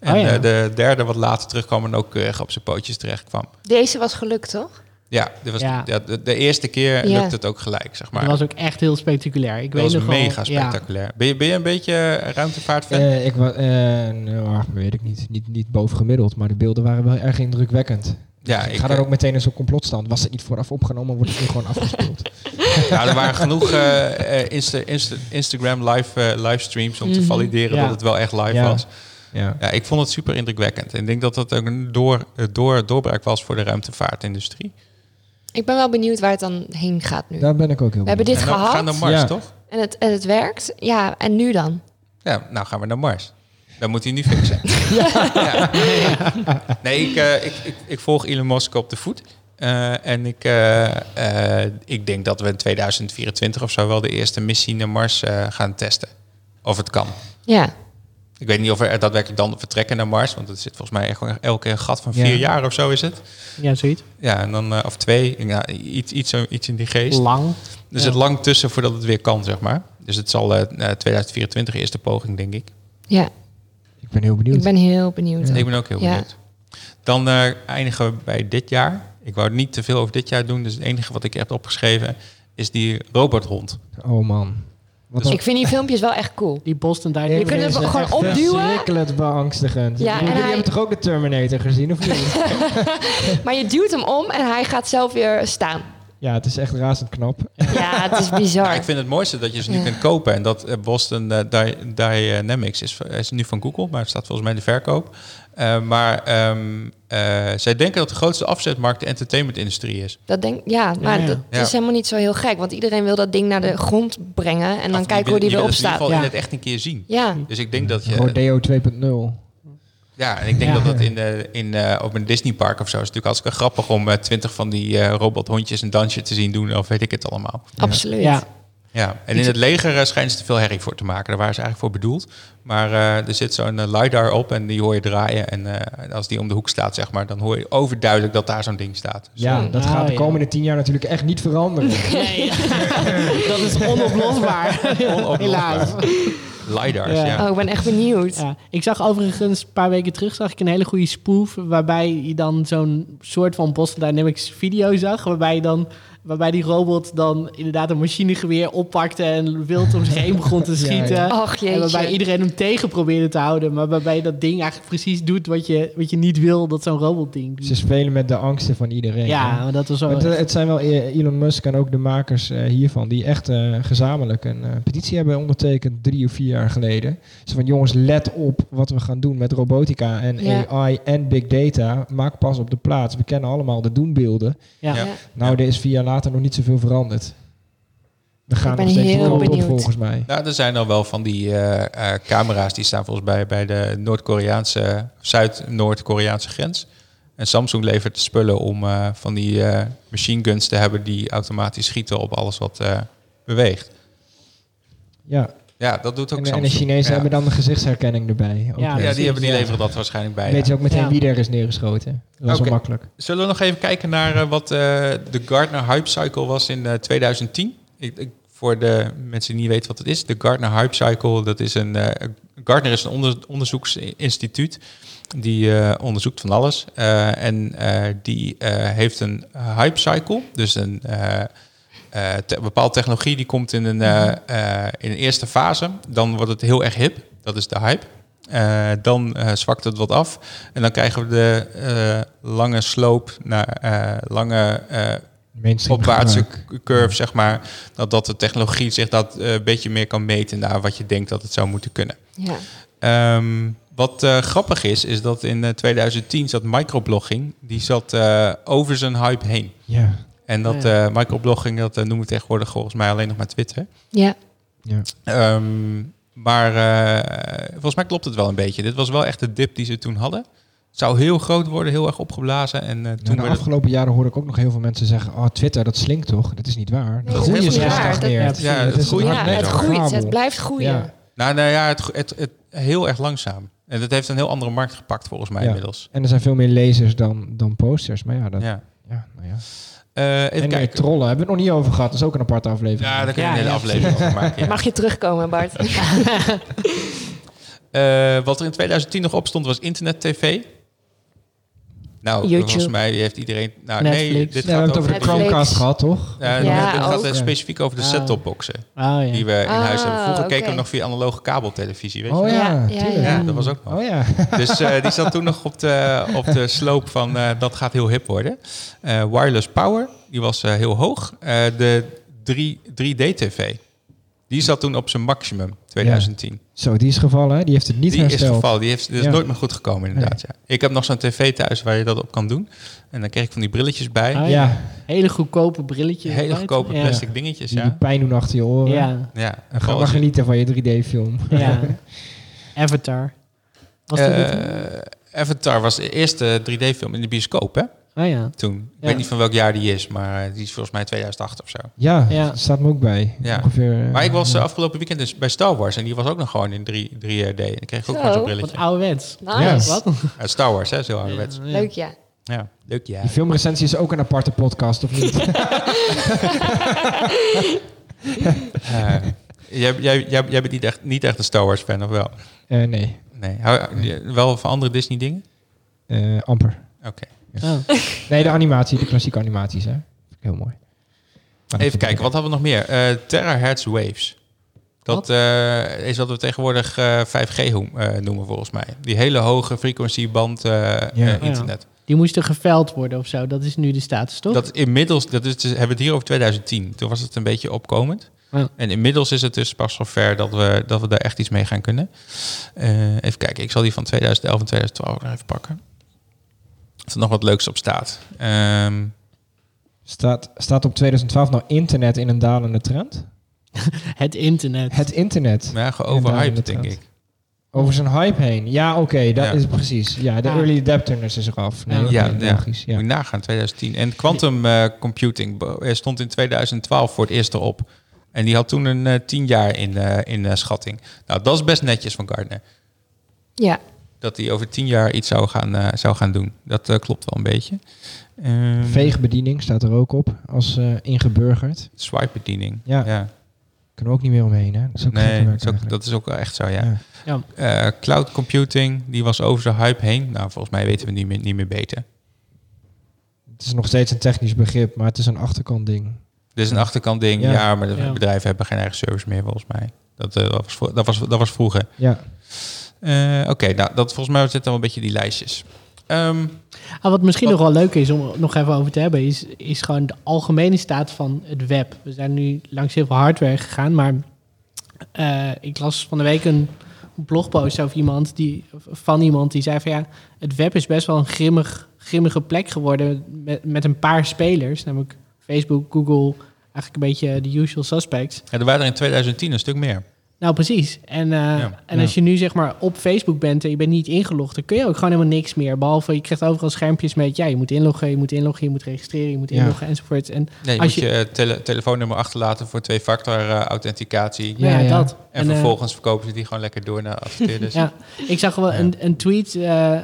Speaker 1: En
Speaker 6: Oh ja.
Speaker 1: eh, de derde wat later terugkwam en ook keurig op zijn pootjes terecht kwam.
Speaker 2: Deze was gelukt, toch?
Speaker 1: Ja, dit was
Speaker 6: Ja.
Speaker 1: ja, de, de eerste keer
Speaker 2: Ja.
Speaker 1: lukte het ook gelijk, zeg maar.
Speaker 6: Dat was ook echt heel spectaculair. Ik
Speaker 1: Dat
Speaker 6: weet
Speaker 1: was
Speaker 6: nog wel-
Speaker 1: mega
Speaker 6: ja.
Speaker 1: spectaculair. Ben, je, ben je een beetje ruimtevaartfan?
Speaker 4: Eh, ik wa- eh, nou, weet ik niet. niet. Niet bovengemiddeld, maar de beelden waren wel erg indrukwekkend. Dus
Speaker 1: ja,
Speaker 4: ik
Speaker 1: ik,
Speaker 4: ga daar
Speaker 1: eh,
Speaker 4: ook meteen in zo'n complotstand. Was het niet vooraf opgenomen, wordt het nu gewoon afgespeeld.
Speaker 1: Nou, er waren genoeg eh, eh, Insta- Insta- Instagram live, eh, livestreams om te
Speaker 2: Mhm.
Speaker 1: valideren
Speaker 6: Ja.
Speaker 1: dat het wel echt live
Speaker 4: Ja.
Speaker 1: was.
Speaker 4: [LAUGHS] Ja.
Speaker 1: Ja, ik vond het super indrukwekkend. En ik denk dat dat ook een door, eh, door, doorbraak was voor de ruimtevaartindustrie.
Speaker 2: Ik ben wel benieuwd waar het dan heen gaat nu.
Speaker 4: Daar ben ik ook heel
Speaker 2: We hebben dit
Speaker 1: en dan
Speaker 2: gehad
Speaker 1: gaan we naar Mars,
Speaker 4: Ja.
Speaker 1: toch?
Speaker 2: en, het, en het werkt. Ja, en nu dan?
Speaker 1: Ja, nou gaan we naar Mars. Dan moet hij nu fixen. Ja. Nee, ik, eh, ik, ik, ik volg Elon Musk op de voet. Eh, en ik, eh, eh, ik denk dat we in 2024 of zo wel de eerste missie naar Mars eh, gaan testen. Of het kan.
Speaker 2: Ja.
Speaker 1: Ik weet niet of we er daadwerkelijk dan vertrekken naar Mars. Want het zit volgens mij echt gewoon elke keer een gat van
Speaker 4: Ja.
Speaker 1: vier jaar of zo is het.
Speaker 6: Ja, zoiets.
Speaker 1: Ja, en dan, eh, of twee. Ja, iets, iets, zo- iets in die geest.
Speaker 6: Lang.
Speaker 1: Er zit lang tussen voordat het weer kan, zeg maar. Dus het zal eh, eh, 2024 eerste poging, denk ik.
Speaker 2: ja,
Speaker 4: Ik ben heel benieuwd.
Speaker 2: ik ben heel benieuwd.
Speaker 1: Ik ben ook heel
Speaker 2: Ja.
Speaker 1: benieuwd. Dan eh, eindigen we bij dit jaar. Ik wou niet te veel over dit jaar doen, dus het enige wat ik heb opgeschreven is die robothond.
Speaker 4: Oh man. Wat
Speaker 1: Dus
Speaker 2: Ik vind die filmpjes wel echt cool.
Speaker 6: Die Boston Dynamics. eh,
Speaker 2: Je kunt het
Speaker 4: Deze
Speaker 2: gewoon
Speaker 4: echt
Speaker 2: opduwen.
Speaker 4: Verschrikkelijk beangstigend.
Speaker 2: Ja,
Speaker 4: Ja,
Speaker 2: en
Speaker 4: Jullie
Speaker 2: hij-
Speaker 4: hebben toch ook de
Speaker 2: [LAUGHS]
Speaker 4: Terminator gezien, of niet?
Speaker 2: Maar je duwt hem om en hij gaat zelf weer staan.
Speaker 4: Ja, het is echt razend knap.
Speaker 2: Ja, het is bizar.
Speaker 1: Ja, Nou, ik vind het mooiste dat je ze nu
Speaker 2: Ja.
Speaker 1: kunt kopen. En dat eh, Boston eh, Dy- Dynamics is, is nu van Google, maar het staat volgens mij in de verkoop. Eh, maar ehm, eh, zij denken dat de grootste afzetmarkt de entertainmentindustrie is.
Speaker 2: Dat denk, ja, maar
Speaker 6: ja.
Speaker 2: dat
Speaker 1: Ja.
Speaker 2: is helemaal niet zo heel gek. Want iedereen wil dat ding naar de grond brengen en dan
Speaker 1: Of
Speaker 2: kijken hoe
Speaker 1: wil-
Speaker 2: die
Speaker 1: je wil
Speaker 2: erop
Speaker 1: het in ieder
Speaker 2: staat.
Speaker 1: geval in
Speaker 6: Ja.
Speaker 1: het echt een keer zien.
Speaker 2: Ja,
Speaker 1: Dus ik denk dat je...
Speaker 4: Rodeo 2.0.
Speaker 1: Ja, en ik denk
Speaker 6: Ja.
Speaker 1: dat dat in, de, in, eh, op een Disneypark of zo is natuurlijk hartstikke grappig om twintig van die eh, robothondjes een dansje te zien doen of weet ik het allemaal.
Speaker 2: absoluut.
Speaker 6: Ja,
Speaker 1: Ja, en in het leger eh, schijnen ze te veel herrie voor te maken. Daar waren ze eigenlijk voor bedoeld. Maar eh, er zit zo'n eh, LiDAR op en die hoor je draaien. En eh, als die om de hoek staat, zeg maar, dan hoor je overduidelijk dat daar zo'n ding staat. Dus,
Speaker 4: Ja, dat
Speaker 6: Ah,
Speaker 4: gaat de
Speaker 6: ja.
Speaker 4: komende tien jaar natuurlijk echt niet
Speaker 2: [LAUGHS]
Speaker 4: veranderen.
Speaker 6: Nee, dat is
Speaker 1: [LAUGHS]
Speaker 6: onoplosbaar.
Speaker 1: Onoplosbaar.
Speaker 6: Helaas.
Speaker 1: LiDAR's, ja.
Speaker 6: Ja.
Speaker 2: Oh, ik ben echt benieuwd.
Speaker 6: Ja, ik zag overigens een paar weken terug zag ik een hele goede spoof waarbij je dan zo'n soort van Boston Dynamics video zag, waarbij je dan waarbij die robot dan inderdaad een machinegeweer oppakte en wild om zich heen begon
Speaker 4: [LAUGHS]
Speaker 6: te
Speaker 4: Ja, ja.
Speaker 6: schieten.
Speaker 2: Ach
Speaker 6: En waarbij
Speaker 2: Oh, jeetje.
Speaker 6: iedereen hem tegen probeerde te houden, maar waarbij dat ding eigenlijk precies doet wat je, wat je niet wil dat zo'n robot ding
Speaker 4: Ze
Speaker 6: doet.
Speaker 4: spelen met de angsten van iedereen.
Speaker 6: Ja,
Speaker 4: hè.
Speaker 6: maar dat was wel...
Speaker 4: Maar het, het zijn wel eh, Elon Musk en ook de makers eh, hiervan, die echt eh, gezamenlijk een eh, petitie hebben ondertekend drie of vier jaar geleden. Ze van jongens, let op wat we gaan doen met robotica en
Speaker 2: Ja.
Speaker 4: AI en big data. Maak pas op de plaats. We kennen allemaal de doenbeelden.
Speaker 6: ja.
Speaker 1: Ja.
Speaker 4: Nou, er is vier jaar later nog niet zoveel veranderd. We gaan
Speaker 2: ben
Speaker 4: nog steeds
Speaker 2: heel
Speaker 4: die kant op
Speaker 2: benieuwd.
Speaker 4: volgens mij.
Speaker 1: Nou, er zijn al wel van die eh, eh, camera's die staan volgens mij bij de Noord-Koreaanse, Zuid-Noord-Koreaanse grens. En Samsung levert spullen om eh, van die eh, machine guns te hebben die automatisch schieten op alles wat eh, beweegt.
Speaker 4: Ja.
Speaker 1: Ja, dat doet ook
Speaker 4: En, en
Speaker 1: Samsung.
Speaker 4: de Chinezen
Speaker 1: Ja.
Speaker 4: hebben dus dan de gezichtsherkenning erbij. Ook
Speaker 6: Ja,
Speaker 4: weer.
Speaker 1: Ja, die hebben die
Speaker 6: Ja.
Speaker 1: leveren dat waarschijnlijk bij. ja.
Speaker 4: Weet je ook meteen
Speaker 6: Ja.
Speaker 4: wie er is neergeschoten. Dat is
Speaker 1: Oké.
Speaker 4: wel makkelijk.
Speaker 1: Zullen we nog even kijken naar eh, wat eh, de Gartner Hype Cycle was in eh, 2010? Ik, ik- voor de mensen die niet weten wat het is, de Gartner Hype Cycle, dat is een. eh, Gartner is een onder- onderzoeksinstituut die eh, onderzoekt van alles. Eh, en eh, die eh, heeft een hype cycle, dus een eh, eh, te- bepaalde technologie die komt in een, eh, eh, in een eerste fase. Dan wordt het heel erg hip, dat is de hype. Eh, dan eh, zwakt het wat af. En dan krijgen we de eh, lange sloop naar eh, lange eh,
Speaker 4: Mainstream
Speaker 1: opwaartse
Speaker 4: gebruik.
Speaker 1: cu- curve, zeg maar. Dat, dat de technologie zich dat eh, een beetje meer kan meten naar wat je denkt dat het zou moeten kunnen.
Speaker 2: Ja.
Speaker 1: Ehm, wat eh, grappig is, is dat in eh, 2010 zat microblogging, die zat eh, over zijn hype heen.
Speaker 4: Ja.
Speaker 1: En dat eh microblogging, dat eh, noemen we tegenwoordig volgens mij alleen nog maar Twitter.
Speaker 2: ja.
Speaker 4: ja.
Speaker 1: Ehm, maar eh, volgens mij klopt het wel een beetje. Dit was wel echt de dip die ze toen hadden. Het zou heel groot worden, heel erg opgeblazen. En eh,
Speaker 4: Nou,
Speaker 1: toen
Speaker 4: de
Speaker 1: werd het-
Speaker 4: afgelopen jaren hoor ik ook nog heel veel mensen zeggen: Oh, Twitter, dat slinkt toch? Dat is niet waar.
Speaker 2: Nee,
Speaker 4: Dat
Speaker 2: dat is
Speaker 4: groeit
Speaker 2: niet
Speaker 4: is
Speaker 2: waar. Dat-
Speaker 4: gestagneerd.
Speaker 1: Ja, het
Speaker 4: is
Speaker 1: groeit.
Speaker 4: een
Speaker 2: Ja,
Speaker 1: nee,
Speaker 2: het
Speaker 4: hardnekkig
Speaker 2: groeit.
Speaker 4: fabel.
Speaker 2: Het blijft groeien.
Speaker 4: Ja.
Speaker 1: nou, nou ja, het, het, het, heel erg langzaam. En dat heeft een heel andere markt gepakt volgens mij
Speaker 4: Ja.
Speaker 1: inmiddels.
Speaker 4: En er zijn veel meer lezers dan, dan posters. Maar ja, dat, ja.
Speaker 1: Ja.
Speaker 4: nou ja.
Speaker 1: Eh,
Speaker 4: En
Speaker 1: even
Speaker 4: meer
Speaker 1: kijken.
Speaker 4: trollen hebben we het nog niet over gehad. Dat is ook een aparte aflevering.
Speaker 1: Ja, daar kun je
Speaker 6: Ja,
Speaker 1: een hele
Speaker 6: ja.
Speaker 1: aflevering over
Speaker 2: [LAUGHS]
Speaker 1: maken. ja.
Speaker 2: Mag je terugkomen, Bart?
Speaker 1: Eh, wat er in 2010 nog op stond was internet-tv. Nou,
Speaker 2: YouTube.
Speaker 1: volgens mij heeft iedereen... Nou, nee,
Speaker 6: Netflix.
Speaker 1: dit
Speaker 4: Ja, we
Speaker 1: gaat
Speaker 4: hebben het over
Speaker 1: over
Speaker 4: de
Speaker 1: die-
Speaker 2: Netflix.
Speaker 4: Chromecast gehad, toch?
Speaker 1: Ja,
Speaker 2: Ja,
Speaker 1: dit gaat
Speaker 2: ook.
Speaker 1: eh, specifiek over de
Speaker 6: Ah.
Speaker 1: set-top-boxen
Speaker 6: Oh, ja.
Speaker 1: die we in
Speaker 2: Ah,
Speaker 1: huis hebben. Vroeger keken we
Speaker 2: oké.
Speaker 1: nog via analoge kabeltelevisie, weet je?
Speaker 4: Oh ja,
Speaker 2: Ja, ja,
Speaker 4: tuurlijk.
Speaker 1: Ja, dat was ook nog.
Speaker 4: Oh ja.
Speaker 1: Dus eh, die zat toen nog op de, op de sloop van eh, dat gaat heel hip worden. Eh, wireless power, die was eh, heel hoog. Eh, de 3, 3D-tv, die zat toen op zijn maximum, 2010.
Speaker 4: Zo, die is gevallen. hè? Die heeft het niet
Speaker 1: die
Speaker 4: hersteld.
Speaker 1: is gevallen. Die, heeft, die is
Speaker 4: Ja.
Speaker 1: nooit meer goed gekomen, inderdaad. Ja. Ik heb nog zo'n tv thuis waar je dat op kan doen. En dan kreeg ik van die brilletjes bij.
Speaker 6: Ah,
Speaker 4: Ja,
Speaker 6: Hele goedkope brilletjes.
Speaker 1: Hele goedkope
Speaker 6: Ja.
Speaker 1: plastic dingetjes,
Speaker 4: die, die
Speaker 1: ja.
Speaker 4: pijn doen achter je oren.
Speaker 6: Ja.
Speaker 1: ja.
Speaker 4: En ga
Speaker 1: Gewoon
Speaker 4: maar
Speaker 1: als je-
Speaker 4: genieten van je 3D-film.
Speaker 6: ja.
Speaker 1: [LAUGHS]
Speaker 6: Avatar. Was dat het?
Speaker 1: Eh, Avatar was de eerste 3D-film in de bioscoop, hè?
Speaker 6: Oh ja.
Speaker 1: Toen. Ik
Speaker 6: Ja.
Speaker 1: weet niet van welk jaar die is, maar eh, die is volgens mij 2008 of zo.
Speaker 4: [LAUGHS] Ja,
Speaker 6: Ja.
Speaker 4: dat staat me ook bij.
Speaker 1: Ja.
Speaker 4: Ongeveer, eh,
Speaker 1: Maar ik was
Speaker 4: ja.
Speaker 1: eh, afgelopen weekend dus bij Star Wars en die was ook nog gewoon in 3, 3D. En ik kreeg ook
Speaker 2: Zo.
Speaker 1: gewoon zo'n
Speaker 6: Wat
Speaker 1: brilletje.
Speaker 6: ouderwets.
Speaker 2: [LAUGHS] Nice.
Speaker 6: Wat?
Speaker 1: Eh, Star Wars, hè? Zo ouderwets. Ja.
Speaker 2: Leuk, ja.
Speaker 1: ja. Leuk, ja.
Speaker 4: Die filmrecensie is ook een aparte podcast, of niet?
Speaker 1: Eh, [LAUGHS] jij, jij, jij, jij bent niet echt, niet echt een Star Wars fan, of wel?
Speaker 4: Eh, nee,
Speaker 1: Nee. Hou- je- Wel van andere Disney dingen?
Speaker 4: Eh, amper.
Speaker 1: Oké.
Speaker 6: Oh.
Speaker 4: Nee, de animatie, de klassieke animaties, hè. Vind ik Heel mooi.
Speaker 1: Even kijken, wat hadden we nog meer? Eh terahertz waves. Dat eh, is wat we tegenwoordig eh, 5G ho- eh, noemen volgens mij. Die hele hoge frequentieband eh,
Speaker 4: Ja.
Speaker 1: eh, internet.
Speaker 6: Die moesten geveld worden of zo. Dat is nu de status, toch?
Speaker 1: Dat inmiddels, dat is, dus- hebben we het hier over 2010. Toen was het een beetje opkomend.
Speaker 6: Ja.
Speaker 1: En inmiddels is het dus pas zover dat we, dat we daar echt iets mee gaan kunnen. Eh, even kijken, ik zal die van 2011 en 2012 nog even pakken. Of er nog wat leuks op staat. Ehm,
Speaker 4: Staat, staat op 2012 nou internet in een dalende trend?
Speaker 6: Het internet.
Speaker 4: Het internet.
Speaker 1: maar ja, geoverhyped, denk ik.
Speaker 4: Over zijn hype heen. Ja, oké, dat
Speaker 1: Ja.
Speaker 4: is precies. Ja, de
Speaker 6: Ja.
Speaker 4: early adapters is eraf. Nee,
Speaker 6: Ja.
Speaker 4: oké,
Speaker 1: Ja, ja.
Speaker 4: logisch. Ja.
Speaker 1: Moet je nagaan, 2010. En quantum eh, computing bo- eh, stond in 2012 voor het eerst erop. En die had toen een eh, 10 jaar in, eh, in eh, schatting. Nou, dat is best netjes van Gardner.
Speaker 2: Ja,
Speaker 1: Dat hij over 10 jaar iets zou gaan, eh, zou gaan doen. Dat eh, klopt wel een beetje. Ehm,
Speaker 4: Veegbediening staat er ook op als eh, ingeburgerd.
Speaker 1: Swipe-bediening.
Speaker 4: Ja. Kunnen we ook niet meer omheen, hè? Dat is ook
Speaker 1: Nee,
Speaker 4: gek te
Speaker 1: dat
Speaker 4: werken
Speaker 1: is, ook,
Speaker 4: eigenlijk.
Speaker 1: dat is ook wel echt zo, ja.
Speaker 4: Ja.
Speaker 6: Ja.
Speaker 1: Eh, cloud computing, die was over zijn hype heen. Nou, volgens mij weten we niet meer, niet meer beter.
Speaker 4: Het is nog steeds een technisch begrip, maar het is een achterkant ding.
Speaker 1: Dit is een achterkant ding, ja,
Speaker 4: Ja.
Speaker 1: maar de
Speaker 6: Ja.
Speaker 1: bedrijven hebben geen eigen service meer, volgens mij. Dat, eh, dat, was, vro- dat, was, dat was vroeger.
Speaker 4: Ja.
Speaker 1: Eh, Oké, nou, dat, volgens mij zitten al een beetje die lijstjes. Ehm,
Speaker 6: Ah, wat misschien nog wel leuk is om er nog even over te hebben, is, is gewoon de algemene staat van het web. We zijn nu langs heel veel hardware gegaan, maar eh, ik las van de week een blogpost over iemand die, van iemand die zei van ja, het web is best wel een grimmig, grimmige plek geworden met, met een paar spelers, namelijk Facebook, Google, eigenlijk een beetje de usual suspects.
Speaker 1: ja, er waren er in 2010 een stuk meer.
Speaker 6: Nou, precies. En, eh,
Speaker 1: Ja.
Speaker 6: en als je nu zeg maar op Facebook bent en je bent niet ingelogd, dan kun je ook gewoon helemaal niks meer. Behalve je krijgt overal schermpjes met, ja, je moet inloggen, je moet inloggen, je moet registreren, je moet
Speaker 4: Ja.
Speaker 6: inloggen enzovoort. En
Speaker 1: Nee, je
Speaker 6: Als
Speaker 1: moet je, eh, tele- telefoonnummer achterlaten voor twee-factor eh, authenticatie.
Speaker 6: ja,
Speaker 4: Ja, ja.
Speaker 6: dat.
Speaker 1: En,
Speaker 6: eh,
Speaker 1: vervolgens verkopen ze die gewoon lekker door naar adverteerders.
Speaker 6: [LAUGHS] ja, ik zag wel
Speaker 1: Ja.
Speaker 6: een, een tweet, eh,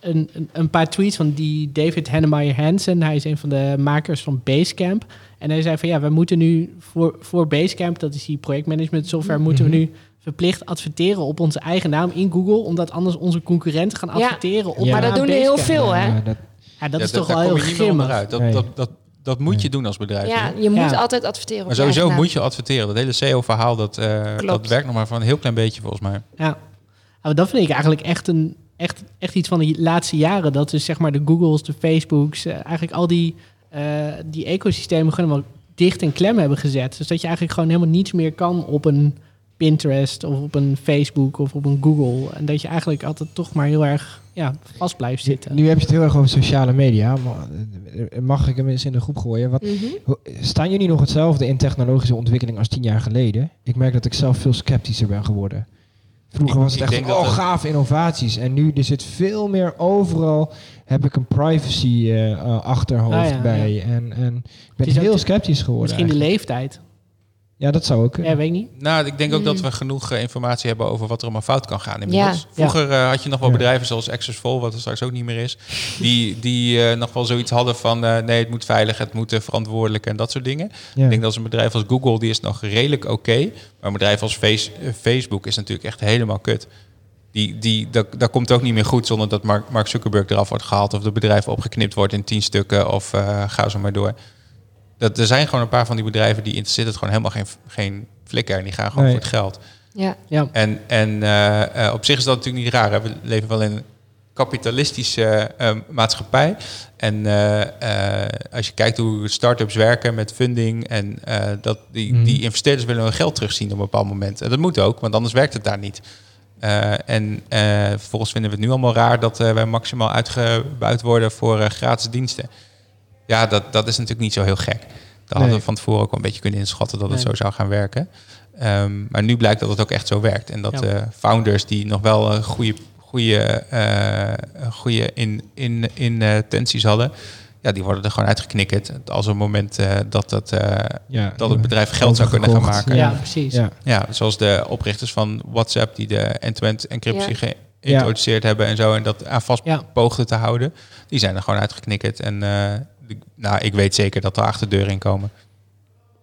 Speaker 6: een, een, een paar tweets van die David Hennemeyer Hansen. Hij is een van de makers van Basecamp. En hij zei van ja, we moeten nu voor, voor Basecamp, dat is die projectmanagement software,
Speaker 4: Mhm.
Speaker 6: moeten we nu verplicht adverteren op onze eigen naam in Google, omdat anders onze concurrenten gaan
Speaker 2: Ja.
Speaker 6: adverteren op
Speaker 4: Ja.
Speaker 2: maar
Speaker 6: de
Speaker 2: dat
Speaker 6: naam
Speaker 2: doen er heel
Speaker 6: Basecamp.
Speaker 2: veel, hè?
Speaker 4: Ja, dat,
Speaker 6: Ja, dat
Speaker 1: Ja,
Speaker 6: is toch
Speaker 1: daar
Speaker 6: wel heel
Speaker 1: kom je niet meer
Speaker 6: grimmig.
Speaker 1: onderuit. Dat,
Speaker 4: Nee.
Speaker 1: dat, dat, dat moet
Speaker 4: Nee.
Speaker 1: je doen als bedrijf.
Speaker 2: ja
Speaker 1: hoor.
Speaker 2: je moet
Speaker 6: Ja.
Speaker 2: altijd adverteren. op
Speaker 1: maar
Speaker 2: je
Speaker 1: sowieso
Speaker 2: eigen
Speaker 1: moet je adverteren. Dat hele SEO-verhaal, dat, eh,
Speaker 2: Klopt.
Speaker 1: dat werkt nog maar voor een heel klein beetje volgens mij.
Speaker 6: Ja. Maar dat vind ik eigenlijk echt, een, echt, echt iets van de laatste jaren. Dat dus zeg maar de Googles, de Facebooks, eh, eigenlijk al die, eh, die ecosystemen gewoon helemaal dicht en klem hebben gezet. Dus dat je eigenlijk gewoon helemaal niets meer kan op een Pinterest of op een Facebook of op een Google. En dat je eigenlijk altijd toch maar heel erg ja, vast blijft zitten.
Speaker 4: nu heb je het heel erg over sociale media. maar, eh, Mag ik hem eens in de groep gooien? Wat,
Speaker 2: naam. Mhm.
Speaker 4: hoe- staan jullie nog hetzelfde in technologische ontwikkeling als tien jaar geleden? Ik merk dat ik zelf veel sceptischer ben geworden. Vroeger
Speaker 1: Ik-
Speaker 4: was
Speaker 1: ik
Speaker 4: het echt
Speaker 1: denk
Speaker 4: van,
Speaker 1: dat
Speaker 4: oh,
Speaker 1: het-
Speaker 4: gaaf innovaties. En nu er zit veel meer overal, heb ik een privacy eh, eh, achterhoofd
Speaker 6: Ah, ja,
Speaker 4: bij. En, en ik ben
Speaker 6: is ook
Speaker 4: heel
Speaker 6: de-
Speaker 4: sceptisch geworden
Speaker 6: Misschien de
Speaker 4: eigenlijk.
Speaker 6: leeftijd.
Speaker 4: Ja, dat zou ook kunnen.
Speaker 6: Ja, weet ik niet.
Speaker 1: Nou, ik denk ook dat
Speaker 2: Mm.
Speaker 1: we genoeg eh, informatie hebben over wat er allemaal fout kan gaan. Inmiddels.
Speaker 2: Ja.
Speaker 1: Vroeger eh, had je nog wel
Speaker 4: Ja.
Speaker 1: bedrijven zoals Accessful, wat er straks ook niet meer is, die, die eh, nog wel zoiets hadden van eh, nee, het moet veilig, het moet eh, verantwoordelijk en dat soort dingen.
Speaker 4: Ja.
Speaker 1: Ik denk dat een bedrijf als Google, die is nog redelijk oké, maar een bedrijf als Face- eh, Facebook is natuurlijk echt helemaal kut. Die, die, dat, dat komt ook niet meer goed zonder dat Mark, Mark Zuckerberg eraf wordt gehaald of de bedrijven opgeknipt wordt in tien stukken of eh, ga zo maar door. Dat, er zijn gewoon een paar van die bedrijven die interesseert het gewoon helemaal geen, geen flikker en die gaan gewoon
Speaker 4: Nee.
Speaker 1: voor het geld.
Speaker 2: Ja.
Speaker 6: Ja.
Speaker 1: En, en eh, eh, op zich is dat natuurlijk niet raar. Hè? We leven wel in een kapitalistische eh, maatschappij. En eh, eh, als je kijkt hoe start-ups werken met funding... en eh, dat die,
Speaker 4: Mhm.
Speaker 1: die investeerders willen hun geld terugzien op een bepaald moment. En dat moet ook, want anders werkt het daar niet. Eh, en eh, vervolgens vinden we het nu allemaal raar... dat eh, wij maximaal uitgebuit worden voor eh, gratis diensten. Ja, dat, dat is natuurlijk niet zo heel gek. Dat hadden
Speaker 4: Nee.
Speaker 1: we van tevoren ook wel een beetje kunnen inschatten... dat het
Speaker 6: Nee.
Speaker 1: zo zou gaan werken. Ehm, maar nu blijkt dat het ook echt zo werkt. En dat
Speaker 6: Ja.
Speaker 1: eh, founders die nog wel eh, goede, goede, eh, goede in, in, in, eh, intenties hadden, ja, die worden er gewoon uitgeknikkerd. Als een moment eh, dat, dat, eh,
Speaker 4: Ja,
Speaker 1: dat het bedrijf geld zou kunnen gaan
Speaker 4: Overgekocht,
Speaker 1: maken.
Speaker 6: Ja,
Speaker 1: Ja.
Speaker 4: Ja.
Speaker 6: precies.
Speaker 4: Ja.
Speaker 1: zoals de oprichters van WhatsApp die de end-to-end encryptie geïntroduceerd hebben en zo. En dat aan vast
Speaker 6: Ja.
Speaker 1: poogden te houden. Die zijn er gewoon uitgeknikkerd. En eh, ik- nou, ik weet zeker dat er achterdeuren in komen.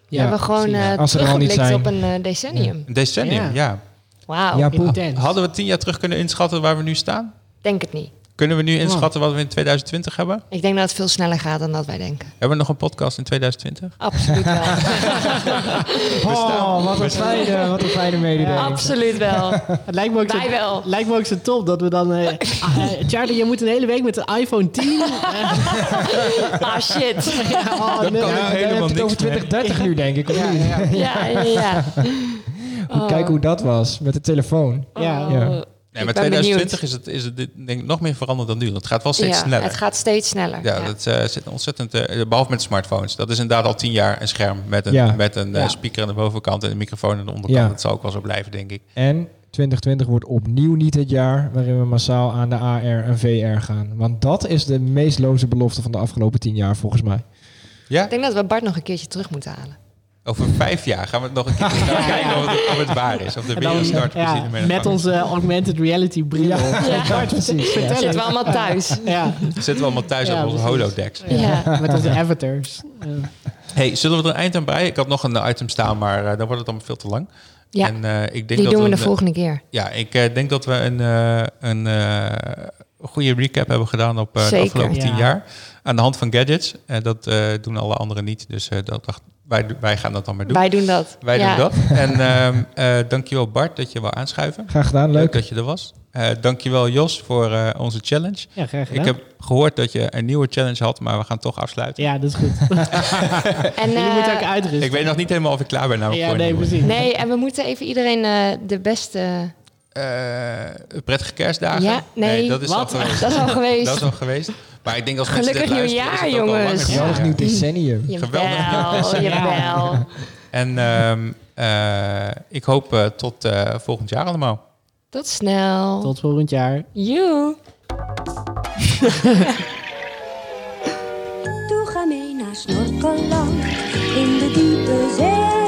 Speaker 2: We hebben gewoon
Speaker 6: precies.
Speaker 2: eh,
Speaker 4: Als ze er al niet
Speaker 2: teruggeblikt
Speaker 4: zijn.
Speaker 2: op een eh, decennium.
Speaker 1: Een decennium,
Speaker 6: Ja.
Speaker 1: ja.
Speaker 2: Wauw,
Speaker 4: Ja,
Speaker 2: ik
Speaker 4: poeh.
Speaker 6: Intens.
Speaker 1: Hadden we tien jaar terug kunnen inschatten waar we nu staan?
Speaker 2: denk het niet.
Speaker 1: Kunnen we nu inschatten wat we in 2020 hebben?
Speaker 2: Ik denk dat het veel sneller gaat dan dat wij denken.
Speaker 1: Hebben we nog een podcast in 2020?
Speaker 2: Absoluut wel.
Speaker 4: Oh, wat een fijne, wat een fijne mededeling.
Speaker 2: Absoluut wel.
Speaker 6: Het lijkt me ook zo,
Speaker 2: Wij wel.
Speaker 6: lijkt me ook zo top dat we dan... eh, ah, eh, Charlie, je moet een hele week met een iPhone 10.
Speaker 2: Ah shit.
Speaker 6: Oh, nee.
Speaker 1: kan
Speaker 4: Ja,
Speaker 1: ik helemaal
Speaker 4: dan heb je het
Speaker 1: niks
Speaker 4: over 2030 nu, denk ik. Of
Speaker 6: Ja,
Speaker 4: niet?
Speaker 6: ja, ja.
Speaker 2: Ja, ja, ja. Oh.
Speaker 4: Kijk hoe dat was met de telefoon.
Speaker 6: Ja.
Speaker 4: Ja.
Speaker 1: Nee,
Speaker 2: Ik
Speaker 1: maar
Speaker 2: ben
Speaker 1: 2020
Speaker 2: benieuwd.
Speaker 1: is het, is het dit- denk ik nog meer veranderd dan nu. want Het gaat wel steeds
Speaker 2: Ja,
Speaker 1: sneller.
Speaker 2: Het gaat steeds sneller.
Speaker 1: Ja, dat eh, zit ontzettend. eh, behalve met smartphones. Dat is inderdaad al tien jaar een scherm met een,
Speaker 4: Ja.
Speaker 1: met een eh,
Speaker 6: Ja.
Speaker 1: speaker aan de bovenkant en een microfoon aan de onderkant.
Speaker 4: Ja.
Speaker 1: Dat zal ook wel zo blijven, denk ik.
Speaker 4: En 2020 wordt opnieuw niet het jaar waarin we massaal aan de AR en VR gaan. Want dat is de meest loze belofte van de afgelopen tien jaar, volgens mij.
Speaker 1: Ja,
Speaker 2: Ik denk dat we Bart nog een keertje terug moeten halen.
Speaker 1: over vijf jaar gaan we het nog een
Speaker 2: [LAUGHS]
Speaker 1: keer gaan kijken of het, of het waar is. Of de
Speaker 6: En dan,
Speaker 1: wereld start
Speaker 6: ja,
Speaker 1: precies ermee aan de
Speaker 6: met
Speaker 1: gang.
Speaker 6: onze augmented reality bril.
Speaker 4: Ja.
Speaker 6: Ja.
Speaker 4: Ja, precies. ja.
Speaker 6: Vertel
Speaker 2: Zitten we
Speaker 6: eens.
Speaker 2: allemaal thuis.
Speaker 6: Ja.
Speaker 1: Zitten we allemaal thuis
Speaker 6: Ja,
Speaker 1: op onze
Speaker 6: precies.
Speaker 1: holodecks.
Speaker 2: Ja.
Speaker 6: met onze avatars. Eh,
Speaker 1: Hey, zullen we er een eind aan breien? Ik had nog een item staan, maar eh, dan wordt het dan veel te lang.
Speaker 2: Ja,
Speaker 1: en, eh, ik denk
Speaker 2: Die
Speaker 1: dat
Speaker 2: doen we
Speaker 1: een,
Speaker 2: de volgende keer.
Speaker 1: Ja, ik eh, denk dat we een, eh, een eh, goede recap hebben gedaan op eh, de
Speaker 2: Zeker.
Speaker 1: afgelopen tien
Speaker 6: Ja.
Speaker 1: jaar. Aan de hand van gadgets. Eh, dat eh, doen alle anderen niet. Dus eh, dat dacht, wij, wij gaan dat dan maar doen. Wij,
Speaker 2: Wij doen dat.
Speaker 1: doen
Speaker 2: Ja. [LAUGHS]
Speaker 1: dat. En ehm eh dankjewel Bart dat je wou aanschuiven.
Speaker 4: Graag gedaan,
Speaker 1: Leuk
Speaker 4: leuk.
Speaker 1: dat je er was. Eh dankjewel Jos voor eh, onze challenge.
Speaker 6: ja, graag
Speaker 1: Ik
Speaker 6: gedaan.
Speaker 1: heb gehoord dat je een nieuwe challenge had, maar we gaan toch afsluiten.
Speaker 6: Ja, dat is goed.
Speaker 2: En,
Speaker 6: Jullie
Speaker 2: eh,
Speaker 6: moeten ook uitrusten.
Speaker 1: Ik weet nog niet helemaal of ik klaar ben. Namelijk
Speaker 6: Ja,
Speaker 1: voor een
Speaker 6: nee,
Speaker 1: nieuwe.
Speaker 6: precies.
Speaker 2: nee, en we moeten even iedereen eh, de beste...
Speaker 1: Eh, prettige kerstdagen.
Speaker 2: Ja, nee,
Speaker 1: dat is al
Speaker 6: wat?
Speaker 1: geweest.
Speaker 2: [LAUGHS] Dat is al geweest.
Speaker 1: Oh, Dat is al geweest. Maar ik denk als
Speaker 2: Gelukkig
Speaker 1: mensen dit luisteren,
Speaker 2: nieuwjaar,
Speaker 1: is het ook al
Speaker 4: Geweldig
Speaker 1: langer
Speaker 4: nieuw
Speaker 1: geleden.
Speaker 4: decennium.
Speaker 1: Geweldig. [LAUGHS]
Speaker 2: Jawel, jawel.
Speaker 1: En ehm, eh, ik hoop eh, tot eh, volgend jaar allemaal.
Speaker 2: Tot snel.
Speaker 6: Tot volgend jaar.
Speaker 2: Joe.
Speaker 7: Toe ga mee naar Snorkeland in de diepe zee.